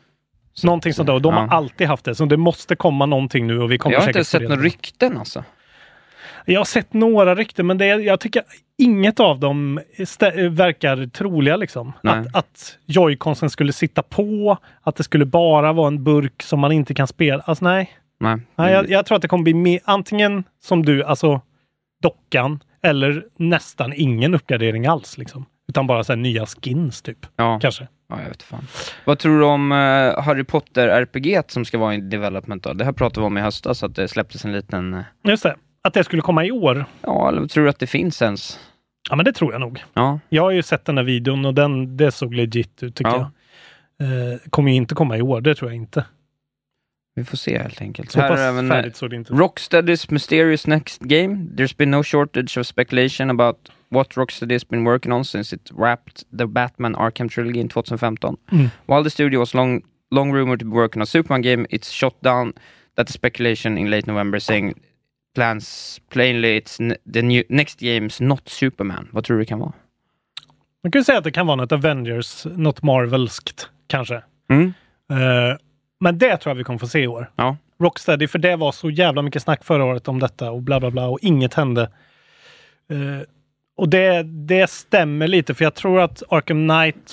S2: Någonting sånt där. Och de
S3: ja.
S2: har alltid haft det. Så det måste komma någonting nu och vi kommer
S3: Jag har
S2: säkert
S3: inte
S2: få
S3: sett
S2: reda
S3: några
S2: på
S3: rykten alltså.
S2: det. Jag har sett några rykten men det, är- jag tycker inget av dem stä- verkar troliga liksom.
S3: Nej.
S2: Att, att joyconsen skulle sitta på, att det skulle bara vara en burk som man inte kan spela. Alltså nej.
S3: Nej.
S2: Nej, jag, jag tror att det kommer bli me- antingen som du, alltså dockan, eller nästan ingen uppgradering alls. Liksom. Utan bara så här nya skins typ,
S3: ja.
S2: kanske.
S3: ja, jag vet fan. Vad tror du om eh, Harry Potter-RPG som ska vara i development då? Det här pratade vi om i höstas, att det släpptes en liten... eh,
S2: Just det, att det skulle komma i år.
S3: Ja, eller tror du att det finns ens?
S2: Ja, men det tror jag nog.
S3: Ja,
S2: Jag har ju sett den här videon och den, det såg legit ut tycker
S3: Ja.
S2: jag. Eh, kommer ju inte komma i år, det tror jag inte.
S3: vi får se helt enkelt.
S2: Så
S3: Här
S2: pass
S3: är även, eh,
S2: färdigt såg det inte ut.
S3: Rocksteady's mysterious next game. There's been no shortage of speculation about what Rocksteady's been working on since it wrapped the Batman Arkham trilogy in 2015.
S2: Mm.
S3: While the studio was long, long rumored to be working on a Superman game, it's shot down that the speculation in late November saying plans plainly it's n- the new, next game's not Superman. Vad tror du det kan vara?
S2: Man kan ju säga att det kan vara något Avengers, något Marvelskt kanske.
S3: Mm.
S2: Eh, men det tror jag vi kommer få se i år.
S3: Ja.
S2: Rocksteady, för det var så jävla mycket snack förra året om detta och bla bla bla och inget hände. Eh, och det, det stämmer lite för jag tror att Arkham Knight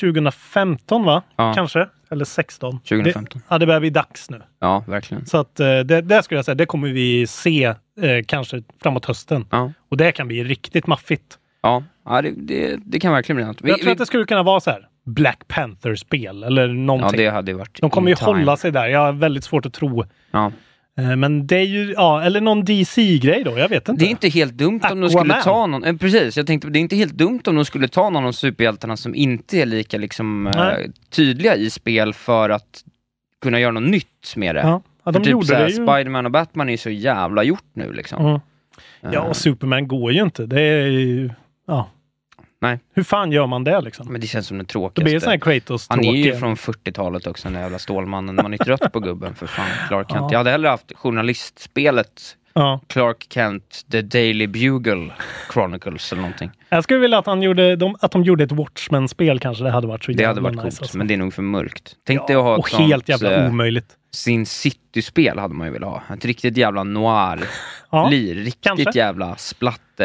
S2: 2015 va?
S3: Ja.
S2: Kanske? Eller 16?
S3: 2015.
S2: Det, ja, det börjar bli dags nu.
S3: Ja, verkligen.
S2: Så att eh, det, det skulle jag säga, det kommer vi se eh, kanske framåt hösten.
S3: Ja,
S2: Och det kan bli riktigt maffigt.
S3: ja. ja det, det, det kan verkligen bli något. Vi-
S2: jag tror
S3: vi-
S2: att det skulle kunna vara så här Black Panther-spel eller
S3: ja,
S2: någonting.
S3: det hade ju varit
S2: De kommer ju
S3: in time.
S2: hålla sig där. Jag har väldigt svårt att tro
S3: Ja.
S2: Eh, Men det är ju, ja, eller någon DC-grej då, jag vet inte.
S3: Det är inte helt dumt om de skulle
S2: Aquaman.
S3: ta någon, eh, precis, jag tänkte det är inte helt dumt om de skulle ta någon av superhjältarna som inte är lika liksom, eh,
S2: Nej.
S3: tydliga i spel för att kunna göra något nytt med det.
S2: ja. ja, de
S3: För typ
S2: gjorde
S3: såhär,
S2: det ju.
S3: Spiderman och Batman är ju så jävla gjort nu liksom.
S2: Mm. Ja,
S3: Eh,
S2: och Superman går ju inte. Det är ju, ja.
S3: Nej.
S2: Hur fan gör man det liksom?
S3: Men det känns som den
S2: Det blir sån här
S3: tråkigaste.
S2: kratos
S3: Han är ju
S2: tråkiga.
S3: från 40-talet också, den där jävla Stålmannen. Man är trött på gubben för fan, Clark Kent.
S2: Ja.
S3: Jag hade hellre haft journalistspelet
S2: Ja.
S3: Clark Kent, The Daily Bugle Chronicles eller någonting.
S2: Jag skulle vilja att, han gjorde, de, att de gjorde ett Watchmen-spel kanske. Det hade varit så
S3: Det hade
S2: jävla
S3: varit coolt,
S2: nice, alltså.
S3: men det är nog för mörkt. Tänk dig att ha
S2: Och helt jävla
S3: eh,
S2: omöjligt.
S3: Sin City-spel hade man ju velat ha. Ett riktigt jävla noir-lir.
S2: Ja.
S3: riktigt
S2: kanske.
S3: jävla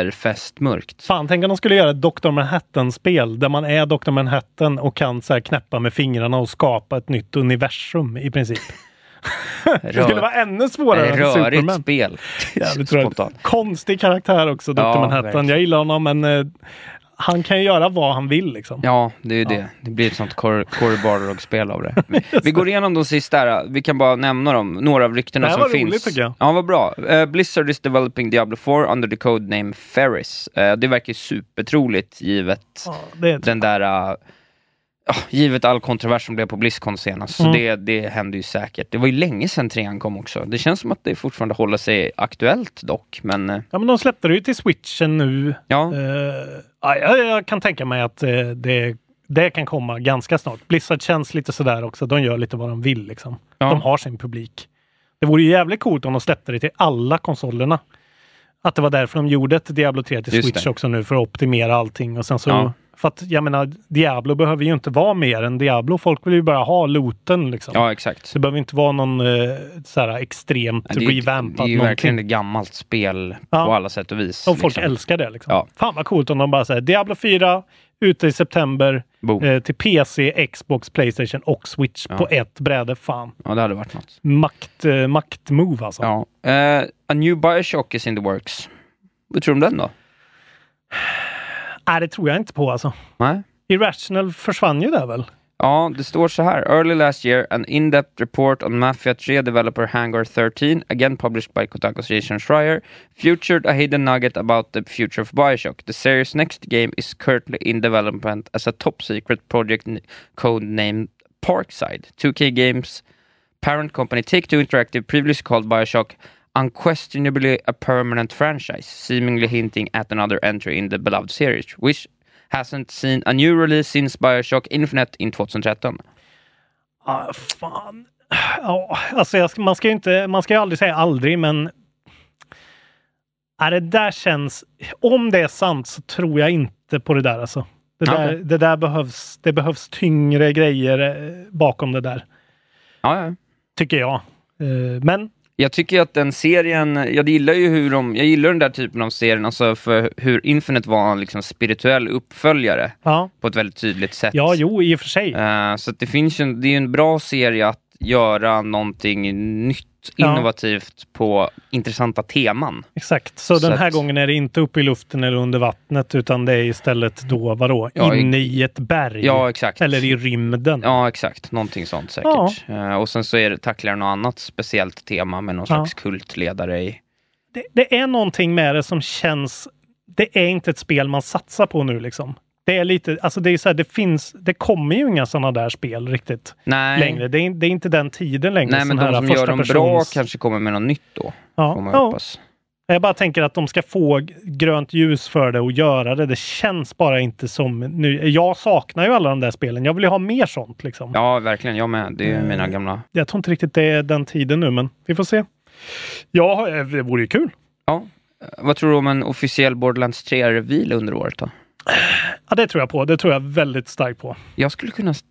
S3: splatterfestmörkt.
S2: Fan, tänk om de skulle göra ett Dr. Manhattan-spel där man är Dr. Manhattan och kan så här knäppa med fingrarna och skapa ett nytt universum i princip. Det skulle vara ännu svårare
S3: Ett
S2: än
S3: rörigt
S2: Superman.
S3: spel.
S2: Jävligt
S3: Spontant.
S2: rörigt. Konstig karaktär också, Dr.
S3: Ja,
S2: Manhattan.
S3: verkligen.
S2: Jag gillar honom, men eh, han kan ju göra vad han vill liksom.
S3: Ja, det är ju det. Det blir ett sånt Cor- Cory Barlog-spel av det. Vi, vi går igenom de sista här. Vi kan bara nämna dem. Några av ryktena
S2: Det här
S3: som
S2: var
S3: finns.
S2: roligt, tycker jag.
S3: Ja, vad bra. Eh, Blizzard is developing Diablo 4 under the code name Ferris. Eh, det verkar ju supertroligt givet
S2: Ja, det är
S3: den där... eh, ja, givet all kontrovers som blev på Blizzcon senast, så
S2: Mm.
S3: det, det händer ju säkert. Det var ju länge sedan trean kom också. Det känns som att det fortfarande håller sig aktuellt dock, men eh,
S2: ja, men de släppte det ju till switchen nu.
S3: ja.
S2: Eh, ja, jag, jag kan tänka mig att eh, det, det kan komma ganska snart. Blizzard känns lite sådär också. De gör lite vad de vill liksom.
S3: Ja.
S2: De har sin publik. Det vore ju jävligt coolt om de släppte det till alla konsolerna. Att det var därför de gjorde ett Diablo 3 till
S3: Just
S2: Switch
S3: det.
S2: också nu för att optimera allting och sen så
S3: Ja.
S2: För att jag menar, Diablo behöver ju inte vara mer än Diablo. Folk vill ju bara ha looten liksom.
S3: Ja, exakt.
S2: Så det behöver inte vara någon eh, så här extremt
S3: Ja, det, är ju- det
S2: revampad
S3: är ju
S2: någonting.
S3: verkligen ett gammalt spel på
S2: Ja.
S3: alla sätt och vis.
S2: Och folk
S3: liksom.
S2: älskar det liksom.
S3: Ja.
S2: Fan vad coolt om de bara säger Diablo 4 ute i september
S3: Boom.
S2: eh, till PC, Xbox, Playstation och Switch
S3: Ja.
S2: på ett bräde. Fan.
S3: Ja, det hade varit något.
S2: Makt, eh, maktmove alltså.
S3: Ja. Eh, a new Bioshock is in the works. Vad tror du om den då?
S2: Nej, det tror jag inte på alltså.
S3: Nej?
S2: Irrational försvann ju där väl?
S3: Ja, det står så här. Early last year, an in-depth report on Mafia 3 developer Hangar 13, again published by Kotaku Jason Schreier, featured a hidden nugget about the future of Bioshock. The series' next game is currently in development as a top secret project n- codenamed Parkside. 2K Games' parent company Take-Two Interactive, previously called Bioshock, unquestionably a permanent franchise, seemingly hinting at another entry in the beloved series, which hasn't seen a new release since Bioshock Infinite in 2013.
S2: Ah, fan. Ja, alltså jag, ska- man ska ju inte, man ska ju aldrig säga aldrig, men Ja, det där känns... Om det är sant så tror jag inte på det där alltså. Det där,
S3: Okej.
S2: det där behövs, det behövs tyngre grejer eh, bakom det där,
S3: Ja, ja.
S2: tycker jag. Eh, Men
S3: Jag tycker att den serien, jag gillar ju hur de, jag gillar den där typen av serien, alltså för hur Infinite var en liksom spirituell uppföljare
S2: ja,
S3: på ett väldigt tydligt sätt.
S2: ja jo, i och för sig.
S3: Eh, så att det finns ju, en- det är ju en bra serie att göra någonting nytt,
S2: Ja.
S3: innovativt på intressanta teman.
S2: Exakt. Så,
S3: Så
S2: den här
S3: att-
S2: gången är det inte uppe i luften eller under vattnet, utan det är istället då, vadå,
S3: Ja, i-
S2: inne i ett berg?
S3: Ja, exakt.
S2: Eller i rymden?
S3: Ja, exakt. Någonting sånt säkert. Eh, och sen så är det, tacklar något annat speciellt tema med någon
S2: Ja.
S3: slags kultledare i.
S2: det, det är någonting med det som känns... Det är inte ett spel man satsar på nu liksom. Det är lite, alltså det är så här, det finns, det kommer ju inga sådana där spel riktigt
S3: Nej,
S2: längre. Det är, det är inte den tiden längre.
S3: Nej men
S2: sån
S3: de
S2: här
S3: som gör
S2: första
S3: dem bra
S2: persons-
S3: kanske kommer med något nytt då. Får
S2: ja.
S3: man
S2: ja,
S3: hoppas.
S2: jag bara tänker att de ska få g- grönt ljus för det och göra det. Det känns bara inte som nu. Jag saknar ju alla de där spelen. Jag vill ju ha mer sånt liksom.
S3: Ja, verkligen. Jag med. Det är
S2: Mm.
S3: ju mina gamla...
S2: Jag tror inte riktigt det är den tiden nu, men vi får se. Ja, eh, det vore ju kul.
S3: Ja. Eh, Vad tror du om en officiell Borderlands 3-reveal under året då?
S2: Ja, det tror jag på. Det tror jag väldigt starkt på.
S3: Jag skulle kunna s-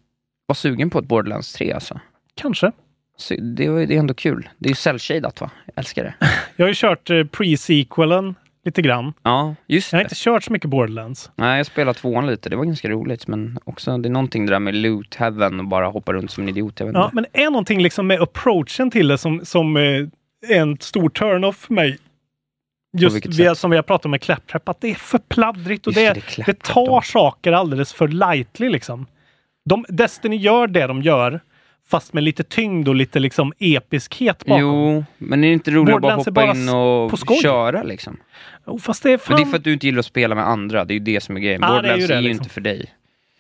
S3: vara sugen på ett Borderlands 3 alltså.
S2: Kanske.
S3: Så det, var ju- det är ändå kul. Det är ju cellshadat va? Jag älskar det.
S2: Jag har ju kört eh, pre-sequelen lite grann.
S3: Ja, just
S2: Jag har
S3: det.
S2: inte kört så mycket Borderlands.
S3: Nej, jag spelade tvåan lite. Det var ganska roligt. Men också, det är någonting det där med loot heaven och bara hoppa runt som en idiot. Jag vet
S2: Ja,
S3: inte.
S2: men är någonting liksom med approachen till det som, som eh, är en stor turn-off för mig. Just
S3: vilket
S2: vi,
S3: sätt?
S2: som vi har pratat om med claptrap, att det är för pladdrigt och
S3: Just det,
S2: det,
S3: det är
S2: det,
S3: claptrap
S2: tar
S3: då.
S2: saker alldeles för lightly liksom. De, Destiny gör det de gör, fast med lite tyngd och lite liksom episkhet bakom. Jo.
S3: Jo, men är det inte roligt att bara
S2: Borderlands är
S3: hoppa
S2: bara
S3: in
S2: s- på
S3: och
S2: skoj.
S3: köra liksom?
S2: fast det är fan...
S3: Men det är för att du inte gillar att spela med andra. Det är ju det som är grejen.
S2: Ja, det är ju
S3: Borderlands är
S2: det,
S3: ju,
S2: liksom.
S3: inte för dig.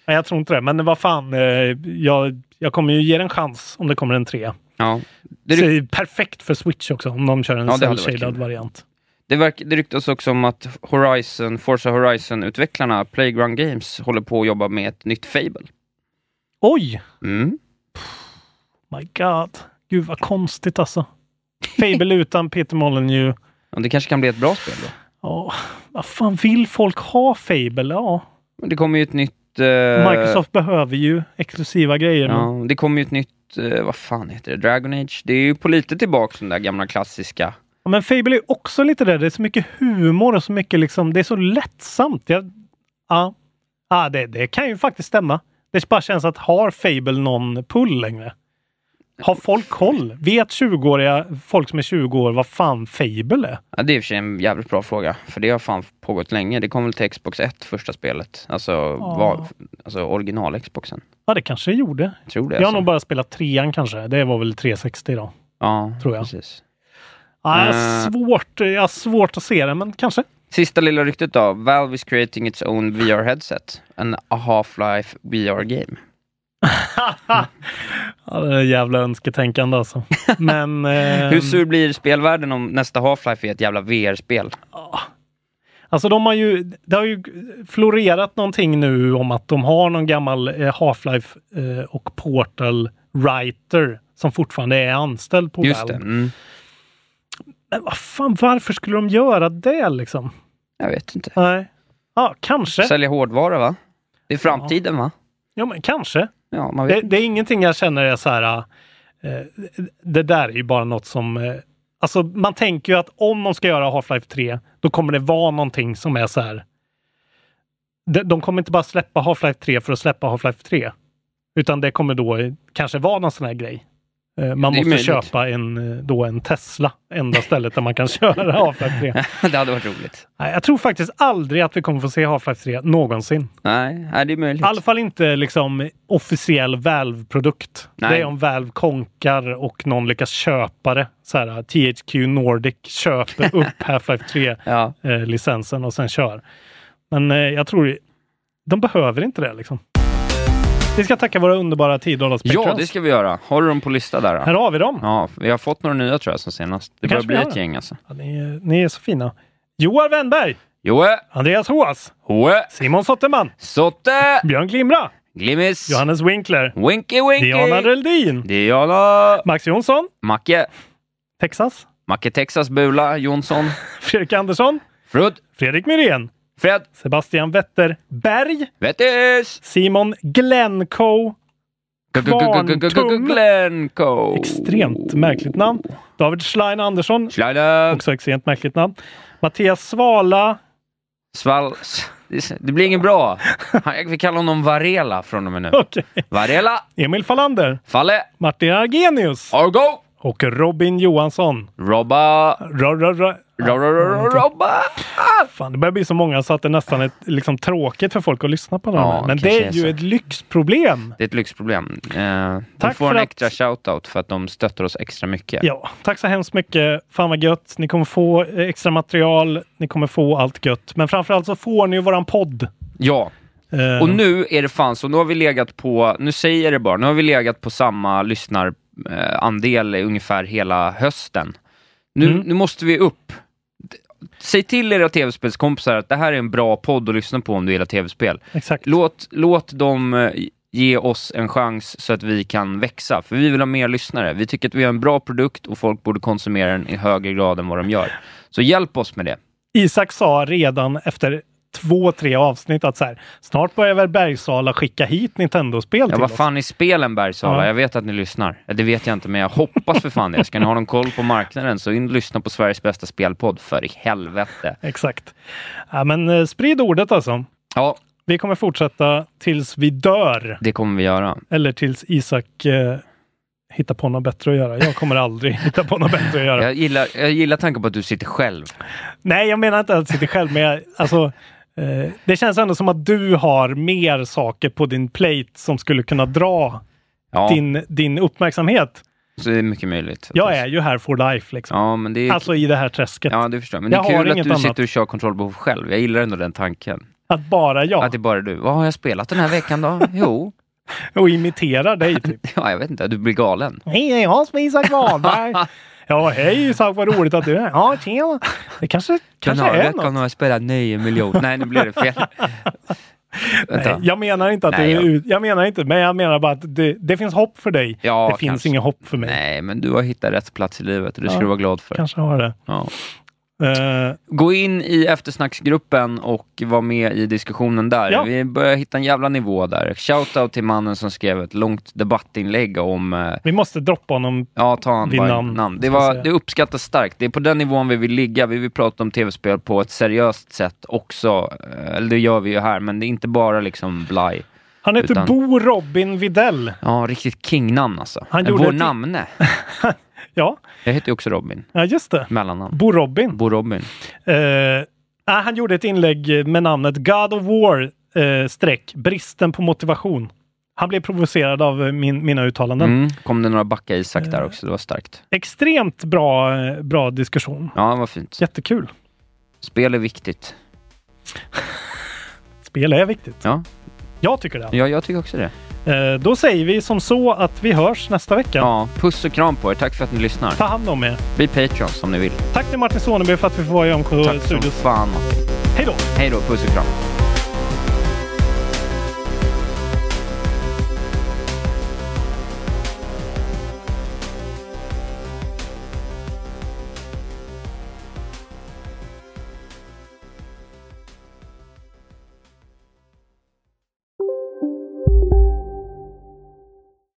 S2: Nej, jag tror inte det. Men vad fan, eh, jag, jag kommer ju ge den en chans om det kommer en trea.
S3: Ja.
S2: Det
S3: Det, ryk-
S2: är perfekt för Switch också om de kör en
S3: Ja, det hade varit
S2: cell-shaded
S3: kul.
S2: variant.
S3: det, verk- det ryktas också om att Horizon, Forza Horizon-utvecklarna, Playground Games, håller på att jobba med ett nytt Fable.
S2: Oj!
S3: Mm.
S2: My God. Gud vad konstigt alltså. Fable utan Peter Molyneux.
S3: Och det kanske kan bli ett bra spel då.
S2: Ja, vad fan vill folk ha Fable? Ja,
S3: Men det kommer ju ett nytt... eh,
S2: Microsoft behöver ju exklusiva grejer. men-
S3: Ja, det kommer ju ett nytt... eh, vad fan heter det? Dragon Age. Det är ju på lite tillbaka den där gamla klassiska.
S2: Ja, men Fable är också lite där. Det är så mycket humor och så mycket liksom. Det är så lättsamt. Jag, ja, ja det, det kan ju faktiskt stämma. Det bara känns att har Fable någon pull längre? Har folk koll? Vet 20-åriga folk som är 20 år vad fan Fable är?
S3: Ja, det är i och för sig en jävligt bra fråga. För det har fan pågått länge. Det kom väl till Xbox 1, första spelet. Alltså, var, alltså original-Xboxen.
S2: Ja, det kanske det gjorde.
S3: Jag tror det.
S2: Jag har
S3: alltså.
S2: nog bara spelat trean kanske. Det var väl 360 då.
S3: Ja,
S2: tror jag.
S3: Precis.
S2: Ja,
S3: Eh.
S2: svårt. Jag har svårt att se det, men kanske.
S3: Sista lilla ryktet då. Valve is creating its own VR headset. An a Half-Life VR game.
S2: Ja, det är jävla önsketänkande alltså. Men... ehm,
S3: Hur sur blir spelvärlden om nästa Half-Life är ett jävla VR-spel?
S2: Alltså de har ju, det har ju florerat någonting nu om att de har någon gammal eh, Half-Life eh, och Portal writer som fortfarande är anställd på
S3: Just det.
S2: Valve.
S3: Mm.
S2: Men vad fan, varför skulle de göra det liksom?
S3: Jag vet inte.
S2: Nej. Ja, kanske.
S3: Sälja hårdvara va? Det är framtiden va?
S2: Ja, men kanske.
S3: Ja, man
S2: Det,
S3: vet.
S2: det är ingenting jag känner är så här, eh, det där är ju bara något som, eh, alltså man tänker ju att om de ska göra Half-Life 3, då kommer det vara någonting som är så här. De, de kommer inte bara släppa Half-Life 3 för att släppa Half-Life 3, utan det kommer då eh, kanske vara någon sån här grej. Eh, Man
S3: Det är
S2: måste
S3: möjligt.
S2: köpa en, eh, då en Tesla, enda stället där man kan köra Half-Life 3.
S3: det hade varit roligt.
S2: Nej, jag tror faktiskt aldrig att vi kommer få se Half-Life 3 någonsin.
S3: Nej, nej det är möjligt.
S2: I alla fall inte liksom officiell Valve-produkt. Det
S3: Nej.
S2: är om Valve konkar och någon lyckas köpa det. Så här, THQ Nordic köper upp Half-Life
S3: Ja.
S2: 3-licensen och sen kör. Men eh, jag tror de behöver inte det liksom. Vi ska tacka våra underbara 10 dollars
S3: ja, det ska vi göra. Har du dem på lista där?
S2: Här
S3: Då?
S2: har vi dem.
S3: Ja, vi har fått några nya tror jag sen senast. Det börjar
S2: kanske vi
S3: bli
S2: har
S3: ett
S2: det.
S3: gäng alltså.
S2: Ja, ni, är- ni är så fina. Joar Wennberg,
S3: Joe,
S2: Andreas Hoas,
S3: Hoe,
S2: Simon Sotterman,
S3: Sotte,
S2: Björn Glimra,
S3: Glimmis,
S2: Johannes Winkler,
S3: Winky Winky,
S2: Diana Reldin,
S3: Diana,
S2: Max Jonsson,
S3: Macke,
S2: Texas,
S3: Macke Texas Bula, Jonsson,
S2: Fredrik Andersson,
S3: Frud,
S2: Fredrik Myrén,
S3: Fred,
S2: Sebastian Wetterberg,
S3: Vettis,
S2: Simon Glencoe, Kvarntum.
S3: Glencoe, Oh.
S2: extremt märkligt namn. David Schlein Andersson,
S3: Schleider,
S2: också extremt märkligt namn. Mattias Svala,
S3: Svall... Det blir inget bra. Han- Vi kallar honom Varela från och med nu.
S2: okej.
S3: Varela,
S2: Emil Falander,
S3: Falle,
S2: Martin Argenius
S3: Argo,
S2: och Robin Johansson.
S3: Robba,
S2: Ra, ra, ra.
S3: Ro- ro- ro- ro- Robba!
S2: Fan, det börjar bli så många så att det nästan är liksom tråkigt för folk att lyssna på dem.
S3: Ja,
S2: här. Men
S3: kanske
S2: det är
S3: är
S2: ju
S3: så.
S2: ett lyxproblem.
S3: Det är ett lyxproblem. Eh, de
S2: Tack
S3: får
S2: för
S3: en
S2: att-
S3: extra shoutout för att de stöttar oss extra mycket.
S2: Ja, tack så hemskt mycket. Fan vad gött. Ni kommer få eh, extra material. Ni kommer få allt gött. Men framförallt så får ni ju våran podd.
S3: Ja.
S2: Eh,
S3: Och nu är det fan så, nu har vi legat på, nu säger jag det bara, nu har vi legat på samma lyssnarandel ungefär hela hösten. Nu,
S2: Mm.
S3: nu måste vi upp. D- Säg till era tv-spelskompisar att det här är en bra podd att lyssna på om du gillar tv-spel.
S2: Exakt.
S3: Låt, låt dem eh, ge oss en chans så att vi kan växa, för vi vill ha mer lyssnare. Vi tycker att vi har en bra produkt och folk borde konsumera den i högre grad än vad de gör. Så hjälp oss med det.
S2: Isak sa redan efter två, tre avsnitt att så här, snart börjar väl Bergsala skicka hit Nintendo-spel
S3: Ja,
S2: till
S3: vad
S2: oss.
S3: fan är spelen Bergsala?
S2: Ja.
S3: Jag vet att ni lyssnar. Ja, Det vet jag inte, men jag hoppas för fan det. Ska ni ha någon koll på marknaden så in och lyssna på Sveriges bästa spelpodd, för i helvete.
S2: Exakt. Ja, men eh, sprid ordet alltså.
S3: Ja,
S2: Vi kommer fortsätta tills vi dör.
S3: det kommer vi göra.
S2: Eller tills Isak eh, hittar på något bättre att göra. Jag kommer aldrig hitta på något bättre att göra.
S3: Jag gillar, jag gillar tanken på att du sitter själv.
S2: Nej, jag menar inte att sitta själv, men jag, alltså, eh, det känns ändå som att du har mer saker på din plate som skulle kunna dra
S3: Ja,
S2: din, din uppmärksamhet.
S3: så det är mycket möjligt.
S2: Jag är ju här for life, liksom.
S3: Ja, men det är...
S2: alltså i det här träsket.
S3: Ja, du förstår. jag. Men det
S2: Jag
S3: är
S2: har
S3: kul
S2: inget
S3: att du
S2: annat.
S3: sitter och kör kontrollbehov själv. Jag gillar ändå den tanken.
S2: Att bara jag,
S3: Att det är bara du. Vad har jag spelat den här veckan då? Jo,
S2: och imiterar dig. Typ.
S3: ja, jag vet inte. Du blir galen.
S2: Hej, det är jag som är Isak Wahlberg. ja, hej Isak, vad roligt att du är här. Ja, tjena. Det kanske,
S3: Den
S2: kanske
S3: här
S2: är
S3: veckan
S2: något.
S3: har jag spelat 9 miljoner. Nej, nu blev det fel. Vänta.
S2: Nej, jag menar inte att
S3: Nej,
S2: det är,
S3: ja.
S2: ut- jag menar inte, men jag menar bara att det, det finns hopp för dig.
S3: Ja,
S2: det finns
S3: kanske.
S2: inget hopp för mig.
S3: Nej, men du har hittat rätt plats i livet och det ska du vara glad för.
S2: Kanske har det.
S3: Ja.
S2: Eh,
S3: Gå in i eftersnacksgruppen och var med i diskussionen där.
S2: Ja.
S3: Vi börjar hitta en jävla nivå där. Shoutout till mannen som skrev ett långt debattinlägg om eh,
S2: Vi måste droppa honom.
S3: Ja, ta han
S2: Vid
S3: bara
S2: namn, Alltså-
S3: namn. Det,
S2: ska jag
S3: var,
S2: säga.
S3: det uppskattas starkt. Det är på den nivån vi vill ligga. Vi vill prata om tv-spel på ett seriöst sätt också. Eh, Eller det gör vi ju här, men det är inte bara liksom blaj.
S2: Han heter
S3: Utan-
S2: Bo Robin Videll.
S3: Ja, riktigt kingnamn alltså.
S2: Han
S3: Eh,
S2: gjorde
S3: Vår
S2: ett-
S3: namne.
S2: Ja,
S3: Jag heter ju också Robin.
S2: ja just det.
S3: Mellannamn.
S2: Bo Robin.
S3: Bo Robin.
S2: Eh, nej, han gjorde ett inlägg med namnet God of War eh, streck bristen på motivation. Han blev provocerad av eh, min, mina uttalanden.
S3: Mm. Kom det några backa Isak
S2: Eh.
S3: där också. Det var starkt.
S2: Extremt bra, eh, bra diskussion.
S3: Ja, vad fint.
S2: Jättekul.
S3: Spel är viktigt.
S2: Spel är viktigt.
S3: Ja,
S2: Jag tycker det.
S3: ja jag tycker också det.
S2: Eh, då säger vi som så att vi hörs nästa vecka.
S3: Ja, puss och kram på er. Tack för att ni lyssnar.
S2: Ta hand om er.
S3: Bli Patreons om ni vill.
S2: Tack till Martin Soneby för att vi får vara i
S3: Tack som
S2: MK-studios.
S3: fan.
S2: Hej då!
S3: Hej då, puss och kram.